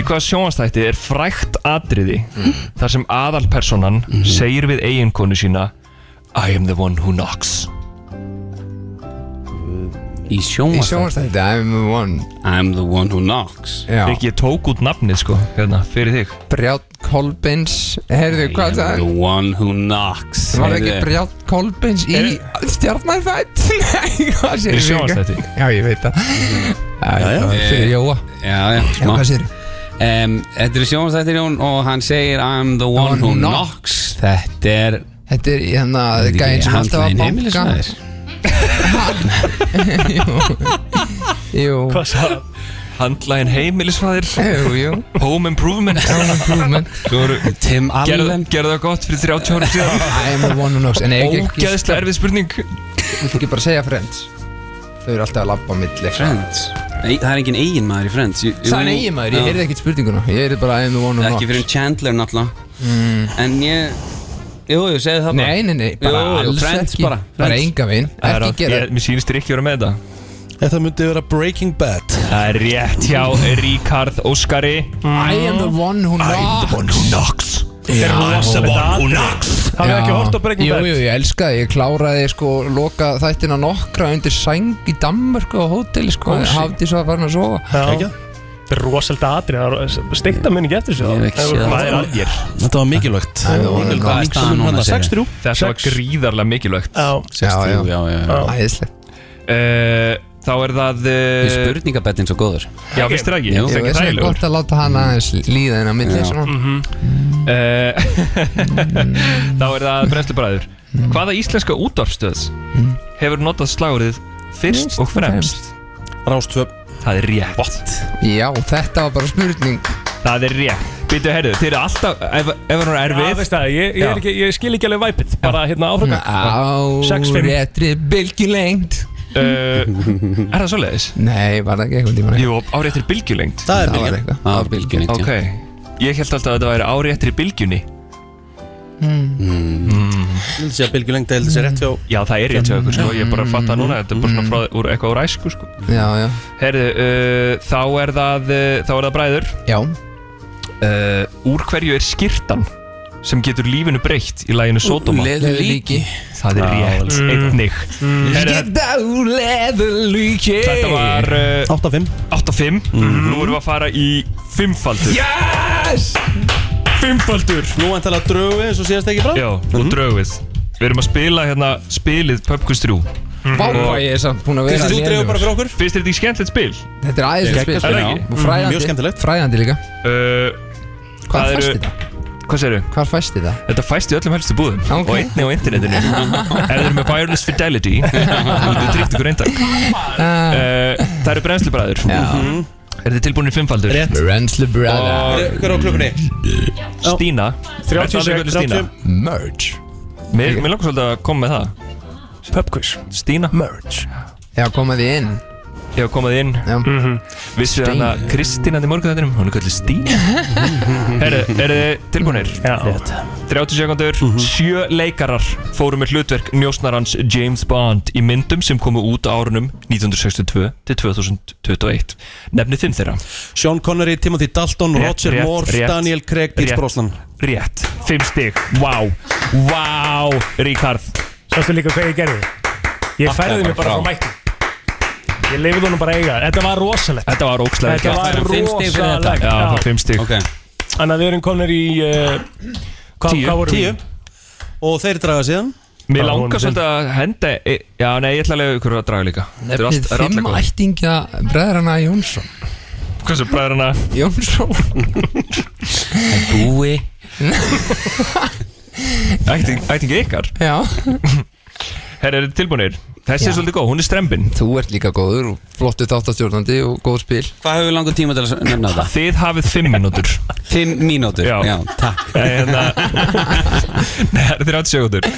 S10: Í hvaða sjónastætti er frækt atriði Þar sem aðalpersonan segir við eiginkonu sína I am the one who knocks
S12: Í
S11: Í sjónvarpsþætti, I'm the one
S12: I'm the one who knocks
S11: Já.
S10: Riki, ég tók út nafnið sko, hérna, fyrir þig
S11: Brjátt Kolbins, heyrðu hvað það
S12: The one who knocks
S11: Það var ekki
S12: Heyrðu.
S11: Brjátt Kolbins í stjarnarfætt Nei, hvað sér
S12: Í sjónvarpsþætti.
S11: Já, ég veit það Mhm. Já, já,
S12: Eh,
S11: fyrir Jóa
S12: Já, já,
S11: Já, hvað segirðu?
S12: Um, þetta er sjónastættir Jón og hann segir I'm the one who knocks Þetta er
S11: Þetta er hérna gæinn sem alltaf var að banka. Jú
S10: Hvað sagði Handlægin heimilisfæðir
S11: Jú, jú
S10: Home improvement
S11: Home improvement
S12: Tim
S10: Allen Gerðu það gott fyrir 30 ára síðan
S11: I'm the one who knocks En ég ekki
S10: Ógeðslega erfið spurning
S11: Viltu ekki bara segja Friends? Þau eru alltaf að labba á milli
S12: Friends? Nei, það er engin eigin maður í Friends Jú-
S11: Það er
S12: jú-
S11: eigin maður, ég
S12: Já.
S11: heyrði ekkert spurninguna Ég heyrði bara I'm the one who
S12: Ekki
S11: knocks
S12: fyrir en Chandler náttúrulega En ég Jú, jú, segði það bara
S11: Mm. Nei, nei, nei, bara
S12: Jú, jú,
S11: alls
S12: Friends
S11: ekki.
S12: bara
S11: Bara
S12: Friends.
S11: enga veginn,
S10: Það er
S11: ekki
S10: að-
S11: gera
S10: ég- Mér sýnist Riki vera með þetta
S2: Þetta myndi vera Breaking Bad
S10: Það er rétt hjá Ríkard Óskari
S11: I am the one who knocks
S2: one who knocks
S10: Þetta er rosalegt atriði.
S11: Já.
S4: Hafið ekki hort á Breaking
S11: jú,
S4: Bad?
S11: Jú, ég elska það, ég kláraði sko loka þættina nokkra undir sæng í Danmörku á hótel sko
S4: Kósí.
S11: Hafði svo að fara að sofa
S4: Já. Það er rosalega atrið, það er steikta minni ekki eftir sig Það er algjör
S2: Þetta var mikilvægt
S10: Þetta var gríðarlega mikilvægt
S4: Já.
S12: 6-3, já, já, já, já.
S11: Æðislegt
S10: Eh, Þá er það
S12: Þið
S10: eh,
S12: Spurningabettin svo góður
S10: Já, finnst þér það ekki?
S12: Jú.
S10: Finnst þér
S11: Ég
S10: ekki
S11: veist það er
S10: þægilegur?
S11: gott að láta hana aðeins líða inn á milli
S12: Já.
S11: svona
S10: Eh, Þá er það brennslubræður Hvaða íslenska útvarpstöðs hefur notað slagurðið fyrst og fremst?
S2: Rástvö
S10: Það er rétt What?
S11: Já, þetta var bara spurning
S10: Það er rétt Býtu, heyrðu, þeir eru alltaf Ef ef hún er
S4: Já,
S10: erfið
S4: veist það, ég, ég, er ekki, ég skil ekki alveg væpið Bara hérna áfram
S11: Á
S4: 6-5.
S11: réttri bylgjulengd
S10: uh, Er það svoleiðis?
S11: Nei, var það ekki eitthvað tíma
S10: Jú, áréttir bylgjulengd
S2: Það er
S11: Það var
S2: mikilvægt
S11: eitthvað
S12: Á bylgjunni
S10: Ok Ég held alltaf að þetta væri áréttir bylgjunni
S2: Ég held sé að Bilgi Lengd heldur sér rétt hjá
S10: Já, það er rétt hjá ykkur, sko Ég er bara að fatta núna Þetta er bara svona frá, úr, eitthvað úr æsku, sko
S11: Já, já,
S10: Heyrðu, uh, þá er það uh, Þá er það bræður
S11: já
S10: uh, Úr hverju er skirtan sem getur lífinu breytt í læginu Sódóma?
S12: Leður líki
S10: Það er rétt, einnig Heyrðu,
S11: Skita úr leður líki
S10: Þetta var uh,
S2: 8-5
S10: 8 og 5 Nú erum við að fara í 5-faldur
S11: Yes!
S10: Fimmfaldur
S2: Nú ætlaði að drögu eins og síðast ekki frá
S10: Já, og draugvið Við erum að spila hérna spilið Pöpkus 3
S11: Vá, hvað ég er samt búin að vera
S2: Kristi, þú dregu bara
S11: lélegur.
S2: fyrir okkur
S10: Finnst þér þetta ekki skemmtilegt spil?
S11: Þetta er aðeins spil
S10: Er það ekki?
S11: Og fræðandi
S2: Mjög skemmtilegt.
S11: Fræðandi líka
S10: Uh, Það
S11: Hvað
S10: eru-
S11: fæst þetta?
S10: hvað segirðu?
S11: Hvað fæst þetta?
S10: Þetta fæst í öllum helstu búðum
S11: Ok.
S10: Og einni á internetinu Ef þið eru með Wireless Fidelity Þú tryggt ykkur eindag uh, Það eru brennslubræður
S11: Ah. Já.
S10: Er þið tilbúin í fimmfaldur?
S2: Rétt.
S11: Rensli Brother
S10: Og
S2: Hver er á klukkunni?
S10: Stína
S4: 36, 30
S11: Merge
S10: Mér, mér langar svolítið að koma með það
S4: Pubquiz
S10: Stína Merge
S11: Já, koma því inn
S10: Ég hef komað inn
S11: Já.
S10: mm -hmm. Vissið hann að Kristín hann í morgunættinum Hún er kallið Stína Herru, eru þið tilbúinir?
S4: Já.
S10: 30 sekundur
S11: Mhm.
S10: Sjö leikarar fóru með hlutverk njósnarans James Bond í myndum sem komu út á árunum 1962 til 2021 Nefnið þinn þeirra
S2: Sean Connery, Timothy Dalton,
S10: Rétt,
S2: Roger
S10: rétt,
S2: Moore,
S10: rétt.
S2: Daniel Craig, Pierce
S10: Rétt.
S2: Brosnan
S10: Rétt, 5 stig Vá, vá, Ríkard
S4: Sástu líka hvað ég gerði? Ég færði mig bara frá mækni Ég lifið honum bara að eiga það. Þetta var rosalegt
S10: Þetta var ókslega
S4: Þetta var
S12: fimm stig fyrir þetta.
S4: rosalegt
S10: Já, það var 5 stig
S12: Ok
S4: Þannig að við erum konir í uh, hvað,
S10: Tíu,
S4: hvað vorum
S2: Tíu Og þeir draga síðan
S10: Mér
S4: Já,
S10: langar
S4: honum
S10: svolítið að henda e- Já, nei, ég ætla að lega ykkur að draga líka Þetta er allt-
S11: Nefnið
S10: það er allar
S11: fimm
S10: góð.
S11: ættingja bræðrana Jónsson
S10: Hversu bræðrana
S11: Jónsson
S12: Búi
S10: ætting, ætting ykkar
S11: Já
S10: Herra, eru tilbúinir? Þessi er
S11: Já.
S10: svolítið góð, hún er strembin
S11: Þú ert líka góður og flottu þáttastjórnandi og góð spil
S12: Hvað hefur við langan tíma til að nefna þetta?
S10: Þið hafið fimm mínútur
S12: Fimm mínútur
S10: Já.
S12: Já, takk
S10: Nei, hérna Nei, það eru 30 sekundur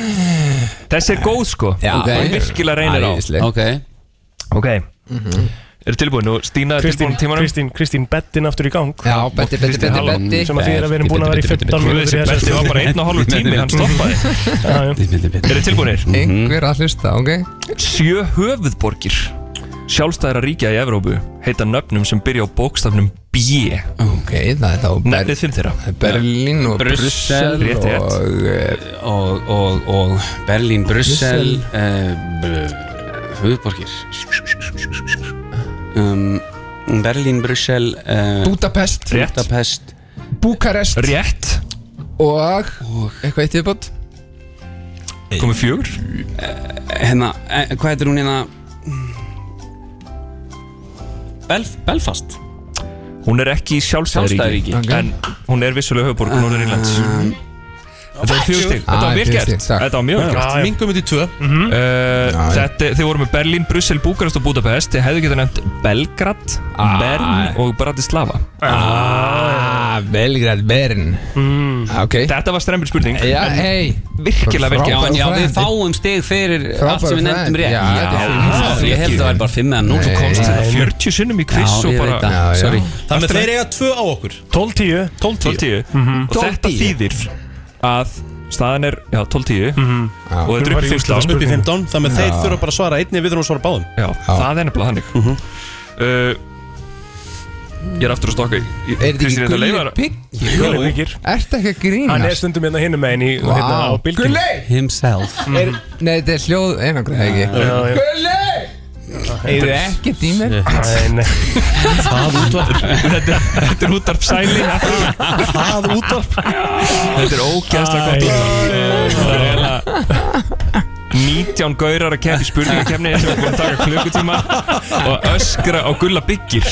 S10: Þessi er góð sko
S11: Já,
S10: ok. Hún virkilega reynir á
S11: Æðisleg.
S12: Ok
S10: Ok Eru tilbúin? Nú, Stína er
S4: Kristín,
S10: tilbúin tímanum
S4: Kristín, Kristín, bettin aftur í gang
S11: Já, betti, betti,
S10: Kristín
S11: betti,
S10: Hallon.
S11: betti
S4: sem að því er að við erum búin að vera í 15
S10: Guð,
S4: mínútur
S10: þessi
S4: í
S10: belti var bara einn og hálfur tími, hann stoppaði
S4: Já, já.
S10: Eru tilbúinir?
S11: Einhver að hlusta, ok?
S10: Sjö höfuðborgir Sjálfstæðra ríkja í Evrópu heita nöfnum sem byrja á bókstafnum B
S11: Ok, það er þá Ber-
S10: Nefnið fimm þeirra
S11: Berlín og
S12: Brussel,
S11: Brussel
S10: rétt, rétt.
S11: og eh,
S12: og, eh, og, og Berlín, Brussel uh, höfuborgir um, Berlín, Brussel uh,
S11: Budapest. Rétt.
S12: Budapest
S11: Búkarest
S10: Rétt
S11: Og Eitthvað eitt viðbót
S10: Komið fjögur
S12: Hérna, eh, hvað heitir hún hérna Belf Belfast
S10: Hún er ekki sjálfstæðaríki
S12: Sjálfstæðuríki.
S10: En hún er vissulega höfuborg
S12: Ah.
S10: Norður Írlands Þetta var fjögur stík, þetta
S12: Ah,
S10: var vel
S12: fjögur
S10: gert
S12: stig, takk.
S10: Þetta var mjög
S12: Já,
S10: vel
S12: já. Mm.
S10: gert
S12: Minnkum
S2: þetta í tvö
S10: Þetta, þið voru með Berlín, Brussel, Búkarest og Budapest Þið hefðu getað nefnt Belgrad,
S12: Ah.
S10: Bern og Bratislava
S11: Ah, Belgrad, Bern okay.
S10: Þetta var strempil spurning
S11: Já,
S10: en
S11: hey
S10: Virkilega vel
S12: Já,
S10: gert
S12: en já, við fáum stig fyrir allt
S10: Frábæru
S12: sem við nefndum
S10: frændi.
S12: rétt
S10: Já, þetta er
S12: já,
S10: frábæru
S12: ég held að það væri bara 5 eða 0
S10: Þú komst þetta 40 sinnum í quiz
S12: Já,
S10: og
S12: ég
S10: bara
S12: veit það, Já, já. sorry.
S2: Þannig að þeir eiga tvö á okkur
S4: 12-10
S10: 12-10
S4: Mhm.
S10: Og þetta
S2: 12-10.
S10: þýðir að staðan er, já, 12-10
S12: Mhm.
S10: Og þetta er upp í 15
S2: upp í 15 Þannig að þeir þurfa bara að svara einni við þurfum að svara báðum
S10: Já, það er nefnilega þannig
S11: Mhm.
S10: uh, Ég er aftur að stokka
S11: Er þetta ekki Gulli
S10: Piggi?
S4: Gulli Byggir
S11: Ertu ekki að grínast?
S4: Hann er stundum hérna hinum megin í
S11: Vá.
S4: hérna á bylgjum
S11: Gulli!
S12: Himself
S11: er, Nei, þetta er hljóð einangrið, ekki?
S4: já.
S11: Gulli! Eru ekkert í mér?
S4: Nei, nei
S2: Það útvarp
S10: Þetta þetta er útvarp sæli
S2: Það útvarp
S10: Þetta er ógæðslega gott útvarp Það er eiginlega 19 gaurar að keppa í spurningakefni sem er búin að taka klukkutíma og öskra á gulla byggir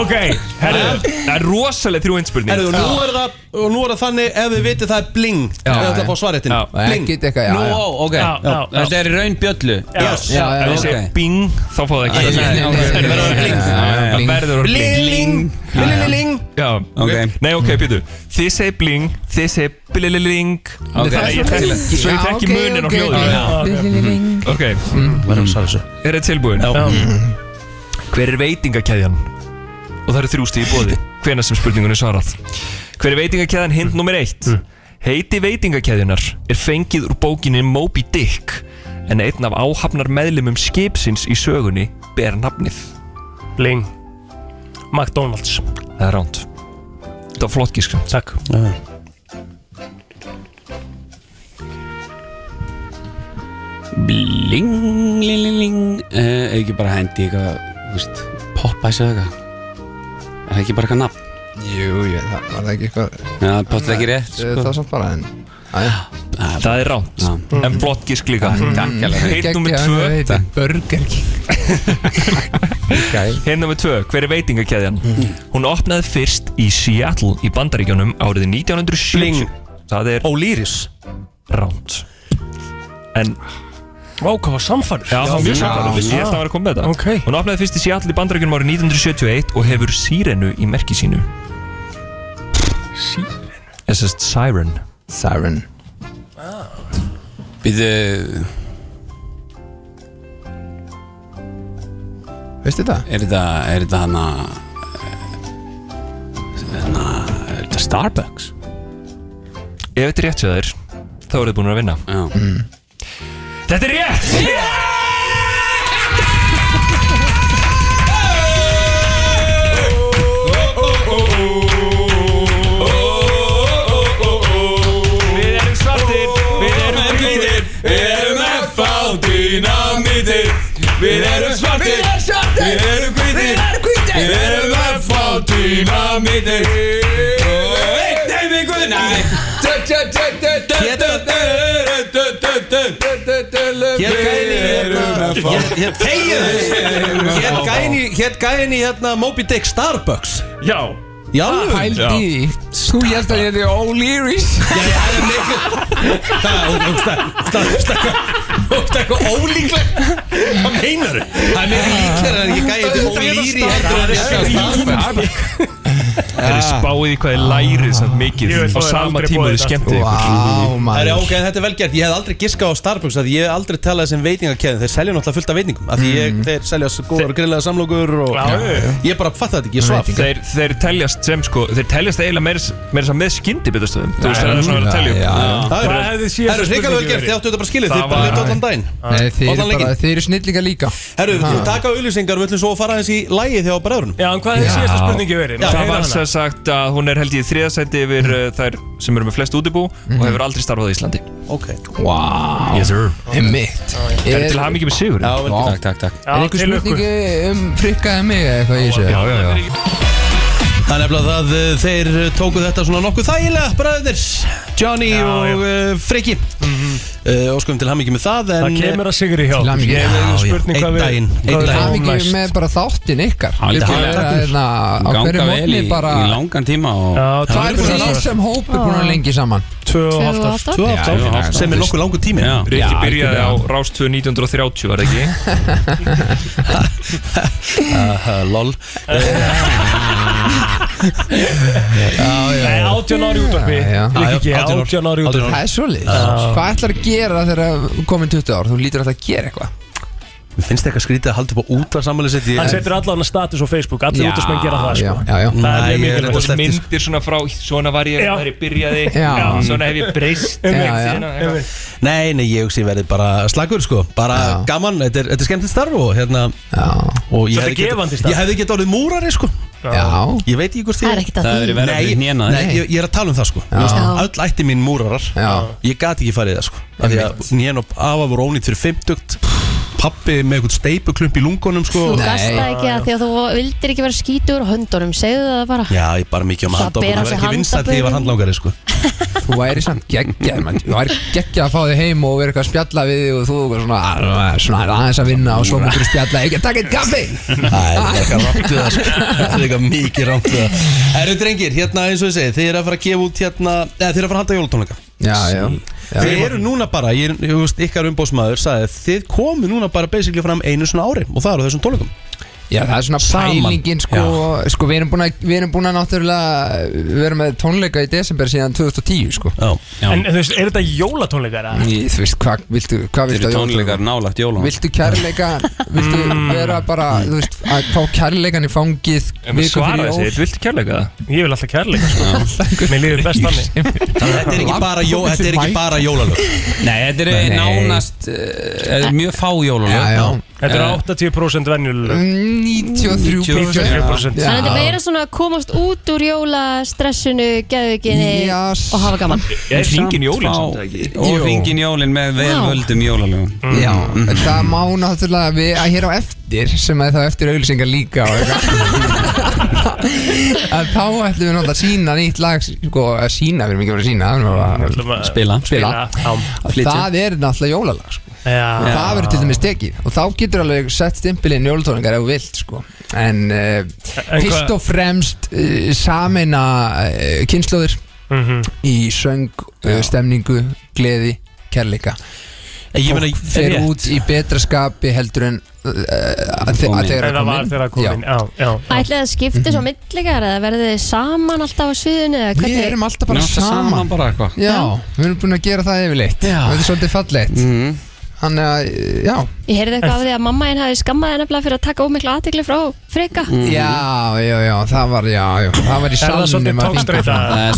S10: Ok, herru Það er rosalega þrjú einspurning
S2: Herðu, nú er það, og nú er það þannig ef þið vitið það er bling
S10: Já,
S2: Þið ætla
S10: já.
S2: að fá svarréttin
S10: Já.
S2: Bling
S11: Ekkert eitthvað, já,
S2: Nú,
S11: já.
S2: ó, ok
S10: Já, já, já.
S12: Þetta er í raun bjöllu
S2: Yes.
S12: Já, já,
S10: Ef ég segi
S12: ok.
S10: bing, þá fá það ekki
S12: Nei, nei, nei,
S10: Það verður að vera bling. Það verður að vera bling
S2: Bling Bling
S10: Já,
S12: Ok.
S10: Nei, ok, býtu Þið segir bling, þið segir bliling
S12: Ok.
S10: Það er ég þekki Svo ég þekki munin á hljóðinu Mhm. Ok,
S2: Verður að svara þessu
S10: er þetta tilbúin? Já Mhm. Hver er veitingakæðjan? Og það eru þrjústi í bóði Hvena sem spurningunni svarað Hver er veitingakæðjan hind nummer eitt? Heiti veitingakæðjunar er fengið úr bókinni Moby Dick En einn af áhafnar meðlumum skipsins í sögunni ber nafnið
S4: Bling McDonalds
S10: Það er ránt Þetta var flott gíska
S4: Takk
S12: Bling, ling, ling, ling uh, Ekki bara hendi eitthvað, þú veist Popeyes eða eitthvað Er það ekki bara eitthvað nafn?
S11: Jú, ég, það var það ekki eitthvað
S12: Já, potið ekki rétt,
S11: Eh,
S12: sko.
S11: Það var samt bara en
S10: Það er ránt En flott gísk líka
S12: Takk alveg
S10: Hitt nummer tvö
S11: Þetta er Burger King
S10: Hitt nummer tvö, hver er veitingakæðjan? Hún opnaði fyrst í Seattle í Bandaríkjónum árið 1970 Það er
S2: Ólýris
S10: ránt En
S4: Vá, hvað var samfannur
S10: Já, það var mjög samfæður, vissi ég
S4: Já.
S10: alltaf að vera að koma með þetta
S4: Ok.
S10: Hún opnaði fyrst í Seattle í Bandaríkjónum árið 1971 og hefur sírenu í merki sínu
S4: Síren
S10: Sest Siren
S11: Siren
S12: Býðu,
S11: Veistu þetta?
S12: er þetta, er þetta hana eh, Hana, er þetta Starbucks?
S10: Ef þetta er rétt sér þér, þá eru þið búin að vinna
S12: Já
S10: Þetta er rétt! Við erum svartir, við erum hvítir Við erum F.A. dynamítir Við erum svartir, við erum hvítir Við erum F.A. dynamítir
S2: Hér gæðin í hérna hér- Þegið þess Hér gæðin í Hér gæðin í hérna Moby Dick Starbucks
S10: Já,
S2: Já
S11: Hældi í því. Þú hérst að ég er O'Leary's
S2: Það er eitthvað ólíklegt Hvað meinar þau? Það er mikið líklega en ég gæði þetta ólýri heldur en þetta er Starbucks
S10: Það er spáið í hvað er lærið samt mikið
S4: Ég veit,
S10: á
S4: það er
S10: sama
S4: aldrei
S10: tíma
S4: búið
S10: þið skemmtið ykkur.
S11: Vá,
S2: Það er
S11: maður
S2: ok, en þetta er vel gert Ég hef aldrei giskað á Starbucks að ég hef aldrei talað sem veitingakeðin Þeir selja náttúrulega fullt af veitingum af Því ég, þeir selja svo góðar og grillaða samlokur og
S4: Já, já, já.
S2: Ég bara fatt þetta ekki, ég svaf
S10: Þeir, þeir teljast sem sko, þeir teljast eiginlega meira meira þess að með skyndibittastöðum Þú veist það er svona að telja upp.
S11: Já, já.
S2: Það
S4: Hvað
S2: er-
S4: hefði
S2: það
S4: síðasta
S2: eru hrikalega vel
S4: spurningin
S2: gert,
S4: verið?
S2: þið áttu þetta bara skilið Þið
S10: Það
S2: bara
S10: var-
S2: leitt allan daginn
S11: Nei, þeir eru
S2: Allan
S11: bara,
S2: leikinn.
S11: þeir eru snillingar líka
S2: Herru, við skulum taka auðlýsingar og við ætlum svo að fara aðeins í lægið hjá bræðurunum
S4: Já, en hvað hefði síðasta spurningi verið?
S10: Það var sem sagt að hún er held ég í þriðasæti yfir uh, þær sem eru með flest útibú og hefur aldrei starfað á Íslandi
S2: Ok
S10: Wow Yes sir
S11: Einmitt.
S10: Það er til hamingi með sigur
S11: Já, vel gert.
S12: Takk, takk,
S11: Er einhver spurningi um frikkaði mig eða eitthvað í þessu?
S2: Já, já, já. Það er nefnilega það uh, þeir uh, tóku þetta svona nokkuð þægilega bræðir Johnny og uh, Freki mm -hmm. uh, Óskum til hammingi með það en, eh,
S4: Það kemur að sigri hjá okkur. Ég hef spurning hvað
S2: Einn daginn Einn
S4: við- hvað við
S11: Það er
S2: daginn
S11: mikið með bara þáttin ykkar Við búum að vera hérna á hverju
S12: Ganga vel
S11: mótni
S12: í,
S11: bara
S12: í langan tíma og
S11: Hvað er því sem hópur búin að lengi saman?
S4: Tvö
S11: og
S4: hálft ár.
S11: Tvö og hálft ár.
S2: Sem er nokkuð langur tími
S10: Rikki
S2: Já,
S10: byrjaði á
S2: algjörlega.
S10: Rástvö 1930 var það ekki
S2: uh, Lol
S4: Nei, 18 ári útvarfi Líka ekki, 18 ári útvarfi
S11: Það er svolítið Hvað ætlar að gera þegar komin 20 ár? Þú lítur alltaf að gera eitthvað
S2: Mér finnst eitthvað skrítið að halda upp á útlarsamali sitt
S4: Hann setur allan að status á Facebook Allir
S2: Já,
S4: útvarpsmenn gera það sko.
S11: já, já.
S4: Það er mjög mikilvægt
S10: Og myndir svona frá Svona var ég,
S4: Já.
S10: var ég byrjaði
S4: Já.
S10: Svona hef ég breyst
S4: Einmitt.
S10: Einmitt.
S4: Já, já.
S10: Svona eitthvað.
S2: Nei, nei, ég hugsi verið bara slagur sko Bara gaman, þetta er, þetta er skemmtilegt starf og hérna og ég
S4: Svolítið
S2: hefði getað-
S4: gefandi starf.
S2: Ég hefði getað orðið múrari sko
S11: Já
S2: Ég veit ekki hvort þið hérna,
S3: Það er ekkert að Það því. hefði verið verra
S2: Nei,
S3: fyrir hnénu þín.
S2: nei, ég, ég er að tala um það sko Mér finnst Öll ætti mín múrarar
S11: Já.
S2: Ég gati ekki farið í það sko Af Því að nén og afa voru ónýtt fyrir 50 Pappi með eitthvað steipuklump í lungunum sko
S3: Þú gasta ekki að því að þú vildir ekki vera skítur á höndunum, segðu það bara
S2: Já, ég bara mikið um
S3: Svo að
S2: handlangum Það
S3: bera
S2: var
S3: sig
S2: ekki vinsætt þegar ég var handlangari sko
S11: Þú væri samt geggjað mann. Þú væri geggjað að fá þig heim og vera eitthvað að spjalla við þig og þú eitthvað svona, "Ah, svona aðeins að vinna og svo myndir þú spjalla ekki að taka eitt kaffi
S2: Það er eitthvað rámt við það sko Það er eitthvað mikið rámt við það Herru drengir, hérna eins og ég segi Þið eru að fara að gefa út hérna eða, Þið eru að fara að halda jólutónleika
S11: Já, já. Já.
S2: Þið eru núna bara, ég, ég veist, ykkar umbóðsmaður sagði að Þið komu núna bara basically fram einu svona ári Og það eru þessum tónleikum
S11: Já, það er svona
S2: Saman.
S11: pælingin sko, sko við, erum búin að, við erum búin að náttúrulega við erum með tónleika í desember síðan 2010 sko
S2: Já,
S12: já.
S4: En þú veist, er þetta jólatónleikara?
S11: Ég, þú veist, hvað viltu, hva
S12: Þeir
S11: viltu
S12: eru
S11: á jólunum?
S12: tónleikar nálægt jólun
S11: Viltu kærleika, viltu vera bara, þú veist, að fá kærleikan í fangið
S10: En
S11: viku fyrir
S10: svara
S11: jól?
S10: þessi, viltu kærleika það?
S4: Ég vil alltaf kærleika sko. Mér líður best þannig
S2: Þetta er ekki bara, jó, þetta er ekki bara jólalög
S12: Nei, þetta er
S2: Nei.
S12: nánast uh, mjög fá jólun
S11: Já, já.
S4: Þetta er 80% venjulega
S10: Mm,
S11: 93%
S4: 93%
S3: Þannig að þetta meira svona að komast út úr jólastressinu, geðuginni
S11: yes.
S3: og hafa gaman
S10: Ég hringin jólin samt eða ekki
S12: Og ringin jólin með velvöldum jólalögum
S11: Já, það má náttúrulega við að hér á eftir sem að það á eftir auglýsingar líka og eitthvað að þá ætlum við náttúrulega að sína nýtt lag sko, að sína, við erum ekki að vera að sína við erum bara
S4: ætlum að-
S12: Spila.
S11: spila.
S4: Já.
S12: Flytja.
S11: það er náttúrulega jólalag sko.
S4: Já.
S11: það verður til dæmis tekið og þá getur alveg sett stimpilinn jólatóningar ef þú vilt sko. en uh,
S4: En
S11: fyrst
S4: hvað-
S11: og fremst uh, sameina uh, kynnslóðir
S4: Mhm.
S11: í söng, uh, stemningu gleði, kærleika
S2: Ég meina,
S11: Fólk fer
S2: rétt.
S11: út í betra skapi heldur en uh, að þe- að þeirra
S4: En það var þegar að koma inn Já, já
S3: Ætlið að skipta svo myndlegar eða verðið þið saman alltaf á sviðinu eða
S11: Við
S3: hvernig
S11: erum alltaf bara
S12: Náttúrulega
S11: saman.
S12: saman bara eitthvað
S11: Já, við erum búin að gera það yfirleitt
S12: Já. Mhm.
S11: Það er svolítið fallegt Þannig að, uh, já
S3: Ég heyrði eitthvað af því að mamma henn hafi skammaði nefnilega fyrir að taka ómikla aðtikli frá freka
S12: Mm. Mhm.
S11: Já, já, já, það var, já, já Það var í
S4: Er það svolítið
S11: salnum að hringa.
S4: tókstreita?
S12: Það er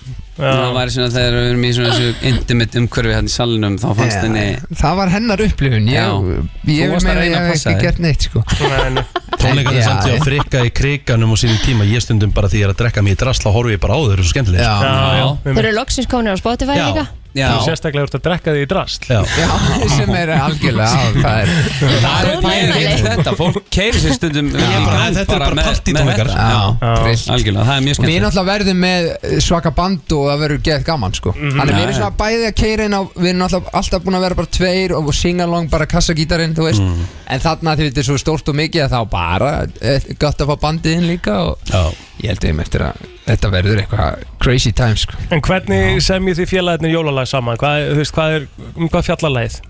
S12: svona Það væri svona þegar við erum í svona þessu intimate umhverfi hérna í salnum þá fannst
S11: Já.
S12: henni
S11: Það var hennar upplifun Ég,
S12: Já. Þú
S11: ég vil
S12: varst að
S11: meina að
S12: reyna
S11: ég
S12: að
S11: hef
S12: passa
S11: ekki
S12: þig.
S11: gert neitt sko.
S4: Nei,
S2: Tónleikarnir
S11: Já,
S2: samt ég að frikka í kriganum og sínum tíma Ég stundum bara því ég er að drekka mér í drasla Horfi ég bara á þau, þau eru svo skemmtilegir
S11: Já,
S4: Já, já
S3: Þeir eru loksins komin á Spotify
S2: Já.
S3: líka
S12: Já,
S4: Þú sérstaklega ert að drekka því í drast
S2: Já.
S11: já, sem er algjörlega á, Það er
S12: það er
S3: Góð meðmæli.
S12: pæri þetta Fólk keiri sér stundum í
S2: bara,
S12: gang
S2: þetta eru bara
S12: með-
S2: partítónleikar.
S12: með þetta.
S11: Já,
S12: Já,
S11: trillt.
S12: algjörlega, það er mjög
S11: Og við
S12: skemmt
S11: náttúrulega verðum með eh, svaka band og það verður gett gaman sko Þannig við erum
S12: Mhm. Já,
S11: svona bæði að keira inn á Við erum náttúrulega alltaf búin að vera bara tveir og singalong bara kassagítarinn, þú veist
S12: Mhm.
S11: En þarna því þetta er svo stórt og mikið að þá bara eh, gott að fá bandið inn líka og
S2: Já.
S11: ég held að ég meftir að þetta verður eitthvað crazy time sko
S4: En hvernig semjið þið félagarnir jólalag saman? Hvað, þú veist, hvað er, um hvað fjallalæð?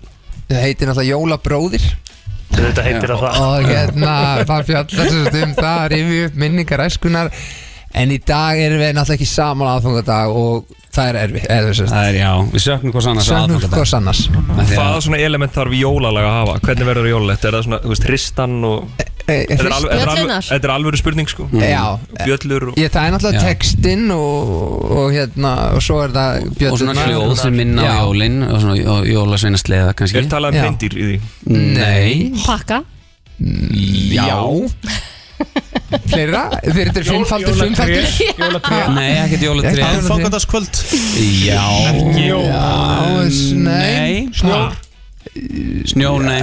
S11: Það heitir náttúrulega Jólabróðir
S4: Þetta heitir að það
S11: og hérna það fjallar sem sagt um það rifið upp minningar æskunar En í dag erum við náttúrulega ekki saman á aðfangadag og það er erfið eða þú veist
S12: Það er, já, við söknum hvers annars á
S11: Sönnur
S12: aðfangadag.
S11: hvers annars
S12: Af því
S10: Hvaða
S12: að-
S10: svona element þarf jólalag að hafa? Hvernig verður það jólalegt? Er það svona, þú veist, hristan og...
S11: Eh,
S10: Þetta er alveg- þetta er alveg-
S3: Bjöllurnar?
S10: þetta er alveg spurning, sko
S11: Já,
S10: Bjöllur og...
S11: Ég, það er náttúrulega
S12: Já.
S11: textinn og, og hérna og svo er það
S12: Og svona
S11: bjöllurnar.
S12: hljóð sem minna á
S11: Já.
S12: jólin og svona jólasveinasleða kannski
S10: Er talað
S11: Já.
S10: um hreindir í því?
S12: Nei
S3: Pakka
S11: Já, Fleira? Þeir þetta er
S12: Jól-
S11: fimmfaldur,
S12: jólatré.
S11: fimmfaldur Ah.
S12: Jólatré. Nei, ekkert jólatré.
S2: Aðfangadagskvöld
S12: Já
S11: Jól
S12: Nei Snjór Snjór, nei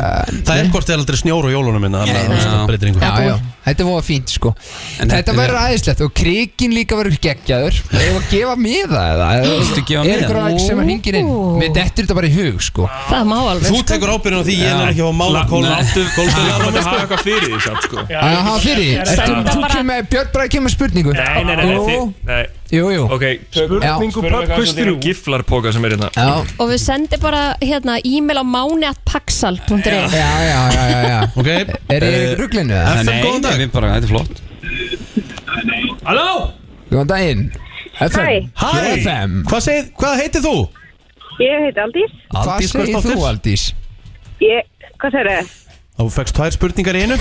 S2: Það er hvort þið er aldrei snjór á jólunum minna Þannig að það breytir
S11: Já,
S2: einhver
S11: já, þetta var fínt sko
S2: En
S11: Þetta
S2: þetta-
S11: verður aðeinslegt og krikin líka verður geggjaður Ef að gefa miða eða
S12: Viltu gefa
S11: Er
S12: miða?
S11: einhver sem að hringir inn Mér dettur þetta bara í hug sko
S3: Það má alveg
S2: Þú tekur ábyrðin á því, ég er ekki að fá mála kólun aftur
S10: Það er komið að hafa
S2: Kólun
S10: eitthvað fyrir því samt sko
S11: Já, hafa fyrir því Ertu- Þú kemur með Björn Bræði kemur með spurningu
S10: Nei, nei, nei, nei, þið- nei.
S11: Jú, jú
S10: Ok, tökum-
S11: Já.
S10: spurningu pub quiz 3 Giflarpoka sem er hérna
S11: Já,
S3: Og við sendum bara hérna e-mail á máni.paxal.is
S11: já, já, já, já.
S2: Ok
S11: Er ég
S2: Eh.
S11: rugglinu eða?
S12: Nei, nei, við bara, þetta er flott
S10: Halló
S11: Góðan daginn
S9: Hæ.
S11: FM
S2: Hæ.
S11: FM
S2: Hvað segir, hvað heitir þú?
S9: Ég heiti Aldís
S11: Hvað
S2: Aldís
S11: segir þú
S2: Guðsdóttir
S11: Aldís?
S9: Ég, hvað segir þið?
S2: Þú fegst tvær spurningar í einu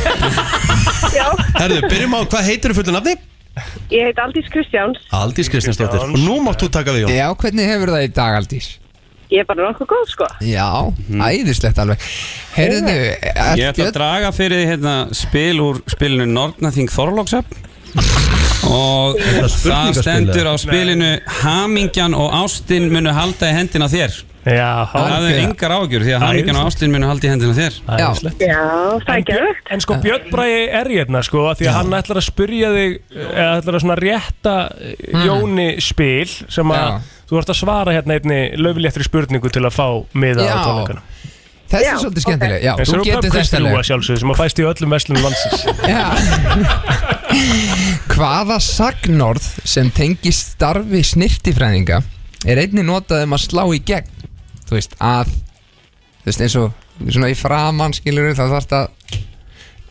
S9: Já,
S2: Herðu, byrjum á, hvað heitir þú fullu nafni?
S9: ég heiti Aldís Kristjáns
S2: Aldís Kristinsdóttir Og nú mátt þú taka við Jón
S11: Já, hvernig hefur það í dag Aldís?
S9: Ég er bara nokkuð góð sko
S11: Já, æðislegt alveg Herðu,
S12: Ég ætla að
S11: Björn
S12: draga fyrir því hérna spil úr spilinu Nornaþing Þorlóksöp og það
S10: spurningaspil,
S12: stendur á
S10: eða?
S12: spilinu Hamingjan og Ástin munu halda í hendina á þér
S4: Já,
S12: Það er
S4: algjörlega.
S12: engar ágjur því að Hamingjan og
S4: Æðislegt.
S12: Ástin munu halda í hendina á þér
S11: Já.
S9: Já, það er ekki aukt
S4: En sko Björn Bræði er hérna sko af Því að hann ætlar að spyrja þig eða ætlar að svona rétta mm. Jóni spil sem að
S11: Já.
S4: þú ert að svara hérna einni löfléttri spurningu til að fá miða
S11: Já.
S4: á tónleikana
S11: Þetta
S9: Já,
S11: er
S9: ok.
S11: svolítið skemmtileg Já,
S4: En
S11: þú
S4: svo er
S11: getur
S4: pöpkvist
S11: þetta
S4: þrjúa
S11: alveg
S4: sjálfsögðu sem að fæst í öllum verslunum landsins
S11: Hvaða sagnorð sem tengist starfi snirtifræðinga er einni notað um að slá í gegn þú veist, að þú veist, eins og svona í framann skilur þá þarf það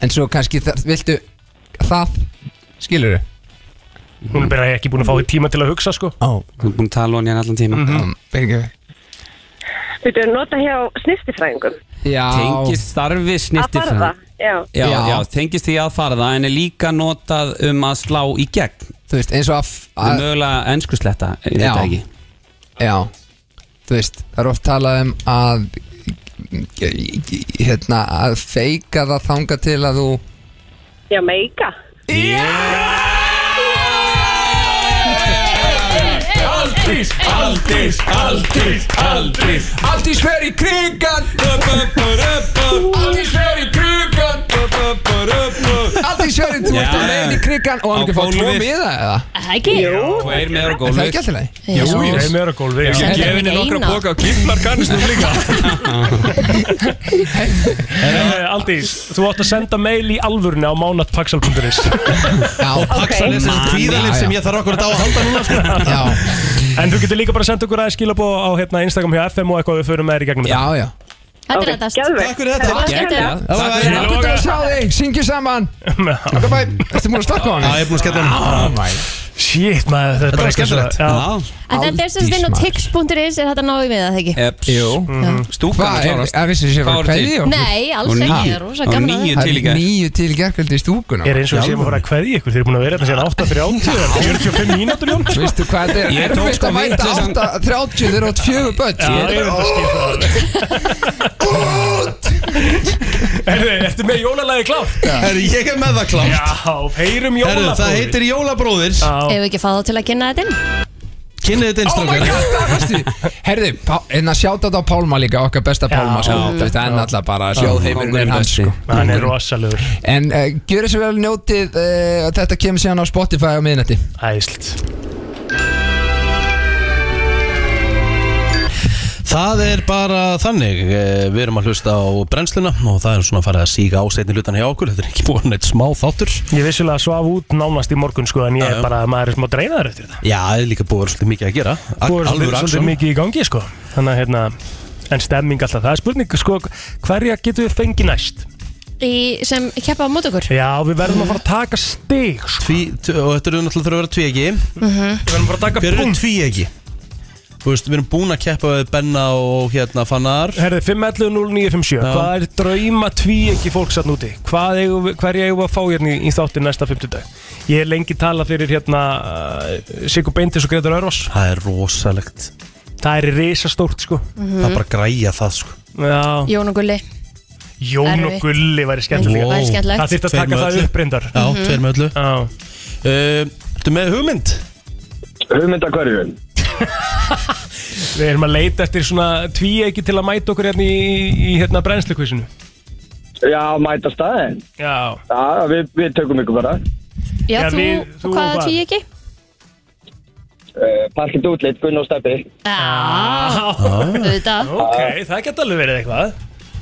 S11: en svo kannski þar, viltu það skilur
S4: Hún er bara ekki búin að fá tíma til að hugsa sko
S11: oh.
S12: Þú er búin að tala á hann hérna allan tíma
S11: um,
S9: Þú veitum, nota hjá snýstifræðingum
S11: Já
S12: Tengist starfi snirti
S9: Að farða, já
S12: Já,
S11: Já.
S12: já, tengist því að farða en er líka notað um að slá í gegn
S11: þú veist, eins og að,
S12: Það er
S11: að
S12: mögulega enskusletta, ég veit
S11: Já.
S12: það ekki
S11: já, þú veist, það er oft talað um að hérna, að feika það þanga til að þú
S9: Já, meika
S10: Aldís, Aldís, Aldís, Aldís
S11: Aldís fer í krigan Aldís fer í krigan Aldís fer í Þú ert á
S12: Já.
S11: leiðin í krigan og
S12: Á
S11: hann ekki fá tvo
S12: gólfið.
S11: miða eða
S3: Það er ekki
S12: Tveir meður á
S11: Er það
S12: gólfið
S11: ekki alltaf leið?
S3: Jú, jú.
S4: Það er meira gólfi
S10: Ég
S11: Þetta
S10: gef
S11: er
S10: henni
S3: ekki
S10: nokkra
S3: eina.
S10: boka og giflar kannistum líka
S4: Eh, Aldís, þú átt að senda mail í alvörni á mánatpaxal.is
S11: Já,
S2: Paxal er þessi kvíðalif sem ég þarf okkur að á að halda núna sko.
S11: já,
S4: En þú getur líka bara að senda okkur aðeins skilabó á hérna, Instagram hjá FM og eitthvað við förum með þér í gegnum
S11: já, já
S3: Þetta er þetta
S2: Takk fyrir þetta
S3: Takk fyrir þetta
S11: Það var ekki það að sjá þig, syngju saman Takk að bæ, ertu múin að slaka á
S2: Já,
S11: hann?
S2: ég er búin að skella hann
S11: Oh my
S4: Shit maður, þetta er bara
S2: var
S4: eitthvað
S2: skemmtilegt.
S4: svona- Já.
S12: Já,
S3: En þetta er sem
S11: Aldís,
S3: sagt inn á
S11: maður.
S3: tix.is er þetta náðu með það ekki?
S12: eps Mhm.
S11: Jú
S12: Stúkan
S11: Hvað, er
S12: klárast
S11: það vissi sér
S12: Hvað
S11: að
S12: voru til?
S11: kveði og
S3: Nei, alls
S12: Og
S3: ekki,
S12: níu.
S3: það er rosa
S12: Og
S3: gaman að
S12: níu.
S3: það
S11: Það
S12: til í
S11: er
S12: gær.
S11: nýju til í gerkvöldi í stúkuna
S4: Er eins og við séum að fara að kveðja ykkur, þeir eru búin að vera hérna síðan 8.30 eða 45 mínútur Jón
S11: Veistu hvað þetta
S12: Ég
S11: er
S12: tók
S11: erfitt
S12: sko
S11: að mæta
S12: vitleysan-
S11: 8.30 þegar þú átt fjögur börn
S4: Já, ég veit að skipta það alveg. Herðu, ertu með jólalagi klátt?
S2: Herru, ég er með það klá
S4: Já,
S2: Herru,
S4: heyrum jólabóði
S2: það heitir Jólabróðir
S3: Ef við ekki fá þá til að kynna þetta inn
S2: Kynnið þetta einstrakar
S11: Herði, en að sjáta þetta á Pálma líka okkar besta Pálma sko. Þetta er náttúrulega bara sjóðheimurinn er
S12: Kóngurinn
S11: hans
S12: besti.
S11: sko.
S4: Hann er rosalögur
S11: En uh, gjöru svo vel njótið uh, að þetta kemur síðan á Spotify á miðnætti
S4: Æslt
S2: Það er bara þannig eh, Við erum að hlusta á brennsluna og það er svona að fara að síga á setni hlutana hjá okkur Þetta er ekki búin eitt smá þáttur
S4: Ég vissulega svaf út nánast í morgun sko En ég
S2: Já,
S4: er
S2: já.
S4: bara, maður er smá dreinaður eftir þetta
S2: Já, það er líka búið að vera svolítið mikið að gera
S4: Þú er
S2: Alvöru
S4: svolítið- svolítið
S2: action.
S4: mikið í gangi sko Þannig að hérna En stemming alltaf, það er spurning sko Hverja getum við fengið næst?
S3: Í sem keppa á mót okkur
S4: Já, við verðum að fara að taka stig sko.
S2: Tví, t- og þetta eru náttúrulega fyrir að vera tvíegi
S4: Við verðum að fara að taka
S2: Hver eru
S4: punkt
S2: tvíegi? Þú veist, við erum búin að keppa við Benna og hérna Fannar
S4: Herði, 511-0957,
S2: Já.
S4: hvað er drauma tví ekki fólk satt núti? Hvað eigum við, hverja eigum við að fá hérna í, í þáttin næsta 50 dag? Ég er lengi talað fyrir hérna uh, Sigur Beintis og Gretar Örvas
S2: Það er rosalegt
S4: Það er risastórt sko
S2: Það er bara að græja það sko
S4: Já,
S3: Jón og Gulli
S4: Jón og
S3: Erfitt.
S4: Gulli væri skemmtilega
S2: Wow. Væri skemmtilegt.
S4: Það þýtti að
S2: Tveir
S4: taka
S2: með
S4: það
S2: öllu.
S4: upp reyndar
S2: Já, Mhm. tveir með öllu Þú Eh, með hugmynd?
S7: Hugmynd að hverju?
S4: Við erum að leita eftir svona tvíegi til að mæta okkur hérna í, í hérna brennslukvísinu
S7: Já, mæta staðin
S4: Já,
S7: Já við, við tökum ykkur bara
S3: Já,
S7: Já,
S3: þú,
S7: við- þú
S3: þú hvaða
S7: og hvað?
S3: tví ekki?
S7: uh, Parkið útlitt, Gunn og Steppi
S3: Já, auðvitað
S4: ok, það geta alveg verið eitthvað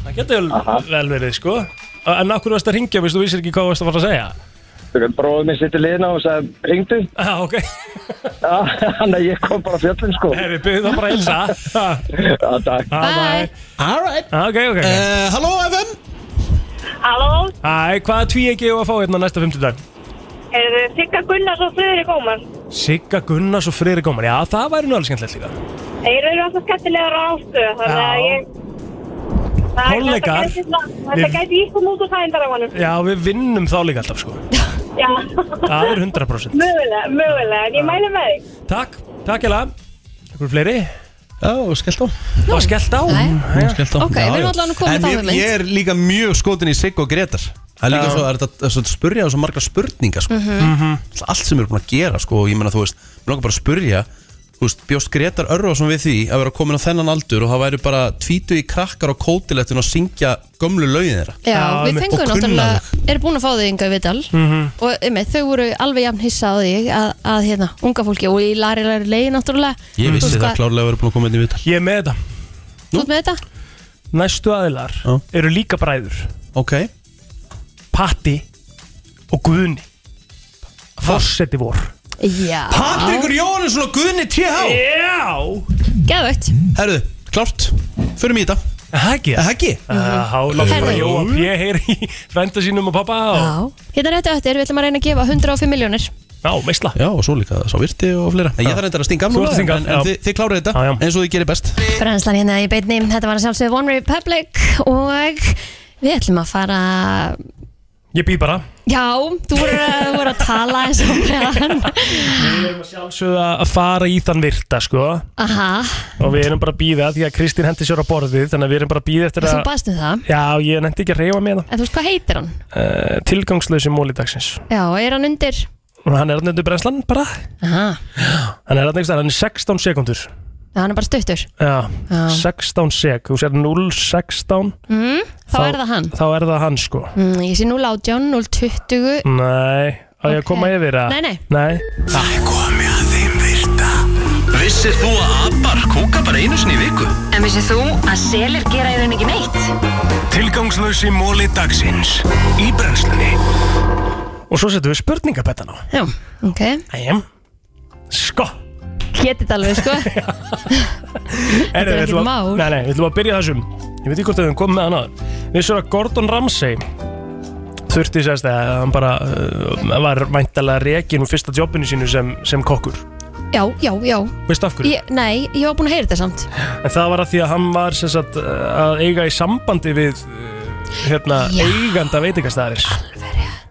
S4: Það geta alveg vel verið sko En akkur varst að ringja, veist þú vísir ekki hvað varst að fara að segja
S7: Bróðið minn sittur liðna og sagði Ringdu
S4: Já, Ah, ok
S7: Þannig að ég kom bara fjöllin sko
S4: Herri, byggðu það bara að hilsa
S7: Já, takk
S4: Bye Ah,
S2: Alright
S4: Ok, ok
S2: Eh, Halló FM
S9: Halló,
S4: Æ, hvaða tvíegi á að fá hérna næsta 50 dag?
S9: er þið Sigga Gunnars og Friðrik Ómar?
S4: Sigga Gunnars og Friðri Gómar Já, það væri nú alveg skemmtilegt líka
S9: Þeir eru alltaf skemmtilegar á ástöðu, þannig að
S4: Já.
S9: ég... Það er-
S4: Kollegar.
S9: þetta gæti svona- Þetta
S4: Við-
S9: gæti ískum út úr þægindar á honum.
S4: Já, við vinnum þá líka alltaf sko
S9: Já.
S4: Það er 100%
S9: Mögulega, mögulega, en ég mæli með þig.
S4: Takk, takk ég lag Ekkur fleiri?
S2: Já, skellt á
S4: Það var skellt á
S2: Hún skellt á.
S3: Ok, við erum allan að koma
S2: En
S3: þá um
S2: ég-
S3: hugmynd.
S2: Ég er líka mjög skotin í Sigg og Gretar Það er líka
S4: Já.
S2: svo, það er þetta- það er svo að spurja á svo margar spurningar sko.
S3: Mhm.
S2: Allt sem er búin að gera sko, og Ég meina þú veist, mér langar bara að spurja Þú veist, bjóst Gretar Örvason við því Að vera komin á þennan aldur og það væri bara Tvítu í krakkar og kótilettun og syngja Gömlu lögin þeirra
S3: Já, við
S2: einmitt.
S3: fengum
S2: Og kunna
S3: náttúrulega,
S2: þau.
S3: er búin að fá þau ynga viðtal
S2: Mhm.
S3: og um, þau voru alveg jafn hissa á því að, að hérna, unga fólki og í lari lari leiði náttúrulega
S2: Ég
S3: Mhm. Þú
S2: vissi
S3: veist
S2: það
S3: hvað-
S2: klárlega að vera búin að koma inn í viðtal
S4: Ég er með þetta
S3: Þú ert með þetta?
S4: Næstu aðilar eru líka bræður
S2: Ok
S4: Patti og Guðni Forseti vor
S3: Já Eh.
S2: Patrik Jóhannesson og Guðni TH
S4: Já
S3: Geðvögt
S2: Herðu, klárt, förum í þetta
S4: Það ekki? Mhm.
S2: Það ekki?
S4: Há, láttu bara Jóa P. heyri í frænda sínum og pappa
S3: Já,
S4: og...
S3: hérna réttu eftir, við ætlum að reyna að gefa 105 miljónir
S4: Já, meisla
S2: Já, og svo líka sá virti og fleira En ég þarf reyndar að stinga af
S4: Þú
S2: núna,
S4: ert að stinga af,
S2: En, en
S4: já.
S2: þið, þið klárið þetta eins og þið gerir best
S3: Brænslan hérna í beitni, þetta var að sjálfsögðu One Republic og við ætlum að fara
S4: Ég bý bara
S3: Já, þú voru, voru að tala eins og meðan
S4: Við erum að sjálfsögðu að fara í þann virta sko
S3: Aha,
S4: og við erum bara að býða því að Kristín hendi sér á borðið þannig að við erum bara að býða eftir
S3: þú
S4: að
S3: baðst um það
S4: Já, ég nefndi ekki að reyfa með það
S3: En þú veist hvað heitir hann?
S4: uh, Tilgangslösi móli dagsins
S3: Já, er hann undir?
S4: og hann er hann undir brennslan bara
S3: Aha,
S4: hann er hann ekki hann er 16 sekundur
S3: já, hann er bara stuttur
S4: Já,
S3: Já.
S4: 16 sek Þú sér 016
S3: mm, Þá er það hann
S4: Þá er það hann sko
S3: mm, Ég sé 018, 020
S4: Nei, á ég að koma yfir að
S3: Nei, nei.
S4: Það er komið
S1: að þeim virta Vissir þú að abar kúka bara einu sinni í viku?
S14: En vissið þú að selir gera í rauninni ekki neitt?
S1: Tilgangslösi móli dagsins Í brennslunni
S4: Og svo setjum við spurningabettan á
S3: Já, ok
S4: Æjum Sko
S3: Hétið alveg, sko
S4: Þetta
S3: er ekkert mál.
S4: Nei, nei, við ætlum að byrja þessum Ég veit ekki hvort að við höfum komið með hann áður Við svo að Gordon Ramsay Þurfti sérst að hann bara uh, var væntalega rekin úr fyrsta jobbinu sínu sem, sem kokkur
S3: Já, já, já
S4: Veistu af hverju?
S3: ég, Nei, ég var búin að heyra þetta samt
S4: En það var að því að hann var sem sagt, uh, að eiga í sambandi við uh, hérna,
S3: Já.
S4: eiganda veitingastæðir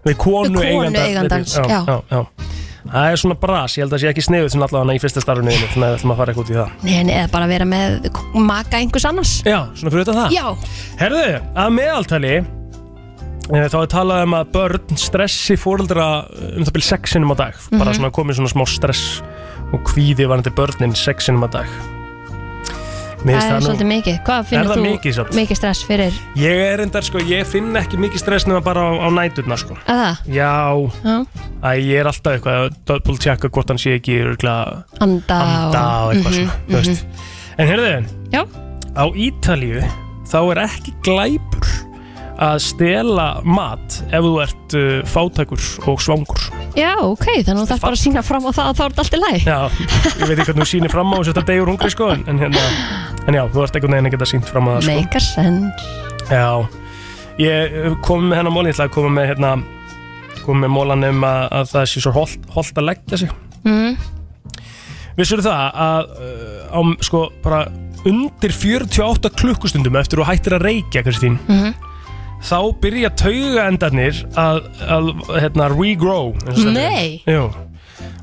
S4: Við
S3: Við
S4: konu,
S3: konu
S4: eiganda
S3: eigandans,
S4: veiting-
S3: já.
S4: já, já. Það er svona bras, ég held að sé ekki sniðuð sem allavega hann í fyrsta starfinu þínu, þannig að við ætlum að fara eitthvað út í það
S3: Nei, nei, eða bara vera með maka einhvers annars
S4: Já, svona fyrir utan það
S3: Já,
S4: Herðu, að meðaltali eh, þá er talað um að börn stressi fóreldra um það byrja sexinum á dag bara
S3: Mhm.
S4: svona komið svona smá stress og kvíði varandi börnin sexinum á dag Mér finnst
S3: það er
S4: nú-
S3: svolítið mikið Hvað
S4: Er
S3: finnur
S4: það
S3: þú
S4: mikið samt?
S3: stress fyrir
S4: Ég er endar sko, ég finn ekki mikið stress nema bara á, á næturna sko
S3: að það?
S4: Já,
S3: Já,
S4: æ, ég er alltaf eitthvað að double checka hvort hann sé ekki örgla
S3: anda,
S4: anda og
S3: Mhm,
S4: eitthvað svona, þú veist En heyrðu,
S3: Já,
S4: á Ítalíu þá er ekki glæpur að stela mat ef þú ert uh, fátækur og svangur
S3: já, ok, þannig að það er bara að sína fram á það að þá er þetta allt í læg
S4: Já, ég veit ekki hvernig þú sýnir fram á þessu þetta degur hungri sko en, en, hérna, en já, þú ert einhvern veginn að geta sínt fram á það sko.
S3: Make a sense
S4: Já, ég eh, kom með hennar mólin, ég ætla að koma með hérna kom með mólan um að, að það sé svo holt, holt að leggja sig
S3: mm.
S4: Vissur það að uh, á, sko, bara undir 48 klukkustundum eftir þú hættir að reykja, Kristín
S3: Mhm.
S4: þá byrja taugaendarnir að, að hérna, regrow eins og stendur.
S3: Nei.
S4: Jú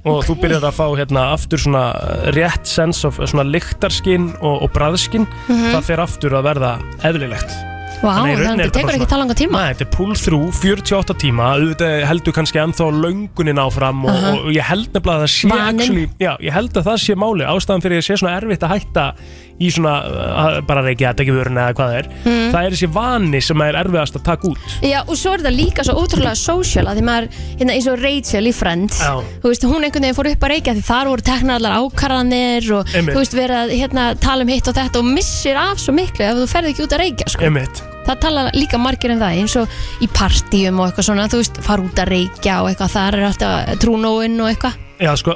S4: og þú byrjar að fá hérna aftur svona rétt sense of svona lyktarskinn og, og bræðskinn
S3: Mhm.
S4: það fer aftur að verða eðlilegt
S3: Vá,
S4: Þannig í rauninni
S3: þannig
S4: er
S3: að það
S4: bara
S3: tekur ekki
S4: svona-
S3: það langa tíma
S4: Nei, þetta er pull through, 48 tíma auðvitað heldur kannski ennþá löngunin áfram og,
S3: Aha.
S4: og ég held nefnilega að það sé
S3: Vaninn.
S4: já, ég held að það sé máli ástæðan fyrir að sé svona erfitt að hætta í svona, uh, bara reykja þetta ekki vörun eða hvað það er,
S3: Mm.
S4: það er þessi vani sem er erfiðast að taka út
S3: Já, og svo er þetta líka svo ótrúlega social að því maður, hérna eins og Rachel í Friends
S4: Já.
S3: þú veist, hún einhvern veginn fór upp að reykja því þar voru teknar allar ákarðanir og
S4: Einmitt.
S3: þú veist, verið að hérna, tala um hitt og þetta og missir af svo miklu ef þú ferð ekki út að reykja sko.
S4: Einmitt.
S3: það tala líka margir um það eins og í partíum og eitthvað svona þú veist, fara út að reykja og eitthvað þar er alltaf trúnóinn og eitthvað
S4: Já, sko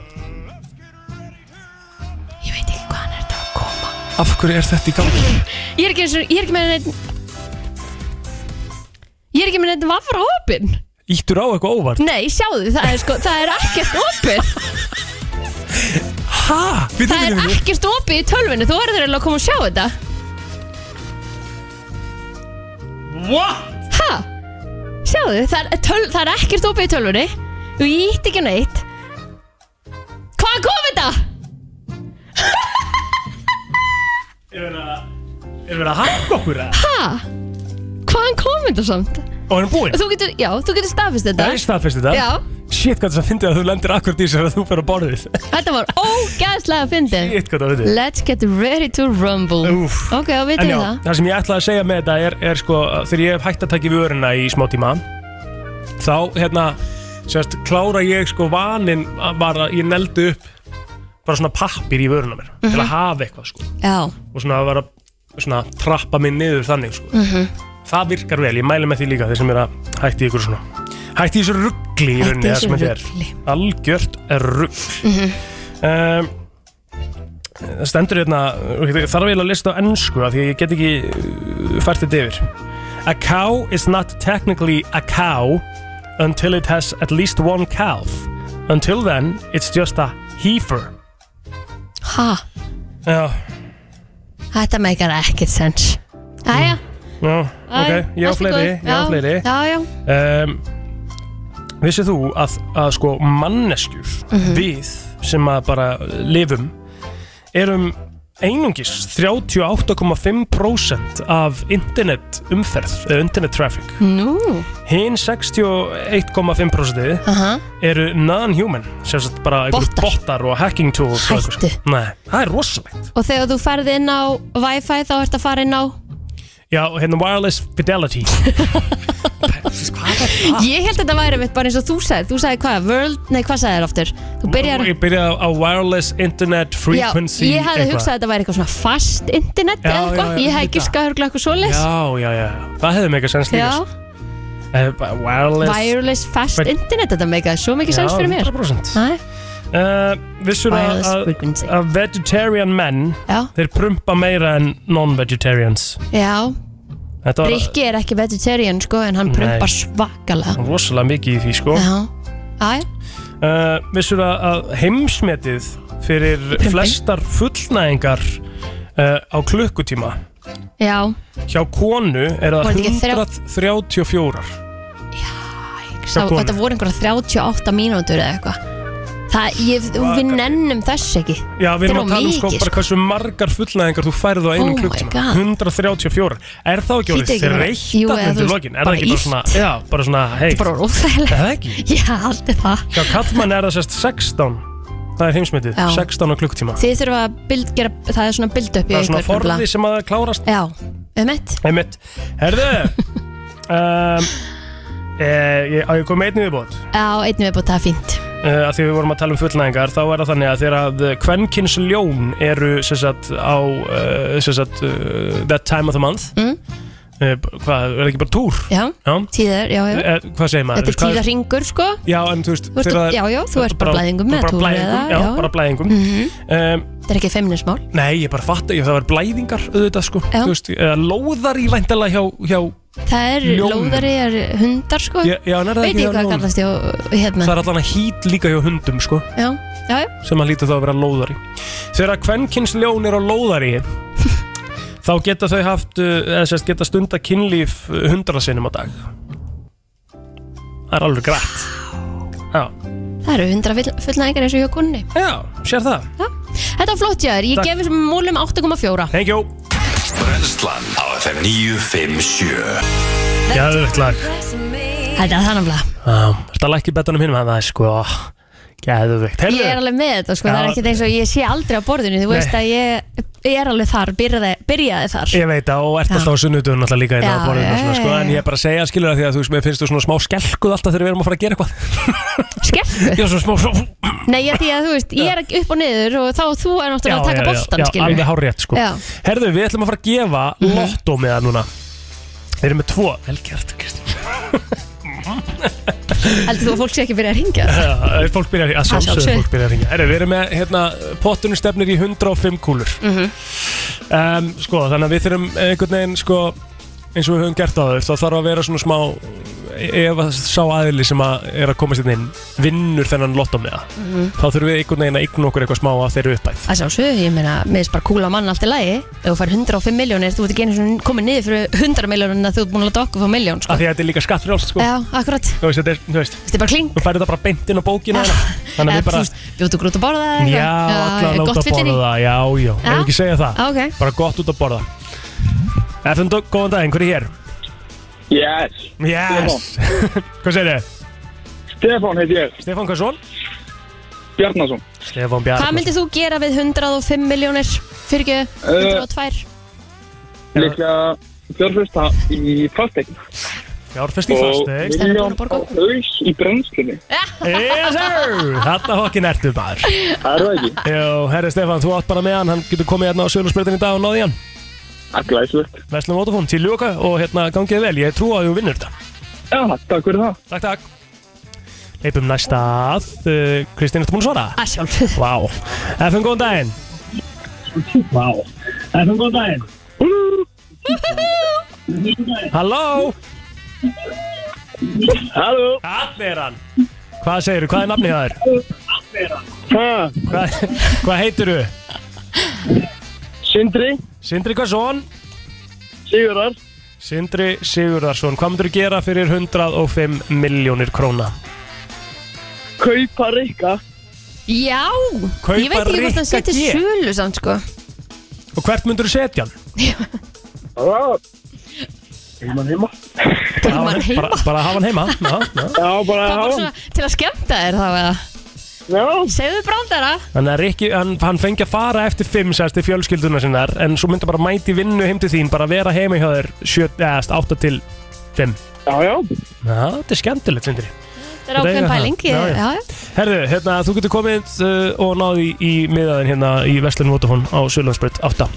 S4: Ég veit ekki hvað hann er þetta að koma Af hverju er þetta í gangi?
S3: ég er ekki, eins og- ég er ekki með neitt ég er ekki með neitt vafra hópin
S4: Íttur á eitthvað óvart?
S3: Nei, sjáðu, það er, sko, það er ekkert opið
S4: Hæ?
S3: Það
S4: um
S3: er ekkert opið í tölvinu, þú verður eiginlega að koma og sjá þetta
S4: What?
S3: Hæ? Sjáðu, það er, töl, það er ekkert opið í tölvinu Þú ítt ekki á neitt Hvað kom þetta?
S4: Er verið að- er verið að hakka okkur eða?
S3: Hæ? Hvaðan kom þetta samt?
S4: Og er hann búinn?
S3: Þú getur, já, þú getur staðfist þetta
S4: Það er staðfest þetta?
S3: Já,
S4: Shit, hvað þess að fyndið að þú lendir akkurat í sér að þú fyrir á borðið
S3: þetta var ógæðslega fyndið
S4: Shit, hvað það veitir
S3: Let's get ready to rumble Úf. Ok, þá
S4: En
S3: veitum
S4: já,
S3: við það
S4: það sem ég ætlaði að segja með þetta er, er sko, þegar ég hef hægt að taka í vöruna í smá tíma þá, hérna, sérst, klára ég sko vanin að bara, ég neldi upp bara svona pappir í vöruna mér til
S3: Mhm.
S4: að hafa eitthvað sko
S3: Já,
S4: og svona að vera svona trappa mig niður þannig sko
S3: mhm
S4: það virkar vel, ég mæli með því líka þeir sem er að hætti ykkur svona hætti í þessu ruggli í
S3: Hætti í
S4: rauninni það
S3: þessu
S4: sem þetta er. algjört ruggl
S3: Mhm.
S4: um, það stendur hérna þarf ég að lista á ennsku af því að ég get ekki uh, fært þetta yfir a cow is not technically a cow until it has at least one calf until then it's just a heifer
S3: Hæ?
S4: já,
S3: Þetta meikar ekkert sens Æja, Æ,
S4: já, Mm, ok, ég á
S3: allt í
S4: fleiri
S3: góðu.
S4: ég á
S3: Já,
S4: fleiri
S3: já, já.
S4: um, Vissið þú að, að sko manneskjur
S3: Mhm.
S4: við sem að bara lifum erum einungis 38,5% af internet umferð eða internet traffic
S3: nú
S4: hinn 61,5%
S3: Aha.
S4: eru non-human sem sagt bara einhverjir bottar og hacking tools og eitthvað.
S3: Hættu.
S4: Nei, það er rosalegt
S3: Og þegar þú ferði inn á Wi-Fi þá ert að fara inn á
S4: Já, hérna wireless fidelity
S3: Ég held að þetta væri mitt bara eins og þú sagði Þú sagði hvað, world, nei hvað sagði þér aftur Þú byrjar
S4: Ég byrja á wireless internet frequency
S3: Já, ég hefði
S4: eitthvað.
S3: hugsað að þetta væri eitthvað svona fast internet
S4: Já,
S3: eða eitthvað
S4: já, já,
S3: Ég hefði
S4: þetta.
S3: giskað hörgla eitthvað svoleiðs
S4: Já, já, já, það hefði mega sens líka
S3: Já.
S4: sko. Eh, bara Wireless
S3: Wireless fast
S4: But-
S3: internet, þetta meikaði svo mikið
S4: Já,
S3: sens fyrir mér
S4: 100%.
S3: Nei,
S4: uh, Vissur að
S3: Wireless
S4: að- að vegetarian menn
S3: Já.
S4: Þeir prumpa meira en non-vegetarians
S3: Já,
S4: Þetta var
S3: Rikki er ekki vegetarian sko En hann
S4: Nei.
S3: prumpar svakalega
S4: rosalega mikið í því sko
S3: Já, aðja
S4: uh, Vissur að- að heimsmetið fyrir flestar fullnæðingar uh, á klukkutíma
S3: Já,
S4: Hjá konu er
S3: Voru
S4: það
S3: þetta ekki þrjá-
S4: 134
S3: Sá,
S4: konu.
S3: þetta voru einhverja 38 mínútur eða eitthvað Það, ég, við nennum þess ekki
S4: Já, við
S3: Þetta
S4: erum að
S3: er
S4: tala um
S3: of
S4: sko
S3: mikið,
S4: bara hversu margar fullnæðingar þú færðu á einum
S3: Oh my
S4: klukkutíma
S3: God.
S4: 134 Er það ekki orðið
S3: Hlýtur ekki að vera- Jú, eða
S4: þreytandi
S3: þú
S4: undir
S3: veist,
S4: lokin? Er
S3: bara
S4: það ekki bara svona,
S3: illt.
S4: já, bara svona, hei
S3: Þetta er bara óþægilegt.
S4: Er það ekki?
S3: Já, alltaf það
S4: Hjá kallmann er það sérst 16 Það er heimsmyndið,
S3: Já.
S4: 16 á klukkutíma
S3: Þið þurfa að build, gera, það er svona build upp í
S4: Það er svona
S3: ykkur,
S4: forði
S3: nefnilega.
S4: sem að klárast
S3: Já, um eitt
S4: Einmitt, herðu um, e, Ég, á ég kom með einnig viðbót
S3: Já, einnig við búið það er fínt
S4: Uh, að því við vorum að tala um fullnæðingar þá er það þannig að þegar að kvenkins ljón eru sem sagt á uh, sem sagt uh, that time of the month
S3: mm.
S4: uh, hvað, er ekki bara túr?
S3: Já,
S4: Já.
S3: tíðar, já, já
S4: Eh, hvað segir maður?
S3: Þetta er
S4: Hvað
S3: tíðar hringur, sko
S4: Já, en þú veist
S3: Þú ert-
S4: þegar það-
S3: já, já, þú ert bara blæðingum
S4: þú
S3: með
S4: ert bara
S3: túr
S4: blæðingum,
S3: eða-
S4: já,
S3: já. Mhm. Mm.
S4: bara blæðingum um,
S3: Þetta er ekki feimnismál
S4: Nei, ég bara fatt ég, það var blæðingar auðvitað sko
S3: Já.
S4: Þú veist, eða lóðar í væntalega hjá, hjá
S3: Það er
S4: Ljón.
S3: lóðari, er hundar, sko
S4: Já, já, en er það
S3: Veit
S4: ekki
S3: ég
S4: hjá
S3: hvað
S4: ljón?
S3: kallast ég hérna
S4: það er allan að hít líka hjá hundum sko
S3: Já, já, já
S4: sem að lítur þá að vera lóðari Þegar að kvenkins ljón er á lóðari þá geta þau haft uh, eða sérst geta stunda kynlíf hundra sinnum á dag Það er alveg grætt Já,
S3: Það eru hundra fullnæðingar eins og hjá kunni
S4: já, sér það
S3: Þetta var flott, Jæður, ég
S4: Takk.
S3: gefi sem múlum 8,4
S4: Thank you
S1: Brennslan á FM 957
S4: Geðvögt lag
S3: Þetta er þannig að
S4: Þetta lag ekki betanum hinum, en það er sko Geðvögt
S3: Ég er alveg með þetta sko, það er
S4: Já.
S3: ekkert eins og ég sé aldrei á borðinu Þú
S4: Nei.
S3: veist að ég, ég er alveg þar, byrjaði, byrjaði þar
S4: Ég veit að, og ert
S3: Já.
S4: alltaf á sunnudum alltaf líka
S3: Já,
S4: hérna á borðinu og svona,
S3: já,
S4: sko,
S3: já,
S4: en ég er bara að segja skilur það því að þú veist, mér finnst þú svona smá skelkuð alltaf þegar við erum að fara að gera eitthvað
S3: Skelkuð?
S4: Já, svona smá, svo,
S3: Nei, ég, því að þú veist, ég er ekki upp og niður og þá þú er náttúrulega að taka boltan, skilur
S4: alveg hárétt, sko
S3: Já. Mhm.
S4: Herðu, við ætlum að fara að gefa mm -hmm. lottómiða núna Þeir eru með tvo, velgjart, Kristján
S3: Heldur þú að fólk sé ekki byrja að ringja?
S4: Já, eh, Fólk byrjar að
S3: Að
S4: sjálfsögðu
S3: sjálfsögðu.
S4: fólk byrjar að ringja Herru, við erum með, hérna, pottunum stefnir í 105 kúlur
S3: Mhm.
S4: um, Sko, þannig að við þurfum einhvern veginn, sko eins og við höfum gert á þau, þá þarf að vera svona smá ef að sá aðili sem að er að komast inn vinnur þennan lottómiða
S3: Mhm.
S4: þá þurfum við einhvern veginn að eigna okkur eitthvað smá að þeirra uppæð
S3: Það sjálfsög, ég meina, mér finnst bara kúla mann allt í lagi Ef þú fær 105 miljónir, þú ert ekki einu svona komin niður fyrir 100 miljónir en að þú ert búin að láta okkur fá miljón sko.
S4: af því að þetta er líka skattfrjálst, sko
S3: Já, akkurat
S4: þú veist, þetta er, þú veist
S3: Þetta er bara kling
S4: Þú færði þetta bara beint inn á bókinu ah, Þannig að
S3: Eða,
S4: við bara
S3: þú veist, Bjótu grút að borða eða eitthvað?
S4: Já, allar
S3: er
S4: að láta
S3: gott
S4: að
S3: fyrir
S4: borða
S3: því?
S4: það Já, já, ef
S3: Já.
S4: við ekki segja það
S3: Ah, ok.
S4: Bara gott út að borða FM, Dó- góðan daginn, hver er hér?
S7: Yes
S4: Yes Hvað segir þið?
S7: Stefán heit ég
S4: Stefán Hvarsson?
S7: Bjarnason
S4: Stefán
S3: Hvað
S4: Bjarnason
S3: myndir þú gera við 105 miljónir fyrir ekki 102?
S7: Líklega fjárfesta í fasteign
S4: Fjárfest í fasteign.
S7: Og miljón á haus í brennslunni
S4: Yes sir Þarna hokkin ertu bara
S7: Það er það ekki
S4: Jó, herri Stefán, þú átt bara með hann Hann getur komið hérna á sölunspyrtin í dag og náði í hann
S7: Glæsilegt
S4: Vestlum Votafón, til ljóka og hérna gangið vel Ég trú að þú vinnur þetta
S7: Já, takk fyrir það
S4: Takk, takk Leipum næsta að uh, Kristín, ertu búin að svara?
S3: Að sjálf
S4: Vá FM, góðan daginn Vá FM, góðan daginn Halló Halló Hann er hann Hvað segirðu, hvað er nafnið það er? Hvað, hvað heitirðu? Sindri Sindri Hvarsson Sigurðar Sindri Sigurðarsson Hvað myndur þú gera fyrir 105 miljónir króna?
S7: Kaupa rikka
S3: Já,
S4: Kaupa
S3: ég veit ekki hvort
S4: Rikka
S3: hann setir
S4: G.
S3: sölu samt sko
S4: Og hvert myndur þú setja hann?
S7: Heimann heima
S3: Heimann heima?
S4: Bara, bara hafa hann heima Já, já. já bara
S3: Hvað bara svona til að skemmta þér þá eða?
S7: Já
S3: Segðu brandara
S4: Þannig að Rikki, hann, hann fengi að fara eftir fimm sérst til fjölskylduna sinnar en svo myndi bara mæti vinnu heim til þín bara vera heima hjá þér sjö, eðast, átta til fimm Já, já Já, þetta er skemmtilegt, Sindri
S3: Þetta er ákveðin pæling ég, já, já.
S4: Herðu, hérna, þú getur komið uh, og náði í, í miðaðin hérna í Vestlun Votafón á Sjölandsbreyt 8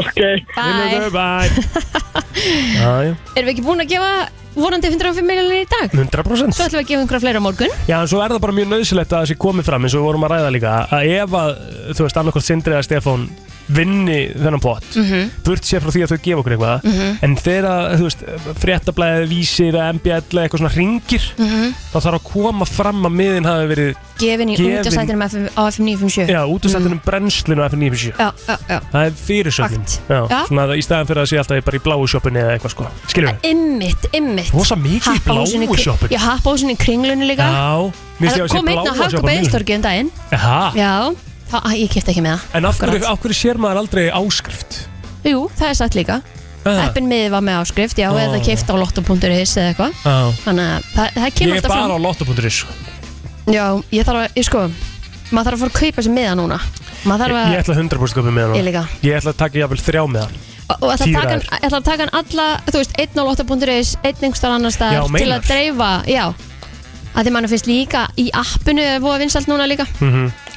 S4: Ok Bye Bye Já, já
S3: Erum við ekki búin að gefa vonandi 105 miljónir í dag?
S4: 100%
S3: Svo ætlum við að gefa einhverja fleira á morgun
S4: Já, en svo er það bara mjög nöðsilegt að þessi komið fram eins og við vorum að ræða líka að ef að, þú veist, annarkort Sindri eða Stefán vinni þennan pott
S3: Mhm.
S4: burt sér frá því að þau gefa okkur eitthvað
S3: Mhm.
S4: en þegar, að, þú veist, fréttablaðið vísir að MBL eða eitthvað svona ringir
S3: Mhm.
S4: þá þarf að koma fram að miðin hafi verið
S3: Gefin í
S4: Gefin-
S3: útjásætinum á FM 957
S4: Já, út af sættinum
S3: Mm.
S4: brennslinu af 97
S3: Já, já, já
S4: Það er fyrirsögnin Já,
S3: Já.
S4: Svona að í staðan fyrir að sé alltaf bara í bláu sjoppunni eða eitthvað sko Skiljum við?
S3: Ymmit, ymmit
S4: Rosa mikið í
S3: Happahúsin
S4: bláu
S3: kri-
S4: sjoppunni
S3: Já, happáhúsin í kringlunni líka
S4: Já, mér sé að
S3: Það
S4: sé
S3: kom einn á
S4: bláa sjoppunni.
S3: Hagkabæðistorgi um daginn
S4: Jaha.
S3: Já, þá, æ, ég kipta ekki með það
S4: En af hverju,
S3: Akkurat.
S4: af hverju sér maður aldrei áskrift?
S3: Jú, það er satt líka
S4: Ah.
S3: Eppin miði var með áskrift, já,
S4: Ó.
S3: eða kipta á lotto.is eða eitthvað
S4: Já.
S3: Þannig að það, það
S4: Ég
S3: kemur
S4: er
S3: alltaf
S4: bara á
S3: fram
S4: lotto.is sko.
S3: Já, ég þarf að, ég sko Maður þarf að fara að kaupa sér miða núna Maður
S4: Ég
S3: þarf
S4: ég sko.
S3: að,
S4: ætla 100% köpum með hann
S3: Ég líka.
S4: Ég ætla að taka jafnvel þrjá með hann
S3: og ætla að
S4: tíu
S3: taka hann-
S4: dagar.
S3: ætla að taka hann alla Þú veist, einn á lotto.is, einn einhverstaðar annar
S4: Já,
S3: staðar Til
S4: meinar.
S3: að dreifa, já að því mann finnst líka í appinu er búið að vinsalt núna líka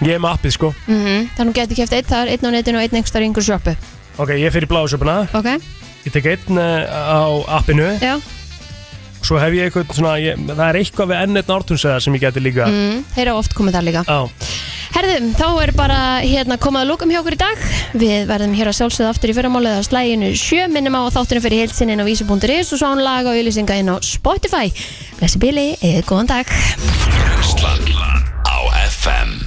S4: Ég er með appið sko
S3: mm þannig getur kæft einn þar, einn á netinu og einn einhverstaðar í einhver sjoppu
S4: Ok, ég fer í bláðsöpuna
S3: ok,
S4: Ég tek einn eh, á appinu
S3: já,
S4: Svo hef ég eitthvað svona ég, Það er eitthvað við enn einn ártunseðar sem ég geti líka
S3: mm, þeir eru oft komið þar líka
S4: Já
S3: Herðum, þá er bara hérna komað að lókum hjá okkur í dag Við verðum hér að sjálfsögða aftur í fyrramálið á slæginu 7 Minnum á að þáttunum fyrir heilsinn inn á vísi.is og svo án laga og ylisinga inn á Spotify Blessi Bili, eða góðan dag
S1: Brennslan á FM